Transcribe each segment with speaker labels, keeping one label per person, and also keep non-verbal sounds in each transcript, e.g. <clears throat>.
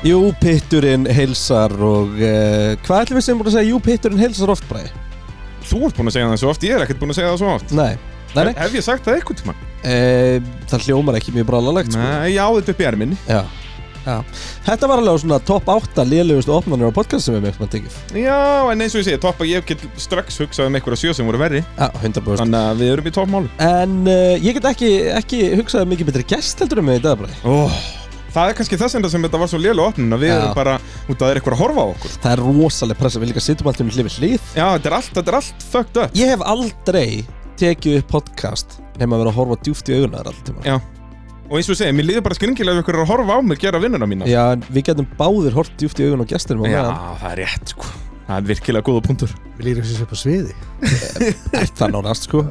Speaker 1: Jú, pitturinn heilsar og uh, hvað ætlum við sem búin að segja? Jú, pitturinn heilsar oft bræði.
Speaker 2: Þú ert búin að segja það svo oft, ég er ekkert búin að segja það svo oft
Speaker 1: Nei, nei, nei.
Speaker 2: Hef ég sagt það eitthvað tíma?
Speaker 1: Uh, það hljómar ekki mjög brálalegt, sko.
Speaker 2: Nei, ég á þetta upp í erminni
Speaker 1: Já. Já. Þetta var alveg svona top 8 liðlegustu opnarnir á podcast sem við mjög mann tekið.
Speaker 2: Já, en eins og ég segi, toppa ég get strax hugsað um einhverja sjö sem voru verri
Speaker 1: Já, 100%.
Speaker 2: Þannig að við erum í toppmál
Speaker 1: En uh, ég get ekki, ekki hugsað um mikið betri gest heldur um mig í dag, bræði.
Speaker 2: oh. Það er kannski þess enda sem þetta var svo lélega opnun að við
Speaker 1: Já.
Speaker 2: erum bara, út að það er eitthvað að horfa á okkur
Speaker 1: Það er rosaleg pressa, við líka sittum alltaf með hlið við hlið.
Speaker 2: Já, þetta er allt, þetta er allt fucked up
Speaker 1: Ég hef aldrei tekið upp podcast nema að vera að horfa djúft í augunar alltaf tíma.
Speaker 2: Já Og eins og ég segi, mér líður bara skringilega ef ykkur er að horfa á mig gera vinnuna mína
Speaker 1: Já, en við getum báðir hort djúft í augun á gestinum á meðan.
Speaker 2: það er rétt sko Það er virkilega góða punktur
Speaker 3: Við líðum þessi upp á sviði
Speaker 1: Ert það nánast sko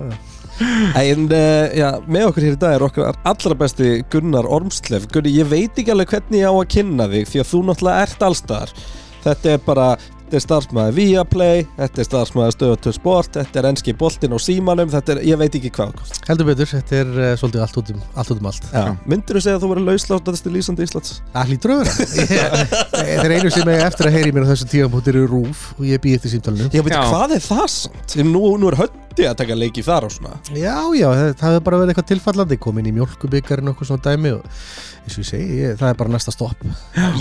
Speaker 1: En uh, já, með okkur hér í dag er okkar allra besti Gunnar Ormslef Gunni, ég veit ekki alveg hvernig ég á að kynna þig Því að þú náttúrulega ert allstar Þetta er bara, þetta er starfsmæður Viaplay Þetta er starfsmæður Stöðutöð Sport Þetta er enski boltinn og símanum Þetta er, ég veit ekki hvað
Speaker 3: Heldur betur, þetta er uh, svolítið allt út um allt, út um allt.
Speaker 1: já. Myndirðu segja að þú verður lausláttast í lýsandi Íslands?
Speaker 3: Það hlýtur að vera <laughs> Ég- Þetta er einu sem ég eftir að heyri mér á þessum tíðanbúttir eru rúf og ég býði eftir símtalinu
Speaker 1: Já, veit,
Speaker 2: Já.
Speaker 1: hvað er það samt? Nú, nú er höndi að taka leiki þar og svona
Speaker 3: Já, já, það það hefur bara verið eitthvað tilfallandi komin í mjölkubikar og eitthvað svona dæmi og eins og ég segi, ég, það er bara næsta stopp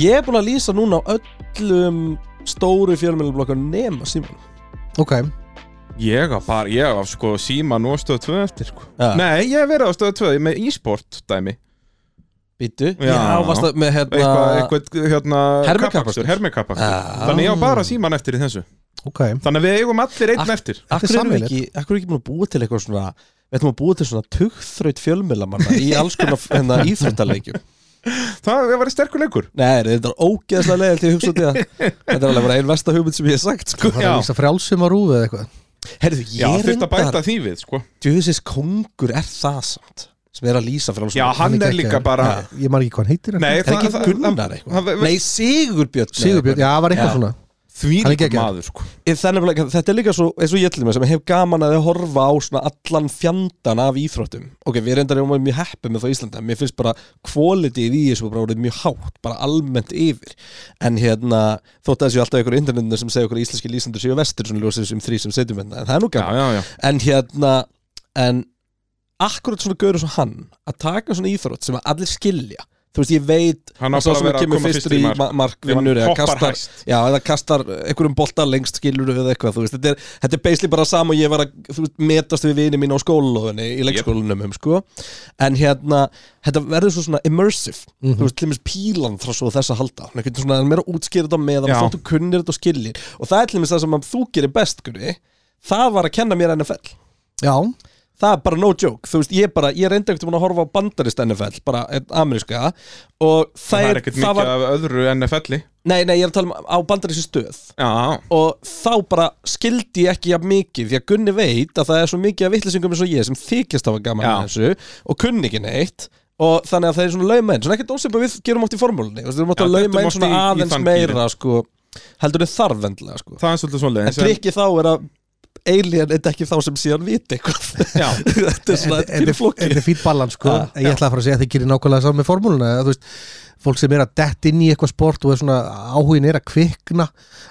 Speaker 1: Ég er búin að lýsa núna á öllum stóru fjölmjölublokkar nema símanum
Speaker 3: Ok,
Speaker 2: Ég á bara, ég á sko síman og stöð 2 eftir sko
Speaker 1: Já.
Speaker 2: Nei, ég hef verið á stöð 2 með e-sport dæmi
Speaker 1: Býtu, já,
Speaker 2: Já.
Speaker 1: varst það með hérna
Speaker 2: Eitthvað, eitthvað hérna
Speaker 1: Hermikappastur.
Speaker 2: Hermikapakstur
Speaker 1: Já.
Speaker 2: Þannig ég á bara síman eftir í þessu
Speaker 3: ok
Speaker 2: Þannig að við eigum allir einn
Speaker 1: Ak-
Speaker 2: eftir
Speaker 1: Akkur erum
Speaker 3: Þetta er
Speaker 1: við
Speaker 3: sameiginlegt.
Speaker 1: ekki, akkur erum við ekki búin að búa til eitthvað svona Við ætlum að búa til svona tugþraut fjölmiðlamanna <laughs> í alls konar hérna, íþróttaleikjum
Speaker 2: Það var sterkur leikur
Speaker 1: Nei, þetta er ógeðslega leiðið til að hugsa út í það
Speaker 2: <laughs>
Speaker 1: Þetta er alveg bara einn versta hugmynd sem ég hef sagt sko.
Speaker 3: Það er
Speaker 2: Já.
Speaker 3: að lýsa frjálsum á rúf eða eitthvað
Speaker 1: Herðu,
Speaker 2: Já,
Speaker 1: ég
Speaker 2: þurft að
Speaker 1: reyndar
Speaker 2: bæta því við sko
Speaker 1: Djöðisins kongur er það samt Sem er að lýsa fyrir alls
Speaker 2: Já,
Speaker 1: konar.
Speaker 2: hann
Speaker 3: Hann er
Speaker 2: er líka
Speaker 3: geggjaður.
Speaker 2: bara
Speaker 3: Já, Ég man ekki hvað hann heitir
Speaker 2: Nei,
Speaker 1: Er ekki
Speaker 2: það- það-
Speaker 1: Gunnar
Speaker 2: það-
Speaker 1: eitthvað?
Speaker 2: það-
Speaker 1: Nei, Sigurbjörn
Speaker 3: Sigurbjörn, já, það var eitthvað svona
Speaker 2: Því
Speaker 3: Hann er geggjaður.
Speaker 2: maður sko
Speaker 1: Þannig að þetta er líka svo, eins og ég ætlum sem ég hef gaman að horfa á svona allan fjandan af íþróttum ok, við reyndar erum mjög heppið með þá Íslanda mér finnst bara kvalitíð í þessu bara orðið mjög hátt, bara almennt yfir en hérna, þótt að þessu alltaf ykkur á internetinu sem segja okkur að íslenski lýsendur séu vestur svona ljósið sem þrý sem setjum hérna, en það er nú
Speaker 2: Já,
Speaker 1: gaman
Speaker 2: já, já
Speaker 1: en hérna, en akkurat svona görur svo hann að taka svona íþrótt sem að allir skilja þú veist, ég veit
Speaker 2: Hann
Speaker 1: að
Speaker 2: á
Speaker 1: sá
Speaker 2: bara að
Speaker 1: sem
Speaker 2: vera að
Speaker 1: kemur
Speaker 2: koma
Speaker 1: fyrstur
Speaker 2: fyrstur í
Speaker 1: í
Speaker 2: mark.
Speaker 1: ma- mark
Speaker 2: Ef hann
Speaker 1: vinnur eða
Speaker 2: hoppar
Speaker 1: kastar,
Speaker 2: hæst.
Speaker 1: já, eða kastar einhverjum bolta lengst skilur eða eitthvað þú veist, þetta, er, þetta er basically bara sama og ég var að þú veist, metast við vini mín á skólaðunni í leikskólanum um, sko. en hérna, þetta verður svo svona immersive
Speaker 2: Mhm.
Speaker 1: þú veist, tlumis pílan frá svo þess að halda hann getur svona meira útskýrð á meðan
Speaker 2: Já.
Speaker 1: þótt þú kunnir þetta og skillir og það er tlumis það sem að þú gerir best kunni, það var að kenna mér NFL
Speaker 3: Já,
Speaker 1: það er bara no joke, þú veist, ég bara ég reyndi ekkert um að horfa á bandarist NFL bara einn ameríska og
Speaker 2: Það
Speaker 1: það,
Speaker 2: er
Speaker 1: er,
Speaker 2: ekkert
Speaker 1: það
Speaker 2: mikið
Speaker 1: var,
Speaker 2: af öðru NFL-i
Speaker 1: nei, nei, ég er að tala um á bandarinsu stöð
Speaker 2: Já,
Speaker 1: og þá bara skildi ég ekki jafn mikið því að Gunni veit að það er svo mikið af vittlýsingum eins og ég sem þykist hafa gaman
Speaker 2: Já.
Speaker 1: að þessu og kunni ekki neitt og þannig að það er svona lauma einn, svona ekkert ósipað við gerum átt í formúlunni, þú veist, við erum átt
Speaker 2: Já,
Speaker 1: að lauma
Speaker 2: dettum
Speaker 1: einn
Speaker 2: oft
Speaker 1: svona
Speaker 2: í- í
Speaker 1: aðeins
Speaker 2: þann
Speaker 1: meira sko, heldur þið þarf endilega sko.
Speaker 2: það er svolítið
Speaker 1: en
Speaker 2: svolítið
Speaker 1: trikki þá er að alien er ekki þá sem síðan viti eitthvað
Speaker 2: Já.
Speaker 1: <laughs> þetta er svona,
Speaker 3: þetta
Speaker 1: þetta er
Speaker 3: þetta-
Speaker 1: flókið
Speaker 3: þetta er fýtt balans sko
Speaker 1: Ah,
Speaker 3: Ég ætla að fara að segja að þið gerir nákvæmlega saman með formúluna að, þú veist, Fólk sem er að dett inn í eitthvað sport og er svona áhugin er að kvikna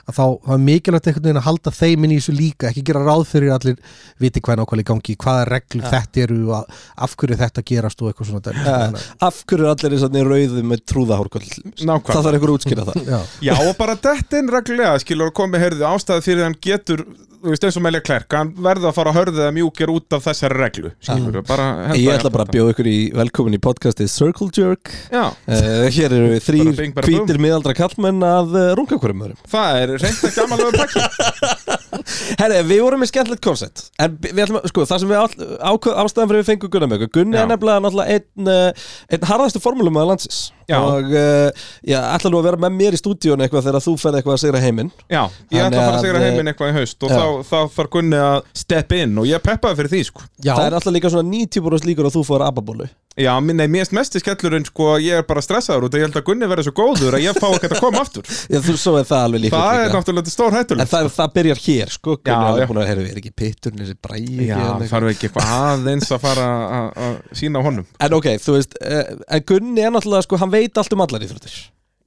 Speaker 3: að þá þá er mikilvægt einhvern veginn að halda þeim inn í þessu líka, ekki gera ráð fyrir að allir viti hvað er nákvæmlega í gangi, hvaða reglur
Speaker 1: Ah.
Speaker 3: þetta eru og að- af hverju þetta gerast og eitthvað svona dæmi. Þannig að-
Speaker 1: af hverju eru allir er sannig rauði með trúðahórköll
Speaker 2: Nákvæmlega.
Speaker 1: það þarf einhver að útskýra það
Speaker 3: Já,
Speaker 2: Já og bara þetta inn reglulega skilur og komið herðu ástæði fyrir hann getur þú veist eins og meðlega klærk, hann verður að fara að hörðu það mjúkir út af þessari reglu skilur, bara henda
Speaker 1: Ah. ég
Speaker 2: í
Speaker 1: ætla
Speaker 2: allt
Speaker 1: bara að
Speaker 2: þetta.
Speaker 1: bjóða ykkur í velkomin í podcastið Circle Jerk
Speaker 2: Já,
Speaker 1: uh, hér eru við þrýr
Speaker 2: Bara bing, bara búm.
Speaker 1: hvítir miðaldra kallmenn að uh, runga hverjum öðrum
Speaker 2: það er reynd að gamanlega
Speaker 1: <laughs>
Speaker 2: pakki
Speaker 1: herri, við vorum með skemmtilegt koncept en bi- við ætlum, að- sko, það sem við all, ákveð, ástæðan fyrir við fengum Gunnar með okkur, Gunni
Speaker 2: Já.
Speaker 1: er nefnilega náttúrulega einn, uh, einn harðastu formúlum að landsins
Speaker 2: Já.
Speaker 1: og uh, já, ætla nú að vera með mér í stúdíun eitthvað þegar þú ferð eitthvað að segra heiminn
Speaker 2: Já, ég ætla að fara að
Speaker 1: Þannig
Speaker 2: segja
Speaker 1: að-
Speaker 2: heiminn eitthvað í haust og
Speaker 1: Já.
Speaker 2: þá, þá þarf Gunni að step in og ég peppaði fyrir því sko
Speaker 3: já.
Speaker 1: það er alltaf líka svona 90% líkur að þú fór ababólu
Speaker 2: Já, minn, nei, mér erst mest í skellurinn sko ég er bara stressaður út og ég held að Gunni verði svo góður að ég fá ekkert að koma aftur
Speaker 1: <laughs> Já, þú svo er það alveg líka
Speaker 2: Það er náttúrulega stór
Speaker 1: En það, það byrjar hér, sko Gunnar
Speaker 2: Já,
Speaker 1: er alveg
Speaker 2: já.
Speaker 1: búin að heyrðu, er ekki pitturinn, er bræði ekki
Speaker 2: Já,
Speaker 1: eða eitthvað?
Speaker 2: þarf ekki eitthvað aðeins að fara að- að sína honum
Speaker 1: eh, En ok, þú veist, uh, en Gunni er náttúrulega, sko, hann veit allt um allar íþróttir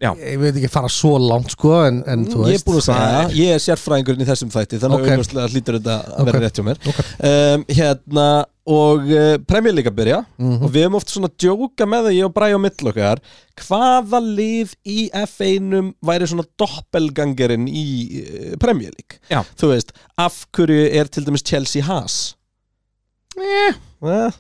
Speaker 2: Já.
Speaker 3: ég veit ekki fara svo langt sko en, en þú
Speaker 1: Mm, Ég er
Speaker 3: veist
Speaker 1: búin að segja það, ég er sérfræðingurinn í þessum þætti þannig
Speaker 3: Ok.
Speaker 1: að auðvitað hlýtur þetta að vera
Speaker 3: Ok.
Speaker 1: rétt hjá mér
Speaker 3: Ok.
Speaker 1: um, Hérna og uh, Premier League að byrja
Speaker 3: Mhm.
Speaker 1: og við erum oft svona að djóka með það ég og Bræ og mill okkar hvaða lið í F1-um væri svona doppelgangerinn í uh, Premier League
Speaker 2: Já.
Speaker 1: Þú veist, af hverju er til dæmis Chelsea Haas? Eh, eh,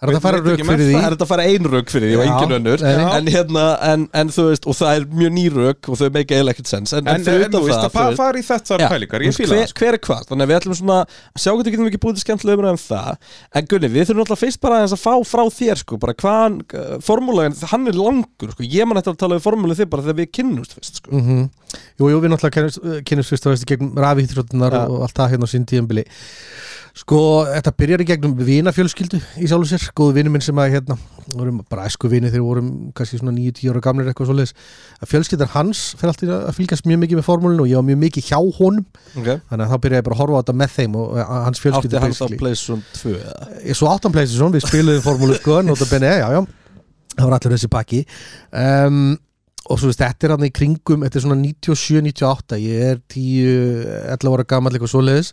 Speaker 3: er þetta að fara
Speaker 2: Veit
Speaker 3: rauk
Speaker 2: ekki
Speaker 3: fyrir
Speaker 2: með
Speaker 3: því
Speaker 1: Það er þetta að fara ein rauk fyrir því og
Speaker 3: Já.
Speaker 1: engin önnur
Speaker 3: Nei,
Speaker 2: nei.
Speaker 1: en, hérna, en, en þú veist, og það er mjög ný rauk og þau make eiginlega ekkert sens en,
Speaker 2: En, en,
Speaker 1: fyrir
Speaker 2: en þú
Speaker 1: utan
Speaker 2: veist
Speaker 1: það,
Speaker 2: að fa- fara í þetta
Speaker 1: Já,
Speaker 2: pælingar, ég
Speaker 1: þú veist,
Speaker 2: fíla
Speaker 1: hver,
Speaker 2: það sko.
Speaker 1: hver er hvað, þannig að við ætlum svona að sjá hvernig getum við ekki búið til skemmtilega umræðum það en Gunni, við þurfum alltaf fyrst bara aðeins að fá frá þér sko, bara hvaðan, uh, formúlan hann er langur, sko, ég man eftir að tala um formúlu þig bara þegar við kynnumst fyrst, sko
Speaker 3: mm Jú, jú, við náttúrulega kynnumst- uh, kynnumst fyrst og veist í gegnum rafíþrótunar
Speaker 1: Já.
Speaker 3: og allt það hérna á sín tíðanbili Sko, þetta byrjar í gegnum vinafjölskyldu í sjálfu sér, góðu vinur minn sem að hérna, vorum bara æsku vini þegar við vorum kannski svona 9-10 ára gamlir eitthvað svoleiðis að fjölskyldar hans fer alltaf að fylgjast mjög mikið með formúlinu og ég var mjög mikið hjá honum
Speaker 1: okay.
Speaker 3: þannig að þá byrjaði ég bara að horfa á þetta með þeim og uh, hans fjölskyldu
Speaker 1: átti hann þá
Speaker 3: basically.
Speaker 1: Playzone 2 eða?
Speaker 3: Ég svo áttan Playstation, við spiluðum formúlu sko, nota bene, já, já það var allur þessi pakki um, og svo veist, þetta er hann í kringum þetta er svona 97-98, ég er 10-11 ára gamall eitthvað svoleiðis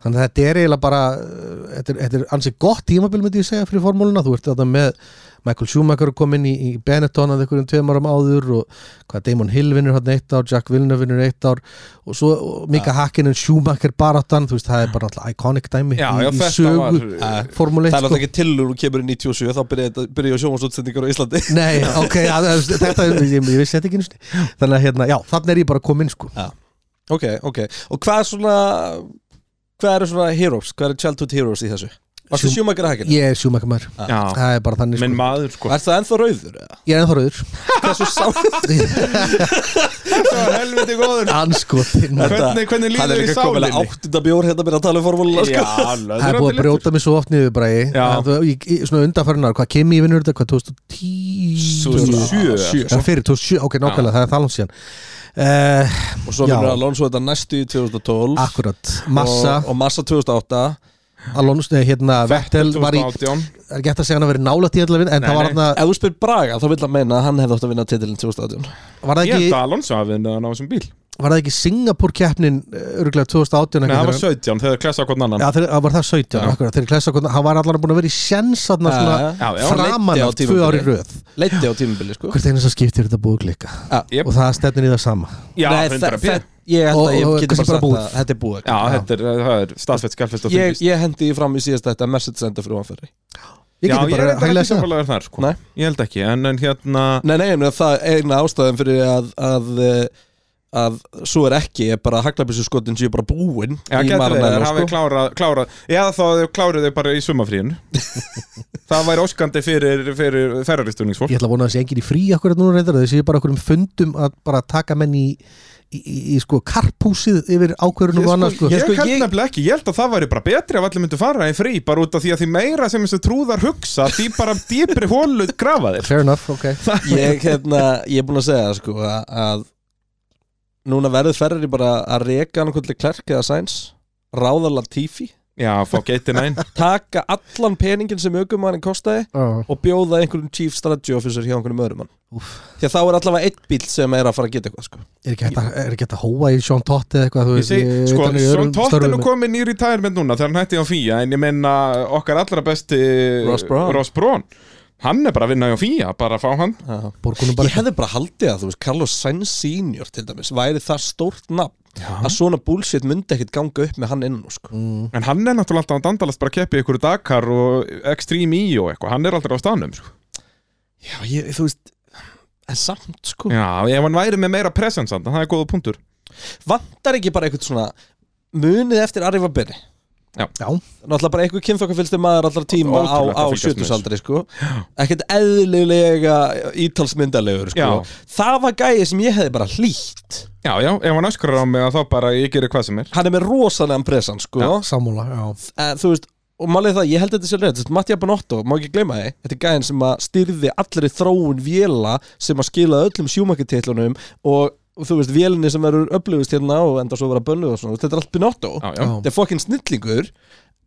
Speaker 3: þannig að þetta er eiginlega bara uh, þetta er, þetta er ansið gott tímabil myndi ég segja fyrir formúluna, þú ert þetta með Michael Schumacher kom inn í, í Benetton að einhverjum tveim árum áður og hvað Damon Hill vinnur hann eitt ár, Jack Villeneuve vinnur eitt ár og svo og Mika Hakkinen Schumacher baráttan, þú veist, það er bara náttúrulega iconic dæmi
Speaker 2: Já,
Speaker 3: í,
Speaker 2: já,
Speaker 3: í
Speaker 2: þetta
Speaker 3: sögu
Speaker 2: var
Speaker 1: Eh,
Speaker 3: formúli
Speaker 1: það er alltaf ekki tilur og kemur í 97 þá byrja þetta- byrja ég á sjónvarsútsendingar á Íslandi <laughs>
Speaker 2: <laughs>
Speaker 3: Nei, ok, já, þetta ég, ég vissi þetta ekki einu sinni. Þannig að hérna, já, þannig er ég bara komin sko.
Speaker 1: ok, ok, og hvað er svona hvað eru svona heroes, hvað eru childhood heroes í þessu varstu
Speaker 3: Sjum-
Speaker 1: sjúmakar að hakinu?
Speaker 3: Ég er sjúmakar maður,
Speaker 2: Já,
Speaker 3: það er bara þannig
Speaker 2: minn
Speaker 3: sko.
Speaker 2: maður sko
Speaker 1: Er það ennþá rauður?
Speaker 2: <laughs>
Speaker 1: eða?
Speaker 3: Ég er ennþá rauður
Speaker 1: Hversu sá
Speaker 2: Það var helviti <laughs> góður
Speaker 3: Anskotin maður.
Speaker 2: Hvernig- hvernig líður
Speaker 1: Hann er
Speaker 2: þér í
Speaker 1: líka komin að
Speaker 2: sálinni?
Speaker 1: áttunda bjór hérna byrja að tala um formúluna sko.
Speaker 2: Það
Speaker 3: Það er búið að brjóta mig svo oft niður bara ég,
Speaker 2: Já.
Speaker 3: Það- þú- ég, ég svona undanfærinar, hvað kem ég vinnur þetta, hvað 2010
Speaker 2: 2007
Speaker 1: Sjö.
Speaker 3: Það fyrir, 2007, ok, nákvæmlega, það er það langt síðan uh,
Speaker 1: Og svo
Speaker 3: Já.
Speaker 1: vinnur Alonso þetta næstu í 2012
Speaker 3: Akkurat, Massa, Ah.
Speaker 1: og, og Massa 2008
Speaker 3: Alonso, nei, hérna, Vettel var í,
Speaker 2: 2018
Speaker 3: það er gett að segja hann að verið nála tíðallafinn, en
Speaker 2: Nei,
Speaker 3: það var
Speaker 2: nei.
Speaker 3: hann
Speaker 1: Ef þú spyr Braga þá vil að meina að hann hefði átt að vinna titilin 2018
Speaker 3: var það
Speaker 2: Ég held
Speaker 3: ekki,
Speaker 2: að Alonso hafi vinnið hann á þessum bíl Nei,
Speaker 3: var það ekki eh, Singapur keppnin, örgulega 2018
Speaker 2: það
Speaker 3: eitthvað þegar
Speaker 2: var
Speaker 3: hann-
Speaker 2: 17 þegar klessa hvern annan
Speaker 3: Já, þeir, það var það 17
Speaker 2: Já.
Speaker 3: akkurat, þeir klesa, hann var allan búin að vera í sjens þarna svona
Speaker 2: Já, já,
Speaker 3: framan
Speaker 1: leiddi á
Speaker 3: af tvö ári
Speaker 1: tímabili.
Speaker 3: röð
Speaker 1: Leiti á tímubili sko
Speaker 3: hvert einu sem skiptir þetta búið að klikka
Speaker 2: Jep.
Speaker 3: og það stefnir í það sama
Speaker 2: Ah, Já,
Speaker 1: Nei, þa-
Speaker 2: 100 p
Speaker 1: þa- Ég held að
Speaker 3: Og-
Speaker 1: ég
Speaker 3: og
Speaker 1: geti bara
Speaker 3: kannski bara
Speaker 1: sagt
Speaker 3: búið.
Speaker 1: að þetta er búið
Speaker 2: Já, þetta er, það er staðsveit skjálfest og
Speaker 1: Ég,
Speaker 2: þingist
Speaker 1: ég hendi því fram í síðast þetta að Mercedes enda fyrir vanferri
Speaker 3: ég geti bara hæglega að segja
Speaker 2: samfélagur þar sko
Speaker 1: Nei.
Speaker 2: Ég held ekki, en, en hérna
Speaker 1: Nei, nei, en það er eina ástæðan fyrir að, að eh, að svo er ekki er bara að haglabissu skotin séu bara búin
Speaker 2: Já,
Speaker 1: í
Speaker 2: getur þeir,
Speaker 1: Maranello,
Speaker 2: hafið
Speaker 1: sko.
Speaker 2: klárað klára, Já, þá hafið þau klárið þau bara í sumafríun Það væri óskandi fyrir, fyrir ferraristurningsfólk
Speaker 3: ég ætla að vona að þessi engin í frí akkurat núna reyndar þessi ég bara okkur um fundum að bara taka menn í, í, í, í sko karpúsið yfir ákvörunum og annað sko
Speaker 2: ég,
Speaker 1: Ég sko,
Speaker 2: held
Speaker 1: ég-
Speaker 2: nefnilega ekki, ég held að það væri bara betri ef allir myndu fara í frí, bara út af því að því meira sem þessu trúðar hugsa, því bara dýpri hólu grafa þér
Speaker 3: fair enough, ok
Speaker 1: ég, hérna, ég er búinn að segja það, sko að, að núna verður Ferrari bara að reka annarkvöldli klerk eða sæns ráða Latifi,
Speaker 2: Já, fá geitin einn
Speaker 1: taka allan peningin sem aukumanninn kostaði
Speaker 3: oh.
Speaker 1: og bjóða einhverjum chief strategy officer hjá einhverjum öðrum mann
Speaker 3: Úff.
Speaker 1: því að þá er allavega einn bíl sem er að fara að geta eitthvað sko.
Speaker 3: er ekki hægt að- er ekki hægt að hóa í Sean Totti eða eitthvað þú
Speaker 2: Ég
Speaker 3: veist,
Speaker 2: segi,
Speaker 3: ég-
Speaker 2: sko,
Speaker 3: utan í
Speaker 2: Sjón
Speaker 3: öðrum
Speaker 2: Tóttinu
Speaker 3: störfum.
Speaker 2: komið nýri tærmynd núna þegar hann hætti á fíja, en ég menna okkar allra besti
Speaker 1: Ross Brawn.
Speaker 2: Ross Brawn. Hann er bara að vinna á fíja, bara að fá hann
Speaker 1: Já.
Speaker 3: Borgunum
Speaker 1: ég
Speaker 3: bara-
Speaker 1: hefði bara haldið að þú veist Carlos Sainz senior til dæmis væri það stórt nafn að svona bullshit myndi ekkit ganga upp með hann inn sko.
Speaker 3: Mm.
Speaker 2: En hann er náttúrulega alltaf að dandalast bara að keppi ykkur Dakar og Extreme E og eitthvað Hann er alltaf á stanum sko.
Speaker 1: já, ég, þú veist en samt
Speaker 3: Hm.
Speaker 1: sko
Speaker 2: Já, ef hann væri með meira presence þannig, það er góða punktur
Speaker 1: vantar ekki bara eitthvað svona munið eftir Arriva Berri
Speaker 3: já
Speaker 1: náttúrulega bara einhver kynþokkafylgstu maður allra tíma á,
Speaker 2: Ótrúlegt
Speaker 1: á
Speaker 2: að fylgjast með
Speaker 1: 70-saldri sko. ekkert eðlilega ítalsmyndalegur sko.
Speaker 2: Já.
Speaker 1: það var gæði sem ég hefði bara hlýtt
Speaker 2: Já, já, ef hann öskrar á mig að þá bara ég gerir hvað sem er
Speaker 1: hann er með rosalega presan sko.
Speaker 3: sammála, já
Speaker 1: Eh, þú veist og málið er það, ég held þetta sér reynd Mattia Bonotto, má ekki gleyma þið þetta er gæðin sem að styrði allri þróun véla sem að skila öllum sjúmaketitlunum og, og þú veist, vélinni sem verður upplifist hérna og enda svo að vera bönnuð og svona, þetta er allt Bonotto
Speaker 2: Já, já,
Speaker 3: Já.
Speaker 1: þetta er fokkin snillingur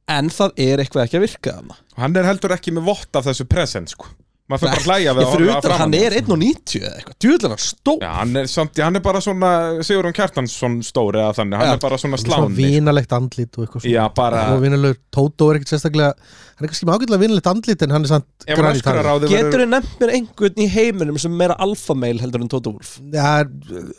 Speaker 1: en það er eitthvað ekki að virka þarna
Speaker 2: Hann er heldur ekki með vott af þessu present sko. maður fyrir bara að hlæja við
Speaker 1: Ég
Speaker 2: að
Speaker 1: fyrir
Speaker 2: horfa
Speaker 1: utan,
Speaker 2: framan
Speaker 1: hann
Speaker 2: í
Speaker 1: er 1.90 eða eitthvað, djúðlega stó
Speaker 2: Já, hann er, samt, hann er bara svona Sigurðun Kjartansson stóri eða þannig, hann
Speaker 1: Já.
Speaker 2: er bara svona
Speaker 3: Svona
Speaker 2: sláni
Speaker 3: vinalegt andlit og eitthvað svona
Speaker 2: Já, bara,
Speaker 3: Og vinalegur Tótó er ekkert sérstaklega Hann er kannski með ágætlega vinalegt andlit En hann er samt
Speaker 2: ef hann
Speaker 3: grann í
Speaker 2: öskrar á
Speaker 3: tali.
Speaker 2: þig
Speaker 1: Getur
Speaker 2: verður
Speaker 1: þið nefnt mér einhvern í heiminum sem er meira alfameil heldur en Tóta Wolf?
Speaker 3: Já,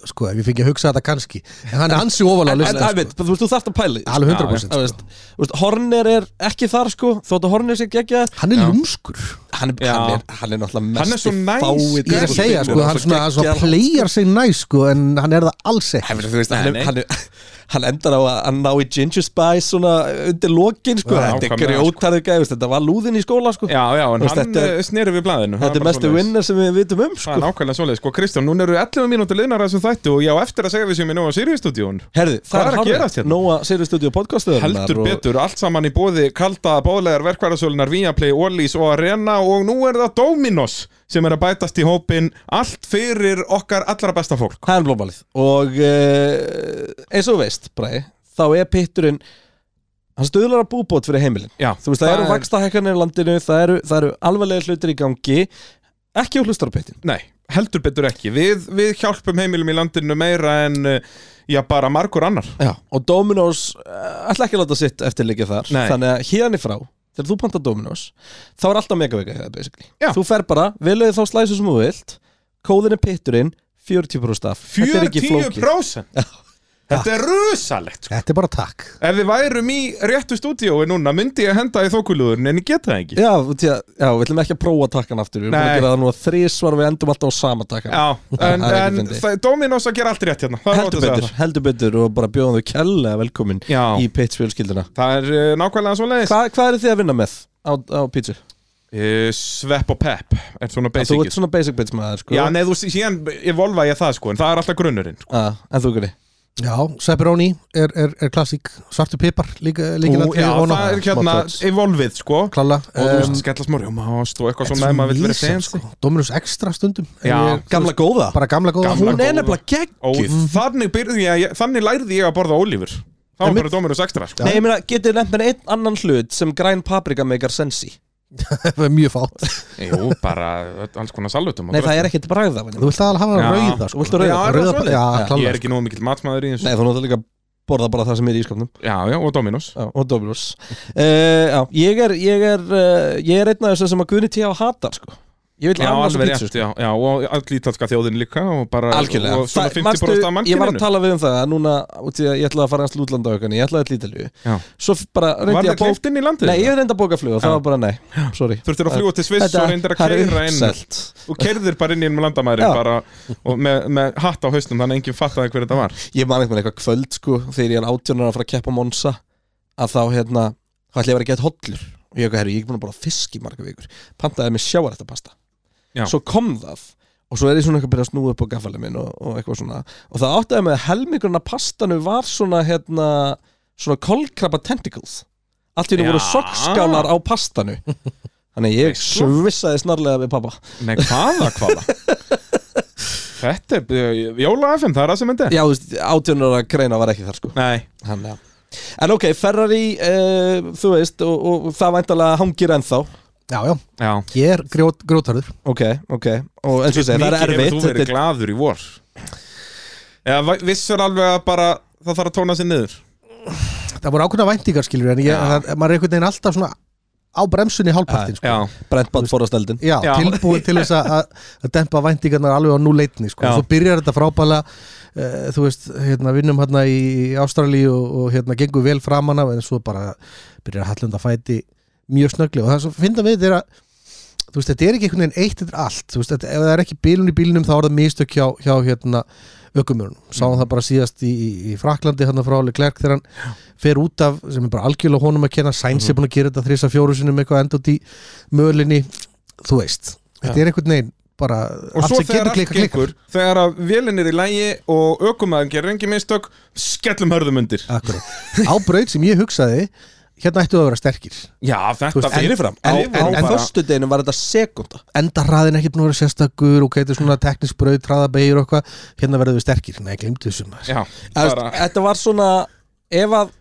Speaker 3: sko, ef ég fengi að hugsa þetta kannski En hann er ansi ofalega
Speaker 1: En, en,
Speaker 3: lista
Speaker 1: en,
Speaker 3: sko.
Speaker 1: þú veist, þú þarft að pæli
Speaker 3: Alveg
Speaker 2: Já,
Speaker 3: 100%
Speaker 1: Þú
Speaker 3: sko.
Speaker 1: veist, þú veist, Horner er ekki þar sko þótt að Horner sé geggjað
Speaker 3: Hann er lúmskur
Speaker 1: hann, er-
Speaker 2: Já.
Speaker 1: hann, er- hann er náttúrulega
Speaker 2: Hann er
Speaker 1: mest
Speaker 2: svo næs
Speaker 3: Ég er að
Speaker 2: Gæður,
Speaker 3: segja, sko,
Speaker 2: sko,
Speaker 3: hann svona, hann svona playar sig næ, sko En hann er það alls ekki
Speaker 1: Hefur, þú veist, hann,
Speaker 2: Nei,
Speaker 1: er-
Speaker 2: nei.
Speaker 1: hann, er- hann endar á að að ná í Ginger Spice svona undir lokin sko,
Speaker 2: Já,
Speaker 1: þetta er
Speaker 2: nákvæmlega,
Speaker 1: grjótarðu gæðust þetta var lúðin í skóla sko
Speaker 2: Já, já, en
Speaker 1: Veist,
Speaker 2: hann
Speaker 1: þetta er-
Speaker 2: snýri við blæðinu
Speaker 1: þetta er mestu vinnar sem við vitum um
Speaker 2: Það er
Speaker 1: sko
Speaker 2: nákvæmlega svoleið, sko, Kristján, núna eru 11 mínútur liðnar að þessum þættu og ég á eftir að segja við sem ég nú á Sirius-stúdíón
Speaker 1: Herði,
Speaker 2: Hvað
Speaker 1: það
Speaker 2: er að
Speaker 1: er hárið
Speaker 2: gerast hérna?
Speaker 1: Nóa Sirius Studio podcastöður
Speaker 2: Heldur betur, allt saman í bóði kalda bóðlegar verkværasölunar Viaplay, Ollís og Arena og nú er það Dominos sem er að bætast í hópin allt fyrir okkar allra besta fólk
Speaker 1: Það er blómalið Og uh, eins og þú veist, Bræði Þá er pitturinn Hann stöðlar að búbót fyrir heimilin
Speaker 2: Já,
Speaker 1: Þú veist, það, eru vakstahækkanir í landinu Það eru, það eru alvarlega hlutir í gangi Ekki á hlustarpittin
Speaker 2: Nei, heldur betur ekki Við, við hjálpum heimilum í landinu meira en eh, já, bara margur annar
Speaker 1: Já. Og Dominos uh, ætla ekki að láta sitt eftirleikja þar
Speaker 2: Nei.
Speaker 1: Þannig að hérna í frá Þegar þú pantar Dominos Þá er alltaf megavika hérna, basically
Speaker 2: Já.
Speaker 1: Þú fer bara, veluði þá slæsu sem þú vilt Kóðin er pitturinn 40% af Þetta er ekki flókið
Speaker 2: 40% Þetta er rusalegt sko.
Speaker 3: Þetta er bara takk
Speaker 2: Ef við værum í réttu stúdíói núna myndi ég henda í þókulúðurinn en ég geta það ekki
Speaker 1: Já, því að, já, við ætlum ekki að prófa takkan aftur Við erum búin
Speaker 2: Nei.
Speaker 1: að gera það nú að þrísvar við endum alltaf á sama takkan
Speaker 2: Já,
Speaker 1: <laughs>
Speaker 2: en,
Speaker 1: Það er ekki
Speaker 2: en
Speaker 1: fyndið.
Speaker 2: það- Dominos að gera allt rétt hérna Það er
Speaker 1: heldur
Speaker 2: ótt að segja
Speaker 1: betur, heldur betur og bara bjóðum þau kjærlega velkomin
Speaker 2: Já.
Speaker 1: í Pitch fjölskylduna
Speaker 2: Það er uh, nákvæmlega svo leiðis
Speaker 1: Hva, Hvað eru þið að vinna með á, á pizza?
Speaker 2: Eh, Svepp og pepp er svona
Speaker 1: Þú ert
Speaker 2: basicis
Speaker 1: svona basic pitch maður sko
Speaker 2: Já, nei, þú síðan evolva ég það sko en það er alltaf grunnurinn sko.
Speaker 1: ah, En þú guri
Speaker 3: Já, Seperoni er, er, er klassík Svartu pipar líka, líka
Speaker 2: Ú, Já, það er hérna
Speaker 1: smá
Speaker 2: evolvið sko
Speaker 3: Klála
Speaker 2: og þú veist, skella smá rjómaost og eitthvað svona ef maður vil vera
Speaker 1: sko.
Speaker 2: fancy
Speaker 3: sko. Dominus extra stundum En
Speaker 2: Já.
Speaker 3: ég-
Speaker 1: Gamla góða
Speaker 3: Bara gamla góða
Speaker 2: Gamla
Speaker 1: Hún
Speaker 2: góða.
Speaker 1: er nefnilega
Speaker 2: og Mhm.
Speaker 1: geggjuð
Speaker 2: þannig, byrði ég, þannig lærði ég að borða ólífur þá var
Speaker 3: Einmitt.
Speaker 2: bara Dominus extra sko.
Speaker 1: Nei, ég meina, getið nefnt með einn annan hlut sem græn paprika meikar sensi
Speaker 3: Það er mjög fátt
Speaker 2: Jú, bara alls konar salutum
Speaker 1: Nei, það er ekkert bragð af
Speaker 3: Þú
Speaker 1: henni
Speaker 3: vilt aðal hafa
Speaker 2: Já.
Speaker 3: rauða sko.
Speaker 1: Þú sko. viltu rauða?
Speaker 2: Já, er það
Speaker 3: rauða
Speaker 2: svoleiðis?
Speaker 3: Já,
Speaker 1: Já.
Speaker 2: Ég er
Speaker 3: klála
Speaker 2: ekki nógu mikill matmaður í þessu
Speaker 1: sko. Nei, þú náttúrulega líka borða bara það sem er í skapnum
Speaker 2: Já, já, og Dominus
Speaker 1: Já, og Dominus uh, já, Ég er, ég er, uh, ég er einn af þessu sem að Guðni T.A. hatar sko. Ég vil
Speaker 2: Já,
Speaker 1: annars
Speaker 2: alveg
Speaker 1: pizza
Speaker 2: rétt, já, já, og all ítalska þjóðin líka og bara,
Speaker 1: sko. Algjörlega
Speaker 2: og svona
Speaker 1: Það-
Speaker 2: 50% af
Speaker 1: manstu, Ég var að
Speaker 2: mannkyninu
Speaker 1: tala við um það að núna, út í að ég ætlaði að fara hans lútlanda á aukunni, ég ætlaði til Ítalíu
Speaker 2: Já.
Speaker 1: Svo f- bara
Speaker 2: Var
Speaker 1: reyndi ég
Speaker 2: það
Speaker 1: að bóka
Speaker 2: klift inn í landið?
Speaker 1: um Nei, ég reyndi að bóka flug og það var bara nei, sorry
Speaker 2: Þurftir að fljúa til Sviss og reyndir
Speaker 1: það er
Speaker 2: að keira inn
Speaker 1: uppselt
Speaker 2: og keirðir bara inn í ennum landamæri
Speaker 1: Já.
Speaker 2: bara, og með, með hatt á hausnum þannig að enginn fattaði hver þetta var
Speaker 1: Ég man eitthvað eitthvað kvöld sko, þegar ég er átjónar að fara að keppa á Monsa að þá hérna, þá ætla ég að vera að geta hollur og ég eitthvað, herru, ég er búin að bara fisk í marga vikur pantaði með sjáarættapasta
Speaker 2: Já.
Speaker 1: Svo kom það og svo er ég svona eitthvað að byrja að snúa upp á gafalið minn og, og eitthvað svona og það áttaði með að helmingurinn af pastanu var svona hérna, svona kolkrabba tentacles allt í henni
Speaker 2: Já.
Speaker 1: voru sokskálar á <laughs> pastanu þannig að ég
Speaker 2: Veistla.
Speaker 1: svissaði snarlega við pappa
Speaker 2: Nei, hvaða hvaða? Þetta er, eh, Jóla FM, það er það sem myndi
Speaker 1: Já, þú veist, átjónur að greina var ekki þar sko
Speaker 2: Nei,
Speaker 1: Hann, ja. En ok, Ferrari, uh, þú veist, og, og það væntalega hangir ennþá
Speaker 3: Já, já,
Speaker 2: já
Speaker 3: ég er grjót, grjótarður
Speaker 1: Ok, ok, og eins og segja, það er erfitt
Speaker 2: Mikið hefur þú verið
Speaker 1: þetta er-
Speaker 2: glaður í vor Já, va- vissur alveg að bara það þarf að tóna sér niður
Speaker 3: Það voru ákveðna væntingar skilur En ég, það, maður er einhvern veginn alltaf svona Á bremsunni hálpartin sko.
Speaker 2: Já,
Speaker 1: Brent Bad forast eldin
Speaker 3: Já,
Speaker 2: Já.
Speaker 3: tilbúin til þess að- að að dempa væntingarnar alveg á núleitni sko.
Speaker 2: Já.
Speaker 3: Svo byrjar þetta frábælega uh, Þú veist, hérna, vinnum hérna í Ástralíu og, og hérna, gengur vel framan af En svo bara byrjar að hallunda fæti Mjög snöggli og það sem finna við þetta er að Þú veist, þetta er ekki einhvern veginn eitt Þetta er allt, þú veist, þetta, ef það er ekki bílun í bílunum Þá er það mistök hjá, hjá hérna, ökumörunum
Speaker 2: Mhm.
Speaker 3: Sáum það bara síðast í, í, í Fraklandi Hérna frá Leclerc þegar hann fer út af Sem er bara algjörlega honum að kenna Sainz
Speaker 2: Mhm.
Speaker 3: er búin að gera þetta þrisa fjóru sinum Eitthvað enda út í mölinni þú veist, þetta er einhvern veginn bara
Speaker 2: og
Speaker 3: allt
Speaker 2: svo
Speaker 3: sem
Speaker 2: þegar
Speaker 3: getur
Speaker 2: allt
Speaker 3: klikkað klikkar
Speaker 2: gengur Þegar að vélinn er í lægi og ökumæðan gerir engin mistök Skellum hörðum undir
Speaker 3: Akkurat. á braut sem ég hugsaði hérna ættu að vera sterkir
Speaker 2: Já,
Speaker 3: Þú
Speaker 2: þetta
Speaker 3: veist, en-
Speaker 2: fyrirfram
Speaker 1: En,
Speaker 2: Við
Speaker 1: en,
Speaker 2: vorum
Speaker 1: en
Speaker 2: bara-
Speaker 1: föstudeginu var þetta sekunda
Speaker 3: enda hraðin ekki búin að vera sérstakur og getur svona teknisk braut, traðabegir og eitthvað hérna verður við sterkir, nei, glimtu þessum maður.
Speaker 2: Já,
Speaker 1: Eða,
Speaker 2: bara
Speaker 1: veist, Þetta var svona ef að,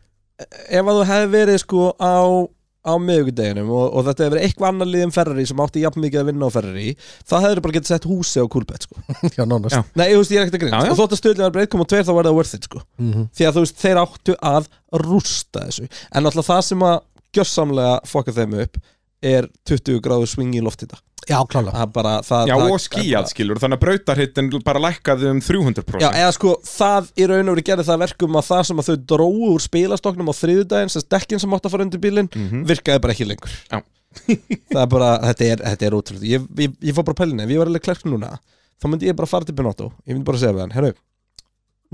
Speaker 1: ef að þú hefði verið sko á á miðugudeginum og, og þetta hefur verið eitthvað annar lið en Ferrari sem átti jafn mikið að vinna á Ferrari það hefur bara getið sett húsi á Coolbet sko.
Speaker 3: <laughs> Já, nánast
Speaker 2: Já.
Speaker 1: Nei, þú veist, ég er ekkert að grina
Speaker 2: Já, já.
Speaker 1: og þótt að stöðlega er bara 1.2 þá var það worth it sko.
Speaker 3: Mhm.
Speaker 1: því að þú veist, þeir áttu að rústa þessu en alltaf það sem að gjössamlega fokka þeim upp er 20 gráður swing í loftið
Speaker 3: Já, klálega
Speaker 1: það er bara, það,
Speaker 2: Já,
Speaker 1: það,
Speaker 2: og sko. skíjað skilur, þannig að brautarhittin bara lækkaði um 300%
Speaker 1: Já, eða sko, það í raun og verið gerði það verkum að það sem að þau dróu úr spilastoknum á þriðudaginn, sem dekkin sem átti að fara undir bílinn
Speaker 2: Mhm.
Speaker 1: virkaði bara ekki lengur
Speaker 2: Já.
Speaker 1: <laughs> Það er bara, þetta er, þetta er ótrúlega ég, ég, ég fór bara pælinni, ef ég var alveg klerk núna þá myndi ég bara fara til Benotto, ég myndi bara segja við hann herru,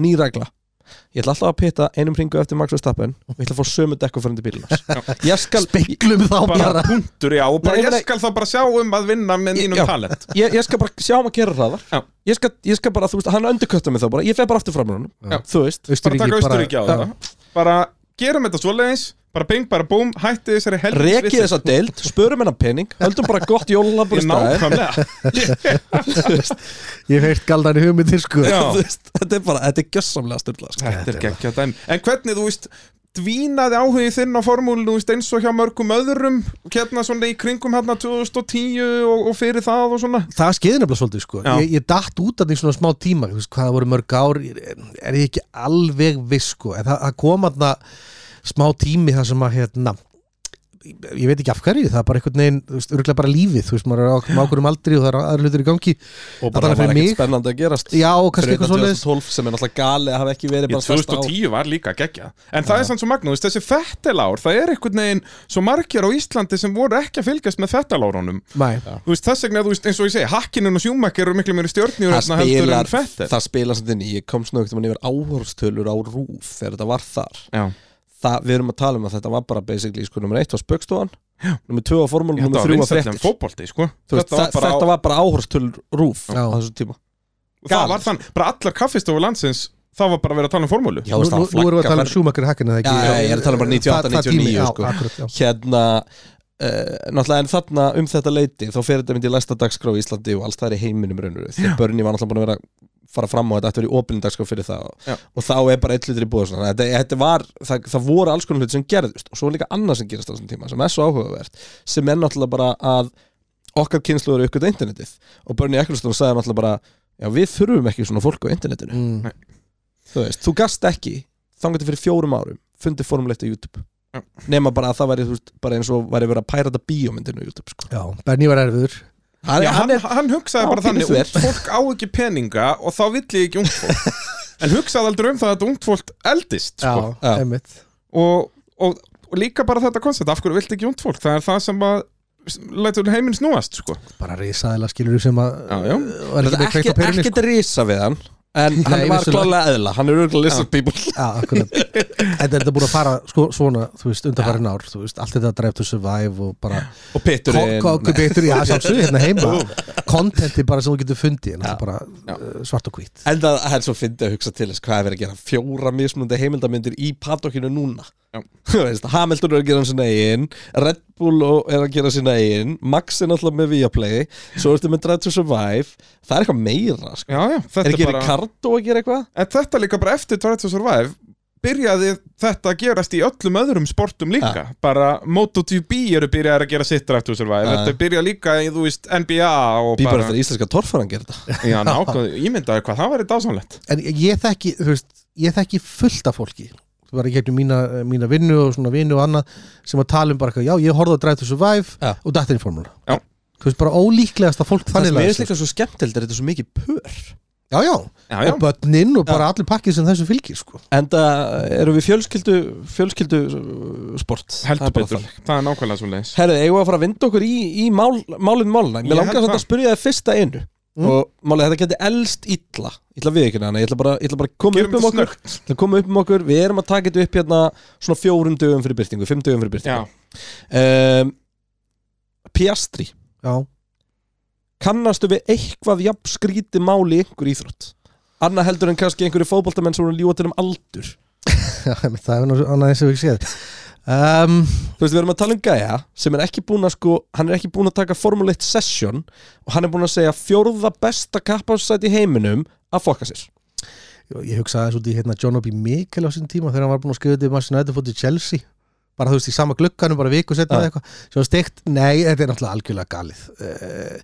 Speaker 1: ný regla ég ætla alltaf að pita einum ringu eftir Max Verstappen og ég ætla að fá sömu dekku fyrir undir bílinn hans. ég skal,
Speaker 3: Speglum þá
Speaker 2: bara
Speaker 3: bara
Speaker 2: punktur, já, og bara
Speaker 1: Nei, ég
Speaker 2: ég
Speaker 1: meina-
Speaker 2: skal þá bara sjá um að vinna með
Speaker 1: Ég-
Speaker 2: mínum
Speaker 1: já.
Speaker 2: talent
Speaker 1: ég, ég skal bara sjá um að gera hraðar
Speaker 2: Já.
Speaker 1: ég skal, ég skal bara, þú veist, hann underkutta mig þá bara ég fer bara aftur fram úr
Speaker 3: Já.
Speaker 1: hann, þú veist
Speaker 2: bara
Speaker 3: Austurríki,
Speaker 2: taka Austuríki á
Speaker 3: Já.
Speaker 2: það bara gerum þetta svoleiðis bara bing, bara búm, hætti þessari helvits
Speaker 1: rekið þessa deild, spörum hennar pening höldum bara gott jólalabur í
Speaker 2: Ég
Speaker 1: staði
Speaker 2: nákvæmlega
Speaker 1: <laughs>
Speaker 3: Ég hef heyrt galdan hugmyndir sko
Speaker 2: Já.
Speaker 1: Þú veist, þetta er bara, þetta er gjössamlega styrla sko.
Speaker 2: Þetta er geggja dæmi En hvernig, þú veist, dvínaði áhugi þinn á formúlinu, þú veist, eins og hjá mörgum öðrum hérna svona í kringum hérna 2010 og, og fyrir það og svona
Speaker 3: Það skeiði nefnilega svolítið sko
Speaker 2: Já.
Speaker 3: ég, ég datt út af því svona smá tíma þú veist, Hvað það voru mörg ár ég- Er ég ekki alveg viss sko En það, það kom aðna smá tími Það sem að hérna ég ég veit ekki af hverju, það er bara einhvern veginn þú veist, örgulega bara lífið, þú veist, maður er á á hverjum aldri og það eru aðra hlutir í gangi
Speaker 1: og
Speaker 3: bara
Speaker 1: það
Speaker 3: fyrir
Speaker 1: var ekkert
Speaker 3: mig.
Speaker 1: spennandi að gerast
Speaker 3: já, og kannski
Speaker 1: Fyrir
Speaker 3: eitthvað
Speaker 1: utan
Speaker 3: svoleiðis
Speaker 1: 2012 sem er náttúrulega gali að hafa ekki verið
Speaker 2: Ég,
Speaker 1: bara sérst á
Speaker 2: 2010 var líka geggja En það er samt svo magnúst, þessi fettilár Það er einhvern veginn svo margir á Íslandi sem voru ekki að fylgjast með fettilárunum
Speaker 3: Nei.
Speaker 2: Þú veist, þess vegna, þú veist, eins og ég segi Hakkinin og Sjúmakir eru miklu meiri hérna stjórnir
Speaker 1: það spilar,
Speaker 2: Fettil
Speaker 1: það spilar sem þinni, ég kom snögt um að yfir áhorfstölur á rúf þegar þetta var þar
Speaker 2: Já,
Speaker 1: það, við erum að tala um að þetta var bara basically sko, nummer 1 var spöggstofan, nummer 2 var formúlum
Speaker 2: þetta
Speaker 1: nummer
Speaker 2: var
Speaker 1: 3 var
Speaker 2: vinsætlum
Speaker 1: fréttir
Speaker 2: fótbolti, sko
Speaker 1: Þú veist,
Speaker 2: Þetta var bara á-
Speaker 1: þetta var bara áhorfstölur rúf
Speaker 3: Já.
Speaker 1: á þessu tíma
Speaker 2: Það var þann, bara allar kaffistofu landsins Það var bara að vera að tala um formúlu
Speaker 1: Já,
Speaker 3: Nú,
Speaker 1: veist,
Speaker 3: nú,
Speaker 1: það
Speaker 3: nú erum við að
Speaker 1: flaggar
Speaker 3: tala um sjúmakar hakkin eða ekki
Speaker 1: Já, já, ég er að tala um bara 98,
Speaker 3: Það- það tími,
Speaker 1: 99,
Speaker 3: já,
Speaker 1: sko.
Speaker 3: akkurat, já.
Speaker 1: hérna uh, náttúrulega en þarna um þetta leiti þá fer þetta myndi í læsta dagskrá í Íslandi og alls það er í heiminum raunur því að börni var náttúrulega búin að vera að fara fram á þetta ætti að vera í opinni dagskrá fyrir það
Speaker 2: Já.
Speaker 1: og, og þá er bara eitt hlutur í búið svona. þetta, þetta var, það, það voru alls konar hlut sem gerðust og svo er líka annað sem gerist á þessum tíma sem er svo áhugavert sem er náttúrulega bara að okkar kynslu eru ykkur internetið og Bernie Ecclestone sagði náttúrulega bara já við þurfum ekki svona fólk á internetinu
Speaker 3: Mm.
Speaker 1: þú veist, þú gast ekki þangandi fyrir fjórum árum, fundið formulegt á YouTube
Speaker 2: Já.
Speaker 1: nema bara að það væri þú veist, bara eins og væri verið að pærata bíómyndinu á YouTube sko.
Speaker 3: Já, Benny var erfiður
Speaker 1: hann,
Speaker 2: Já, hann, hann hugsaði
Speaker 1: Já,
Speaker 2: bara
Speaker 1: pínu
Speaker 2: þannig
Speaker 1: þver.
Speaker 2: ungt fólk á ekki peninga og þá vill ég ekki ungt fólk
Speaker 1: <laughs>
Speaker 2: en hugsaði aldrei um það að þetta ungt fólk eldist sko.
Speaker 1: Já.
Speaker 3: einmitt
Speaker 2: og, og, og líka bara þetta koncept af hverju vilt ekki ungt fólk, það er það sem að lætur heiminn snúast sko.
Speaker 3: Bara risaðila skilur sem að
Speaker 2: Já, já.
Speaker 3: og er
Speaker 1: þetta
Speaker 3: ekki
Speaker 1: er
Speaker 3: með kveikt
Speaker 1: ekki,
Speaker 3: á perunni
Speaker 1: ekki
Speaker 3: sko.
Speaker 1: að risa við hann en hann
Speaker 3: Nei,
Speaker 1: var
Speaker 3: vissulega.
Speaker 1: klálega eðla, hann er örgulega listen people
Speaker 3: Já,
Speaker 1: <laughs>
Speaker 3: akkurat Þetta er þetta búin að fara sko, svona, þú veist, undarfærin ár þú veist, allt þetta Drive to Survive og bara
Speaker 1: og pitturinn
Speaker 3: Kokku betur í aðsámsu hérna heima Contenti bara sem þú getur fundið en það er bara uh, svart og hvít
Speaker 1: en það það er svo fyndið að hugsa til þess hvað er verið að gera fjóra mismunandi heimildamindir í paddokkinu núna
Speaker 2: Já.
Speaker 1: <laughs> Þú veist, Hamilton er að gera sinna eigin Red Bull og- er að gera sinna eigin Max er náttúrulega með Viaplay svo ertu með Drive to Survive það er eitthvað meira sko.
Speaker 2: já, já,
Speaker 1: er
Speaker 2: þetta
Speaker 1: ekki
Speaker 2: er
Speaker 1: bara...
Speaker 2: bara
Speaker 1: Ricardo að gera eitthvað?
Speaker 2: en þetta líka bara eftir Drive to Survive byrjaði þetta að gerast í öllum öðrum sportum líka, bara MotoGP eru byrjaði að gera sitt Drive to Survive
Speaker 1: Já.
Speaker 2: þetta byrjaði líka í, þú veist, NBA og
Speaker 1: Býbar
Speaker 2: bara,
Speaker 1: eftir að íslenska torfaran gera þetta
Speaker 2: já,
Speaker 1: <laughs>
Speaker 2: nákvæmlega, ímyndaði hvað það var í dásamlegt
Speaker 3: En ég þekki, þú veist, ég þekki fullt af fólki bara í gegnum mína, eh, mína vinnu og svona vinnu og annað sem að tala um bara eitthvað, já, ég horfði að Drive to Survive
Speaker 1: Já.
Speaker 3: og datt inn í formúlu
Speaker 2: Já.
Speaker 3: Þú veist, bara ólíklegast að fólk
Speaker 1: Það
Speaker 3: þannig
Speaker 1: er mér
Speaker 3: lagað
Speaker 1: finnst líka svo skemmtilegt er þetta er svo mikið pör
Speaker 3: sig. Já, já,
Speaker 2: já, já,
Speaker 3: og börnin og bara allir pakkið sem þessu fylgir, sko
Speaker 1: En það eru við fjölskyldu fjölskyldu uh, sport Það
Speaker 2: heldur
Speaker 1: er bara
Speaker 2: betur,
Speaker 1: þannig.
Speaker 2: það er nákvæmlega svo leiðis
Speaker 1: Herðu, eigum við að fara að vinda okkur í, í mál, málinn málna
Speaker 2: Ég
Speaker 1: Mér langar
Speaker 2: held
Speaker 1: samt
Speaker 2: það.
Speaker 1: að spyrja þið fyrsta einu
Speaker 3: Mm.
Speaker 1: og málið þetta geti elst illa illa við ekki hana, ég ætla bara, ég ætla bara að koma
Speaker 2: Gerum
Speaker 1: upp um
Speaker 2: þetta
Speaker 1: okkur
Speaker 2: snöggt.
Speaker 1: ætla að koma upp um okkur, við erum að taka þetta upp hérna svona fjórum dögum fyrir byrtingu, fimm dögum fyrir
Speaker 2: Já,
Speaker 1: byrtingu um, Piastri
Speaker 3: Já,
Speaker 1: kannastu við eitthvað jafn skríti máli í einhver íþrótt Anna heldur en kannski einhverju fótboltamenn sem voru að ljúa til um aldur
Speaker 3: <laughs> Já, einmitt, það er nú annað eins og við séð um,
Speaker 1: Þú veist, við erum að tala um gæja sem er ekki búin að sko, hann er ekki búin að taka Formule 1 session og hann er búin að segja fjórða besta kapparsæt í heiminum að fokka sér
Speaker 3: Ég hugsaði aðeins út í hérna John Obi Mikkel á sín tíma þegar hann var búin að skrifa þetta í Manchester United fótt í Chelsea bara þú veist í sama glugganum bara viku setna
Speaker 1: Já.
Speaker 3: ja. eitthvað sem var steikt, nei, þetta er náttúrulega algjörlega galið uh,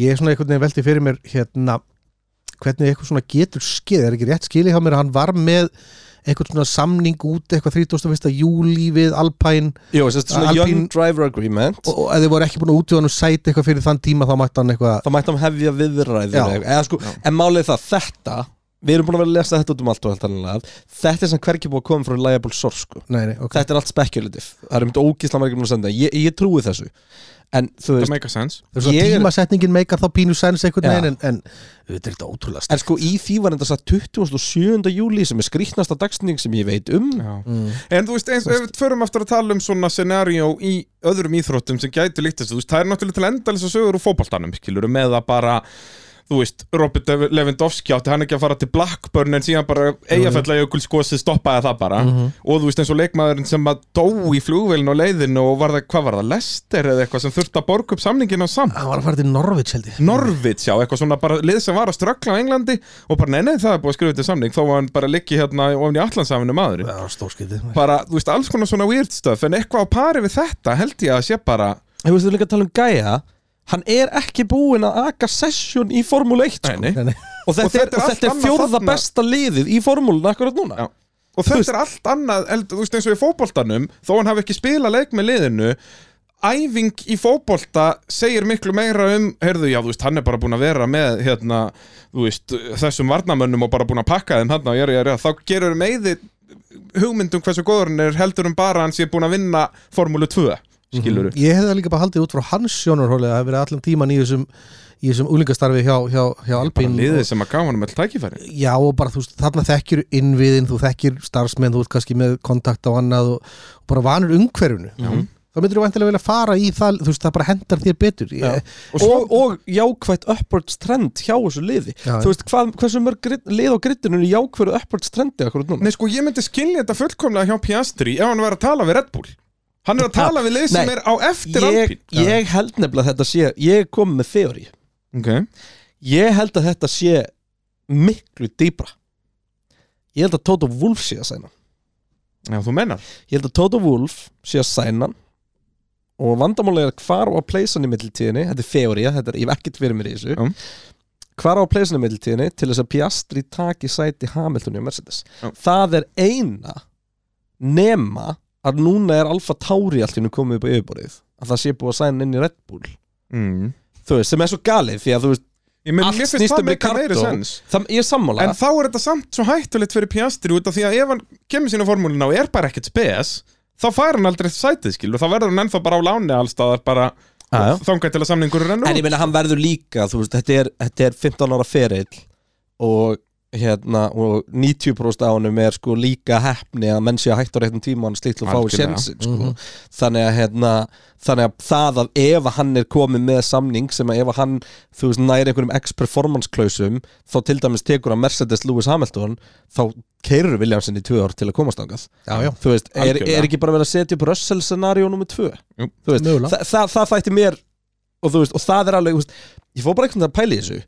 Speaker 3: ég er svona einhvern veginn veltið fyrir mér hérna hvernig eitthvað svona getur skeið, er ekki rétt skilið hjá mér að hann var með eitthvað svona samning út eitthvað 31. júli við Alpine
Speaker 1: Jó, þess að svona
Speaker 3: Alpine-
Speaker 1: Young Driver Agreement
Speaker 3: og, og ef þið voru ekki búin að útjóða hann sæti eitthvað fyrir þann tíma þá mætti hann eitthvað
Speaker 1: þá mætti hann hefja viðræður
Speaker 3: Já.
Speaker 1: eða- eða sko, en málið er það þetta við erum búin að vera að lesa þetta út um allt og allt annað þetta er sem hverki búið að koma frá reliable source sko.
Speaker 3: nei, nei, okay.
Speaker 1: þetta er allt speculative það er um þetta ógísla margir búin að senda ég, ég trúi þessu en þú
Speaker 2: það
Speaker 1: veist
Speaker 2: make a sense
Speaker 3: það er svona
Speaker 1: ég er-
Speaker 3: tímasetningin meikar þá pínu sæns eitthvað
Speaker 1: Já.
Speaker 3: ja. en, en þetta er þetta ótrúlega
Speaker 1: En sko í því var enda satt 27. júli sem er skrýtnasta dagstning sem ég veit um
Speaker 2: Já.
Speaker 3: mm.
Speaker 2: En þú veist, eins, ef við förum aftur að tala um svona scenario í öðrum íþróttum sem gæti líkt þessu, þú veist, það er náttúrulega til endalins að sögur úr fótboltanum, skilur, með að bara þú veist, Robert Dev- Lewandowski átti hann ekki að fara til Blackburn en síðan bara eigafella jökul skosið stoppaði það bara og þú veist eins og leikmaðurinn sem að dó í flugvelin og leiðin og var það, hvað var það, Lester eða eitthvað sem þurfti að borga upp samningin á samt
Speaker 3: hann var að fara til Norvits held ég
Speaker 2: Norvits, já, eitthvað svona bara lið sem var að ströggla á Englandi og bara nei, nei, það er búið að skrifa þetta samning þó að hann bara liggi hérna ofin í allansafinu maður
Speaker 3: það var stórskyldið
Speaker 2: bara, þú veist, alls konar svona weird stuff en eitthvað á pari við þetta held ég að sé bara
Speaker 1: Þú veist þú líka að tala um Gaia hann er ekki búin að aka session í Formule 1 sko.
Speaker 2: nei, nei.
Speaker 1: og þetta,
Speaker 2: Og þetta
Speaker 1: er,
Speaker 2: er
Speaker 1: og
Speaker 2: allt
Speaker 1: þetta er
Speaker 2: annað
Speaker 1: fjórða
Speaker 2: þarna.
Speaker 1: besta liðið í formúlun akkurat núna
Speaker 2: Já. og þetta er allt annað, held, þú veist, eins og í fótboltanum þó hann hafi ekki spilað leik með liðinu æfing í fótbolta segir miklu meira um, heyrðu, já, þú veist, hann er bara búin að vera með, hérna, þú veist, þessum varnamönnum og bara búin að pakka þeim hann og ég er, þá gerur meði hugmyndum um hversu góður hann er heldur um bara hann sé búin að vinna Formúlu 2 skiluru.
Speaker 3: Ég hefði það líka bara haldið út frá hans sjónarhóli að hafa verið allan tíman í þessum í þessum úlingastarfi hjá, hjá, hjá
Speaker 2: Bara
Speaker 3: Alpín
Speaker 2: liðið sem að gaf hann með tækifæri.
Speaker 3: Já og bara þú veist, þarna þekkir innviðin þú þekkir starfsmenn, þú ert kannski með kontakt á annað og, og bara vanur umhverfinu mm. þá myndir þú vantilega vilja fara í það þú veist, það bara hendar þér betur ég,
Speaker 1: Og, og, og jákvætt upwards trend hjá þessu liði
Speaker 3: Já,
Speaker 1: þú veist hvað, hversu mörg grid, lið á grittinu er jákvæðu upwards trendi akkurat núna
Speaker 2: Nei, sko, ég myndi skilja þetta fullkomlega hjá Piastri ef hann var að tala við Red Bull. Hann er að tala við lið sem
Speaker 1: Nei.
Speaker 2: er á eftir
Speaker 1: ég, ég held nefnilega að þetta sé ég kom með theory
Speaker 2: Alpín.
Speaker 1: ég held að þetta sé miklu dýbra ég held að Toto Wolff sé að sæna hann.
Speaker 2: Ok, já, þú mennar.
Speaker 1: ég held að Toto Wolff sé að sæna hann og vandamálega er hvar á að pleysa hann í mittiltíðinni þetta er theory, þetta er, ég hef ekkert fyrir mér í þessu
Speaker 2: Já.
Speaker 1: hvar á að pleysa hann í mittiltíðinni til þess að Piastri taki sæti Hamilton í Mercedes
Speaker 2: Já.
Speaker 1: það er eina nema að núna er Alfa Tauri allt í hennu komið upp á yfirborðið að það sé búið að sæna hann inn í Red Bull
Speaker 2: Mm.
Speaker 1: þú veist, sem er svo galið því að þú veist,
Speaker 2: Ég menn,
Speaker 1: Allt
Speaker 2: mér
Speaker 1: snýst
Speaker 2: finnst það
Speaker 1: um
Speaker 2: meika meiri
Speaker 1: Ricardo.
Speaker 2: sens.
Speaker 1: það, ég er sammála
Speaker 2: En þá er þetta samt svo hættulegt fyrir Piastri út af því að ef hann kemur sína formúlina og er bara ekkert spes, þá fær hann aldrei sætið, skil, og þá verður hann ennþá bara á láni allstaðar bara
Speaker 1: Já, já.
Speaker 2: þangað til að samningur er
Speaker 1: En
Speaker 2: ennur.
Speaker 1: ég meina hann verður líka, þú veist, þetta er, þetta er 15 ára ferill og hérna, og 90% á honum er sko líka heppni að menn sé að hættu á réttum tíma hann slíkt og fái
Speaker 2: Algjörlega.
Speaker 1: sjensin sko. þannig að hérna, þannig að það að ef að hann er komið með samning sem að ef að hann, þú veist, næri einhverjum ex-performance klausum, þá til dæmis tekur að Mercedes Lewis Hamilton þá keirur Williamson í tvö ár til að komast ángað
Speaker 3: Já, já.
Speaker 1: þú veist, er,
Speaker 2: Algjörlega.
Speaker 1: er ekki bara verið að setja upp Russell scenario nummer tvö
Speaker 2: Jú.
Speaker 1: Þú veist,
Speaker 3: Mögulega.
Speaker 1: þa þa það þætti mér og þú veist, og það er alveg, þú veist, ég fór bara einhvern veginn að pæla í þessu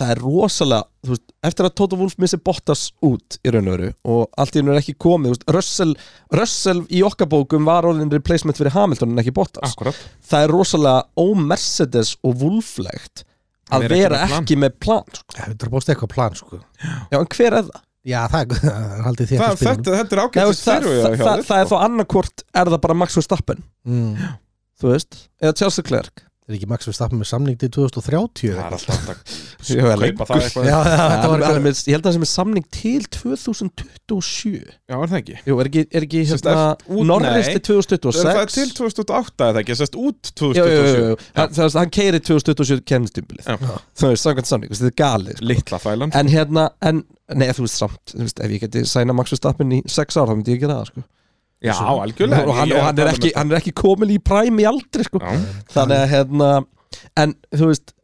Speaker 1: það er rosalega, þú veist, eftir að Toto Wolff missi Bottas út í raun og veru og allt í raun er ekki komið, þú veist, Russell Russell í okkar bókum var orðin replacement fyrir Hamilton en ekki Bottas
Speaker 2: Akkurat.
Speaker 1: það er rosalega ómercedes og Wolfflegt
Speaker 2: Að
Speaker 1: að vera
Speaker 2: vera ekki með plan.
Speaker 1: ekki með plan sko.
Speaker 3: ég hefði bóst eitthvað plan sko.
Speaker 1: já, en hver er það?
Speaker 3: Já, það er- það er <laughs> haldið þér
Speaker 2: Það, þetta, þetta er
Speaker 1: Það,
Speaker 2: ágættis
Speaker 1: það, það, það, það er
Speaker 2: sko.
Speaker 1: þá annarkvort er það bara Max Verstappen,
Speaker 3: mm.
Speaker 1: þú veist eða Chelsea Clerk
Speaker 3: Er ekki Max við stappin með samning til
Speaker 2: Það
Speaker 3: 2030 Já,
Speaker 2: er alltaf hægt
Speaker 1: Ég var
Speaker 2: að kaupa það eitthvað.
Speaker 3: já, þetta
Speaker 1: Hann,
Speaker 3: var
Speaker 1: hann, er
Speaker 3: eitthvað
Speaker 1: með, ég held að það sem er samning til 2027
Speaker 2: Já, er það ekki?
Speaker 1: Jú, er ekki, er ekki
Speaker 2: Sest,
Speaker 1: hérna,
Speaker 2: eftir- út-
Speaker 1: Norris
Speaker 2: nei.
Speaker 1: til
Speaker 2: Það er
Speaker 1: 2026
Speaker 2: til 2008 eða ekki, sérst út
Speaker 1: Jú, jú, jú,
Speaker 2: 2027
Speaker 1: jú. Hann, það, hann keiri 2027 kemstumbilið
Speaker 2: Já.
Speaker 1: Það er samkvæmt samning, þú veist, þetta er galið sko.
Speaker 2: Litla þælan
Speaker 1: En hérna, en, nei þú veist samt þú veist, Ef ég geti sæna Max Verstappen í 6 ára þá myndi ég gera það sko.
Speaker 2: Já, algjörlega
Speaker 1: Og, hann,
Speaker 2: Ég
Speaker 1: og hann, er
Speaker 2: að tala
Speaker 1: ekki,
Speaker 2: um
Speaker 1: hann er ekki komin í præmi aldrei sko.
Speaker 2: þetta.
Speaker 1: Þannig að hérna En þú veist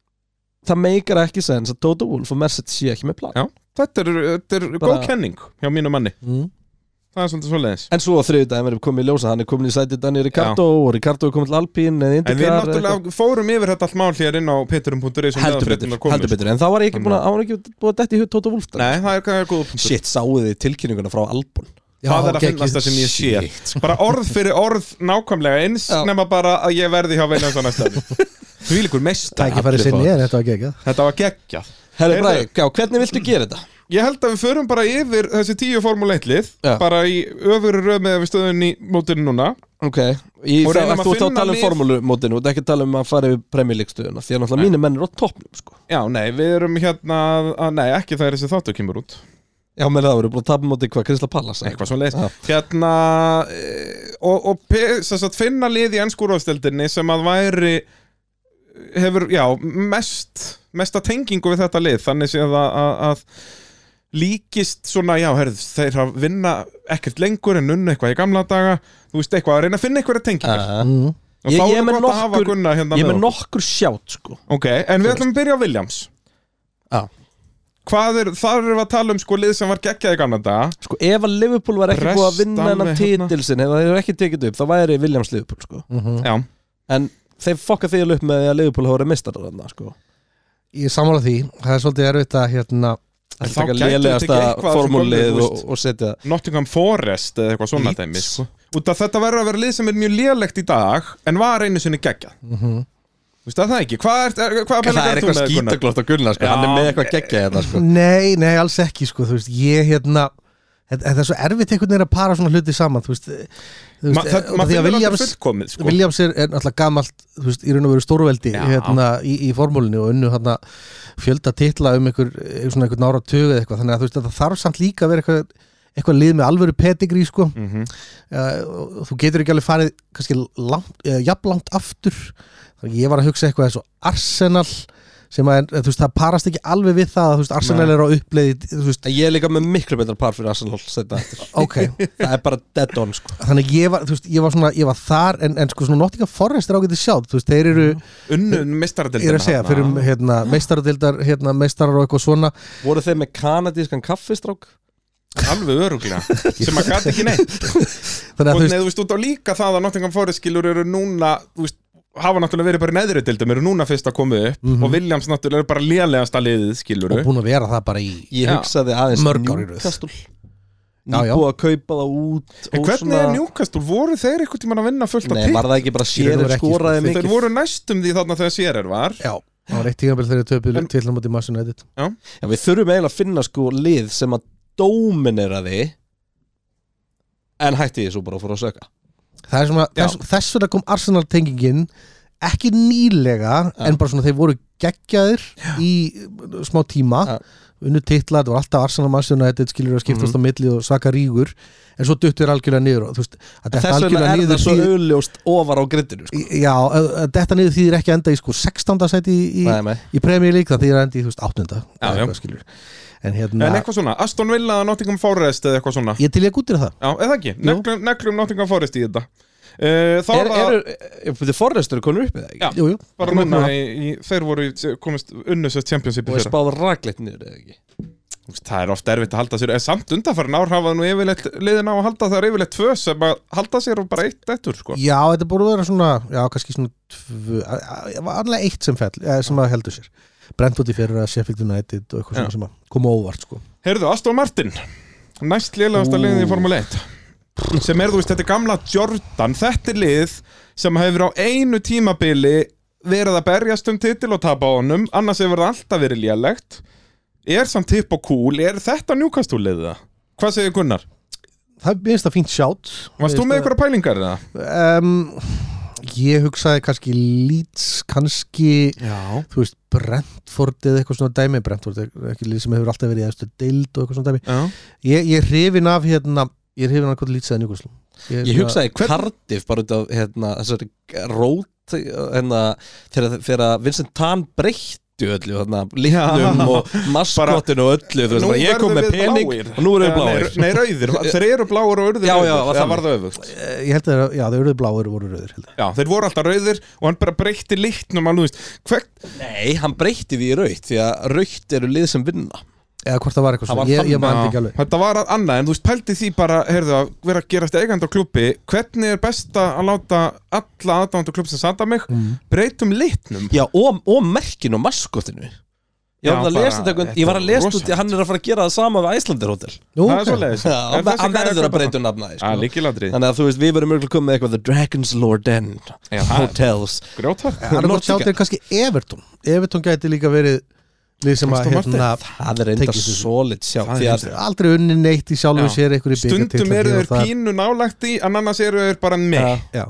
Speaker 1: Það meikar ekki sens að Dodo Wolf og Mercedes sé ekki með plan
Speaker 2: Já. Já, þetta er, þetta er
Speaker 1: Bara-
Speaker 2: góð kenning hjá mínu manni
Speaker 3: Mm.
Speaker 2: Það er svolítið svoleiðis
Speaker 1: En svo á þriðu daginn verðum komið í ljósa, hann er komin í sætið Danny Ricardo og Ricardo er komin til Alpín eða
Speaker 2: En við
Speaker 1: Indikar
Speaker 2: náttúrulega fórum yfir þetta allt mál hér inn á peterum.is um
Speaker 1: heldur
Speaker 2: meðan
Speaker 1: betur,
Speaker 2: fréttirnar komu.
Speaker 1: heldur betur, en það var ég ekki búin að, hann var ekki búin að detti í hut Tóta Wolf
Speaker 2: sko. Nei, það er, það er góð punktur
Speaker 1: Shit, sáu þið tilkynninguna frá Albon
Speaker 3: Já,
Speaker 2: það er að
Speaker 3: geggjað.
Speaker 2: finnast það sem ég
Speaker 1: sko.
Speaker 2: sé bara orð fyrir orð nákvæmlega eins
Speaker 1: Já.
Speaker 2: nema bara að ég verði hjá veinu á næsta
Speaker 1: <laughs>
Speaker 2: því líkur mest
Speaker 3: Tækifæri sinni en þetta var geggjað
Speaker 2: þetta var geggjað
Speaker 1: Herri
Speaker 2: Heyrðu.
Speaker 1: Bræk, já, hvernig viltu gera þetta?
Speaker 2: Ég held að við förum bara yfir þessi tíu formúleitlið
Speaker 1: Já.
Speaker 2: bara í öfuru röð með við stöðun í mótinu núna
Speaker 1: Ok, í,
Speaker 2: Og
Speaker 1: þá,
Speaker 2: reynum að
Speaker 1: þú ert þá að
Speaker 2: finna
Speaker 1: tala um
Speaker 2: lið-
Speaker 1: formúlumótinu og þetta er ekki að tala um að fara yfir premjölíkstöðuna því að náttúrulega mínir menn eru á toppnum sko.
Speaker 2: Já, nei, við erum hérna að, Nei, ekki það er þessi þáttu kemur út
Speaker 1: Já, með það voru búin að tapa móti hvað Kristla Pallas eða
Speaker 2: Eitthvað svo leið
Speaker 1: Já.
Speaker 2: Hérna e, Og, og pe- sem sagt, finna lið í ennskúróðstildinni sem að væri hefur, já, mest mesta tengingu við þetta lið þannig séð að, að, að líkist svona, já, herrð, þeir að vinna ekkert lengur en unna eitthvað í gamla daga þú veist eitthvað, að reyna að finna eitthvað tengingar
Speaker 1: eitthvað.
Speaker 3: mm.
Speaker 2: og
Speaker 1: Ég-
Speaker 2: þá
Speaker 1: ég
Speaker 2: er
Speaker 1: er með
Speaker 2: gott að hafa
Speaker 1: nokkur-
Speaker 2: Gunna hérna
Speaker 1: Ég er
Speaker 2: með
Speaker 1: með
Speaker 2: okkur.
Speaker 1: nokkur sjátt sko.
Speaker 2: Ok, en við ætlum að byrja á Williams
Speaker 1: Já.
Speaker 2: Hvað er, þar erum við að tala um sko lið sem var geggjað í gamla daga
Speaker 1: sko Ef að Liverpool var ekki búið að vinna
Speaker 2: Prestan
Speaker 1: hennan
Speaker 2: við hérna.
Speaker 1: titilsin eða þeir eru ekki tekið upp þá væri Williams Liverpool sko.
Speaker 3: mhm.
Speaker 2: Já,
Speaker 1: en þeir fokka því upp með því að Liverpool hafa verið mistarar þarna sko.
Speaker 3: Ég sammála því, það er svolítið erfitt að hérna,
Speaker 1: Það er
Speaker 2: Þá
Speaker 1: taka
Speaker 2: gæti þetta
Speaker 1: lélegasta
Speaker 2: ekki eitthvað sem
Speaker 1: formúlið
Speaker 2: gömlu, þú
Speaker 1: og, og setja
Speaker 2: Nottingham Forest eða eitthvað svona
Speaker 1: Leeds.
Speaker 2: dæmi sko. Út af þetta verður að vera lið sem er mjög lélegt í dag en var einu sinni geggjað
Speaker 3: Mhm.
Speaker 2: Þú veist það það ekki, hvað er, er hvað
Speaker 1: Það er eitthvað skítaglótt á Gunnar sko.
Speaker 2: Já.
Speaker 1: hann er með eitthvað geggja þetta sko.
Speaker 3: Nei, nei, alls ekki sko, þú veist, ég hérna þetta- Þetta er svo erfitt einhvern veginn að para svona hluti saman Þú veist, þú
Speaker 2: Ma, það,
Speaker 3: út af
Speaker 2: maður
Speaker 3: því að
Speaker 2: finnur
Speaker 3: Williams-
Speaker 2: alltaf fullkomið sko.
Speaker 3: Williams er, er náttúrulega gamalt þú veist, í raun og veru stórveldi
Speaker 2: Já.
Speaker 3: hérna, í, í formúlinu og unnu hérna, fjölda titla um einhver, einhver, svona einhver nára tögu eða eitthvað þannig að þú veist að það þarf samt líka að vera eitthvað, eitthvað lið með alvöru petigrí sko. mm
Speaker 2: Mhm.
Speaker 3: þú getur ekki alveg farið kannski langt, eh, jafn langt aftur þannig að ég var að hugsa eitthvað eins og Arsenal sem að eh, þú veist, það parast ekki alveg við það að þú veist, Arsenal
Speaker 2: Nei.
Speaker 3: er á uppleiði þú veist,
Speaker 1: En Ég er líka með miklu betra par fyrir Arsenal setna eftir.
Speaker 2: <laughs>
Speaker 3: ok,
Speaker 1: Það er bara dead on sko.
Speaker 3: þannig að ég var, þú veist, ég var svona ég var þar, en, en sko svona Nottingham Forest er ágætið sjálf, þú veist, þeir eru
Speaker 2: Mm. Unnu
Speaker 3: Ég er að segja, fyrir um
Speaker 2: mistaradeldina
Speaker 3: hérna, meistaradildar, hérna, meistarar og eitthvað svona
Speaker 1: Voru þeir með kanadískan kaffistrák?
Speaker 2: Alveg
Speaker 3: <laughs>
Speaker 2: öruglega sem að gæti ekki neitt og
Speaker 3: Þannig að þú
Speaker 2: neðu,
Speaker 3: veist,
Speaker 2: þú veist, út á líka það að Nottingham Forest skilur eru núna, þú veist hafa náttúrulega verið bara í neðri dildum, eru núna fyrst að koma upp og Williams náttúrulega eru bara lélegasta liðið skilur
Speaker 3: og búin að vera það bara í
Speaker 1: Ég
Speaker 2: Já.
Speaker 1: hugsaði aðeins
Speaker 3: Mörg ár í röð.
Speaker 1: Newcastle
Speaker 3: Já, já.
Speaker 1: Nýbúið að kaupa það út
Speaker 2: En
Speaker 1: og
Speaker 2: hvernig
Speaker 1: svona-
Speaker 2: er Newcastle? Voru þeir einhvern tímann að vinna fullt af
Speaker 1: Nei, var það ekki bara
Speaker 3: Í raun og
Speaker 1: sérir
Speaker 3: veru ekki,
Speaker 1: skoraði
Speaker 3: sko.
Speaker 2: Þeir
Speaker 1: mikið
Speaker 2: voru næstum því þarna þegar Sérer var
Speaker 3: Já, það var eitt tíðanbel þegar töpuð
Speaker 2: En-
Speaker 3: til hann mútið Mass United
Speaker 1: Já, Við þurfum eiginlega að finna sko lið sem að dóminera því En hætti ég svo bara og fór að söka
Speaker 3: Það er svona,
Speaker 2: Já.
Speaker 3: þess, þess vegna kom Arsenal tengingin ekki nýlega, en bara svona þeir voru geggjaðir í uh, smá tíma
Speaker 1: Já. Mhm.
Speaker 3: unnu titla, þetta var alltaf Arsenal Mass United skilur að skiptast á milli og svaka rígur en svo duttur algjörlega niður og þú veist, að þetta
Speaker 1: Þess vegna
Speaker 3: algjörlega
Speaker 1: er
Speaker 3: niður
Speaker 1: það svo
Speaker 3: þýðir-
Speaker 1: auðljóst ofar á grittinu sko.
Speaker 3: Já, að- að þetta niður þýðir ekki að enda í sko 16. sæti í, í
Speaker 1: Nei, nei.
Speaker 3: í Premier League það þýðir endi í þú veist áttunda
Speaker 2: Já,
Speaker 3: eða
Speaker 2: já.
Speaker 3: eitthvað, skilur. en hérna
Speaker 2: En eitthvað svona, Aston Villa, Nottingham Forest eða eitthvað svona
Speaker 3: ég til ég gútir það
Speaker 2: Já, eða ekki, neglum, neglum Nottingham Forest í þetta uh, Þá
Speaker 1: Er,
Speaker 2: var
Speaker 1: er, er, er forrestur konur uppið það
Speaker 2: Já.
Speaker 1: ekki?
Speaker 3: jú, jú.
Speaker 2: bara
Speaker 3: Komum
Speaker 2: núna
Speaker 3: núna.
Speaker 2: í, í, Þeir voru í- komist unnusest championship í
Speaker 1: Og er
Speaker 2: fyrra
Speaker 1: spáð ræklegt niður eða ekki?
Speaker 2: Þú veist, Það er ofta erfitt að halda sér en Samt undanfærin ár hafa nú yfirleitt liðin á að halda það er yfirleitt tvö sem að halda sér og bara eitt ettur sko
Speaker 3: já, þetta búið að vera svona já, kannski svona tvö, að- að- það var alveg eitt sem, fell, eh, sem að heldur sér Brentford í fyrra, Sheffield United og eitthvað
Speaker 2: Já.
Speaker 3: svona sem að koma óvart sko.
Speaker 2: Heyrðu, Aston Martin Næst liðlegasta
Speaker 1: Ú.
Speaker 2: liðið í Formule 1 Sem er, þú veist, þetta er gamla Jordan Þetta er lið sem hefur á einu tímabili verið að berjast um titil og tapa á honum annars hefur það alltaf verið lélegt Er samt hipp og cool, er þetta Newcastle liðið það? Hvað segir Gunnar?
Speaker 3: það minnst það fínt sjátt eh,
Speaker 2: Varst þú með einhverja pælingar eða?
Speaker 3: ég hugsaði kannski Leeds kannski
Speaker 2: Já
Speaker 3: þú veist, Brentford eða eitthvað svona dæmi Brentford er ekki lið sem hefur alltaf verið í eðstu deild og eitthvað svona dæmi Ég, ég er hrifin af hérna Ég er hrifin af hvort lýtsaði Newcastle
Speaker 1: Ég hugsaði Cardiff bara út af hérna, þessari rót hérna, þegar, þegar Vincent Tan breyttu öllu þarna, litnum
Speaker 2: Já.
Speaker 1: og maskotinu og öllu þú veist,
Speaker 2: Nú
Speaker 1: bara, ég kom
Speaker 2: verðum
Speaker 1: með
Speaker 2: við
Speaker 1: pening
Speaker 2: bláir.
Speaker 1: og nú eru við
Speaker 2: Eða,
Speaker 1: bláir
Speaker 2: Nei, nei, rauðir, þeir eru bláir og urðu
Speaker 1: Já, já,
Speaker 2: rauðir.
Speaker 1: var
Speaker 2: Eða
Speaker 1: þannig.
Speaker 2: var það öfugt
Speaker 3: Eh, Ég held að já, þau eruðu bláir og voru rauðir held ég.
Speaker 2: Já, þeir voru alltaf rauðir og hann bara breytti litnum alveg, þú veist, hvern,
Speaker 1: Nei, hann breytti því í raukt því að raukt eru lið sem vinna
Speaker 3: Eða hvort það var eitthvað
Speaker 1: Það
Speaker 3: svona
Speaker 1: var
Speaker 3: Ég, ég
Speaker 1: þannig,
Speaker 3: maður
Speaker 2: Já,
Speaker 3: ekki alveg
Speaker 2: Þetta var að annað, en þú veist, pældi því bara heyrðu, að vera að gerast eigandi á klubbi hvernig er best að láta alla
Speaker 1: Mm.
Speaker 2: aðdáðandi klubb sem sanda mig breytum litnum
Speaker 1: Já, og, og merkinu og maskotinu Ég, var
Speaker 2: Já,
Speaker 1: að
Speaker 2: bara-
Speaker 1: lesa þetta einhvern- ég var að
Speaker 2: þetta er
Speaker 1: lesa út í
Speaker 2: rosalegt.
Speaker 1: að hann er að fara að gera það sama við Æslandir Hotel
Speaker 3: Nú,
Speaker 2: Það er
Speaker 3: ok.
Speaker 1: <laughs>
Speaker 2: svoleiðis
Speaker 1: Já, hann hann verður að breyta um nafnaði
Speaker 2: Það er
Speaker 1: sko.
Speaker 2: líkilandrið
Speaker 1: Þannig að þú veist, við verðum mjög að koma með eitthvað The Dragon's Lord End
Speaker 2: Já, það er-
Speaker 1: Hotels
Speaker 2: Grjóta
Speaker 3: Það er hvort
Speaker 1: Nordica.
Speaker 3: hjáttir kannski Evertón Evertón gæti líka verið lið sem að
Speaker 2: Aston Martin.
Speaker 3: hérna,
Speaker 1: Það er enda
Speaker 3: Tekið þessu.
Speaker 1: solid sjá
Speaker 2: Það er
Speaker 1: Því að
Speaker 2: heimsfrægt.
Speaker 3: aldrei unni neitt í sjálfu
Speaker 2: Já.
Speaker 3: sér einhverju
Speaker 2: Stundum
Speaker 3: bikartitlar
Speaker 2: eru
Speaker 3: hér og
Speaker 2: þeir
Speaker 3: þar.
Speaker 2: pínu nálægt í En annars eru þeir bara
Speaker 1: Já.
Speaker 2: með
Speaker 3: Já.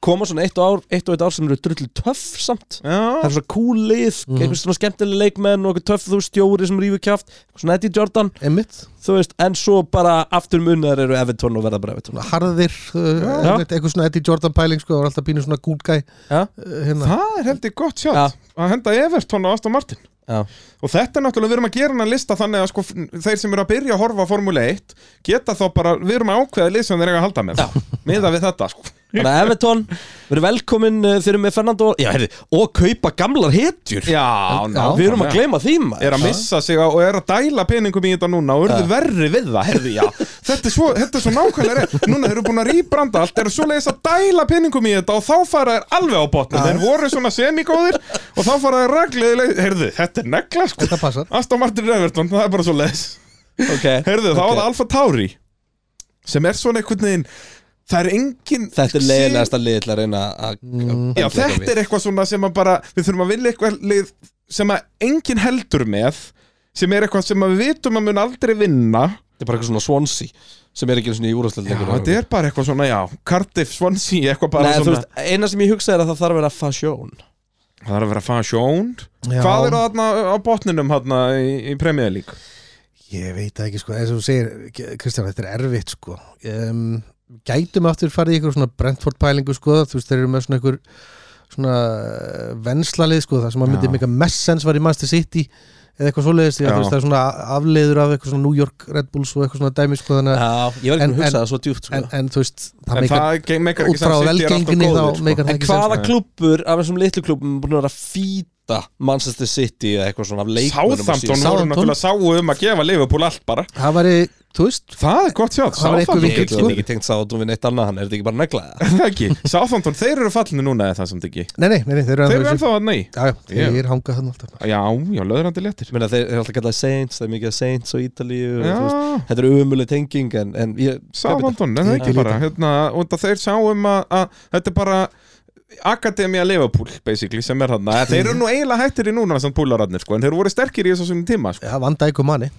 Speaker 1: koma svona eitt og, ár, eitt og eitt ár sem eru drullu töff samt Það
Speaker 2: Já,
Speaker 1: er svona cool lið, mm
Speaker 3: Mhm.
Speaker 1: einhvers svona skemmtilega leikmenn og eitthvað töff þú veist, stjóri sem rífur kjáft Svona Eddie Jordan,
Speaker 3: Emmitt,
Speaker 1: þú veist, en svo bara aftur munnar eru Everton og verða bara Everton
Speaker 3: harðir uh,
Speaker 1: Já.
Speaker 3: einmitt, eitthvað svona Eddie Jordan pæling sko, það var alltaf pínu svona good guy
Speaker 1: Já.
Speaker 3: uh, hérna.
Speaker 2: það er held ég gott
Speaker 1: Já.
Speaker 2: sjátt Að henda Everton og Aston Martin
Speaker 1: Já.
Speaker 2: Og þetta er náttúrulega, við erum að gera hennar lista þannig að sko, þeir sem eru að byrja að horfa á Formule 1 geta þá bara, við erum að ákveða lið sem þeir eiga að halda með Miða við þetta sko.
Speaker 1: Þannig að Everton, verið velkomin uh, þeir eru með Fernando, já, heyrðu, og kaupa gamlar hetjur
Speaker 2: Já,
Speaker 1: Við erum að
Speaker 2: nákvæmlega.
Speaker 1: gleyma því maður
Speaker 2: er að missa sig á, og er að dæla peningum í þetta núna og urðu verri við það, herði já þetta er svo, þetta er svo nákvæmlega rétt núna þeir eru búin að rýbranda allt, eru svo leiðis að dæla peningum í þetta og þá fara þeir alveg á botnum þeir voru svona semigóðir og þá fara þeir regliðileg, herði, þetta er negla sko.
Speaker 3: þetta passar
Speaker 2: Aston Martin Everton, það er bara svo leiðis
Speaker 1: okay.
Speaker 2: herði,
Speaker 1: Ok.
Speaker 2: þá var það Alfa Tauri sem er svona einhvern veginn það er engin
Speaker 1: Þetta er leiðilegasta lið til að reyna að
Speaker 2: Mm. Já, þetta er eitthvað svona sem að bara við þurfum að vilja eitthvað lið sem að enginn heldur með sem er eitthvað sem að við vitum að mun aldrei vinna
Speaker 1: Þetta er bara eitthvað svona Swansea sem er ekki eins og í úrvæðslega
Speaker 2: Já, þetta er bara eitthvað svona, já, Cardiff, Swansea eitthvað bara
Speaker 1: Nei, þú
Speaker 2: svona
Speaker 1: veist, eina sem ég hugsa er að það þarf að vera fashion
Speaker 2: Það þarf að vera fashion
Speaker 3: Já.
Speaker 2: Hvað er þarna á botninum þarna í, í Premier League?
Speaker 3: ég veit það ekki sko, eins og þú segir Kristján, þetta er erfitt sko um, gætum aftur farið í ykkur svona Brentford pælingu sko, þú veist þeir eru með svona ykkur svona eh, venslalið sko, það sem að myndi
Speaker 2: Já.
Speaker 3: mega messens var í Manchester City eða eitthvað svoleiðis, því
Speaker 2: Já.
Speaker 3: að þú veist það er svona afleiður af eitthvað svona New York Red Bulls og eitthvað svona dæmi sko, þannig að
Speaker 1: Já, ég var ekki
Speaker 3: En-
Speaker 1: að hugsa
Speaker 3: en-
Speaker 1: það svo djúpt sko.
Speaker 3: en,
Speaker 1: En,
Speaker 3: en þú veist, það
Speaker 2: en
Speaker 3: meikar
Speaker 2: það ge- meikar ekki
Speaker 3: út
Speaker 2: sem City
Speaker 3: frá
Speaker 2: er alltaf
Speaker 3: velgengni þá
Speaker 2: góður, sko.
Speaker 3: meikar það ekki
Speaker 1: hvaða
Speaker 2: sem-
Speaker 1: klúppur af þessum litlu klúppum er búin að vera að fýta Manchester City eða eitthvað svona af leikmönnum á
Speaker 2: Southampton
Speaker 1: síðan?
Speaker 2: voru
Speaker 3: Southampton.
Speaker 2: náttúrulega sáu um að gefa Liverpool allt bara
Speaker 3: sens það væri, þú veist,
Speaker 2: Það er gott sjátt,
Speaker 3: Það var eitthvað
Speaker 1: Ég
Speaker 2: Southampton
Speaker 3: við-
Speaker 1: get ég ekki tengt Southampton við neitt annað hann er þetta ekki bara neglaða
Speaker 2: Það ekki, Southampton, þeir eru fallinu núna eða það samt ekki
Speaker 3: nei, nei, nei, nei þeir
Speaker 2: Þeir
Speaker 3: eru ennþá
Speaker 2: eru
Speaker 3: í þessu.
Speaker 2: ennþá að nei
Speaker 3: já, já,
Speaker 2: Ég-
Speaker 3: þeir hanga þannig alltaf
Speaker 2: Já, já, löðrandi léttir
Speaker 1: Ég meina þeir eru alltaf kallað Saints, það er mikið af Saints og Ítalíu og þú veist,
Speaker 2: Já,
Speaker 1: Þetta eru umulig tenging en, en ég,
Speaker 2: Sáfandón, en það
Speaker 3: Ég
Speaker 2: ekki
Speaker 3: líka.
Speaker 2: bara hérna, og það þeir sáum að, að þetta er bara Akademia Liverpool basically sem er þarna, þeir eru nú eiginlega hættir í núna samt púlararnir sko, en þeir voru sterkir í þessu svona tíma sko.
Speaker 3: já, vanda ykkur manni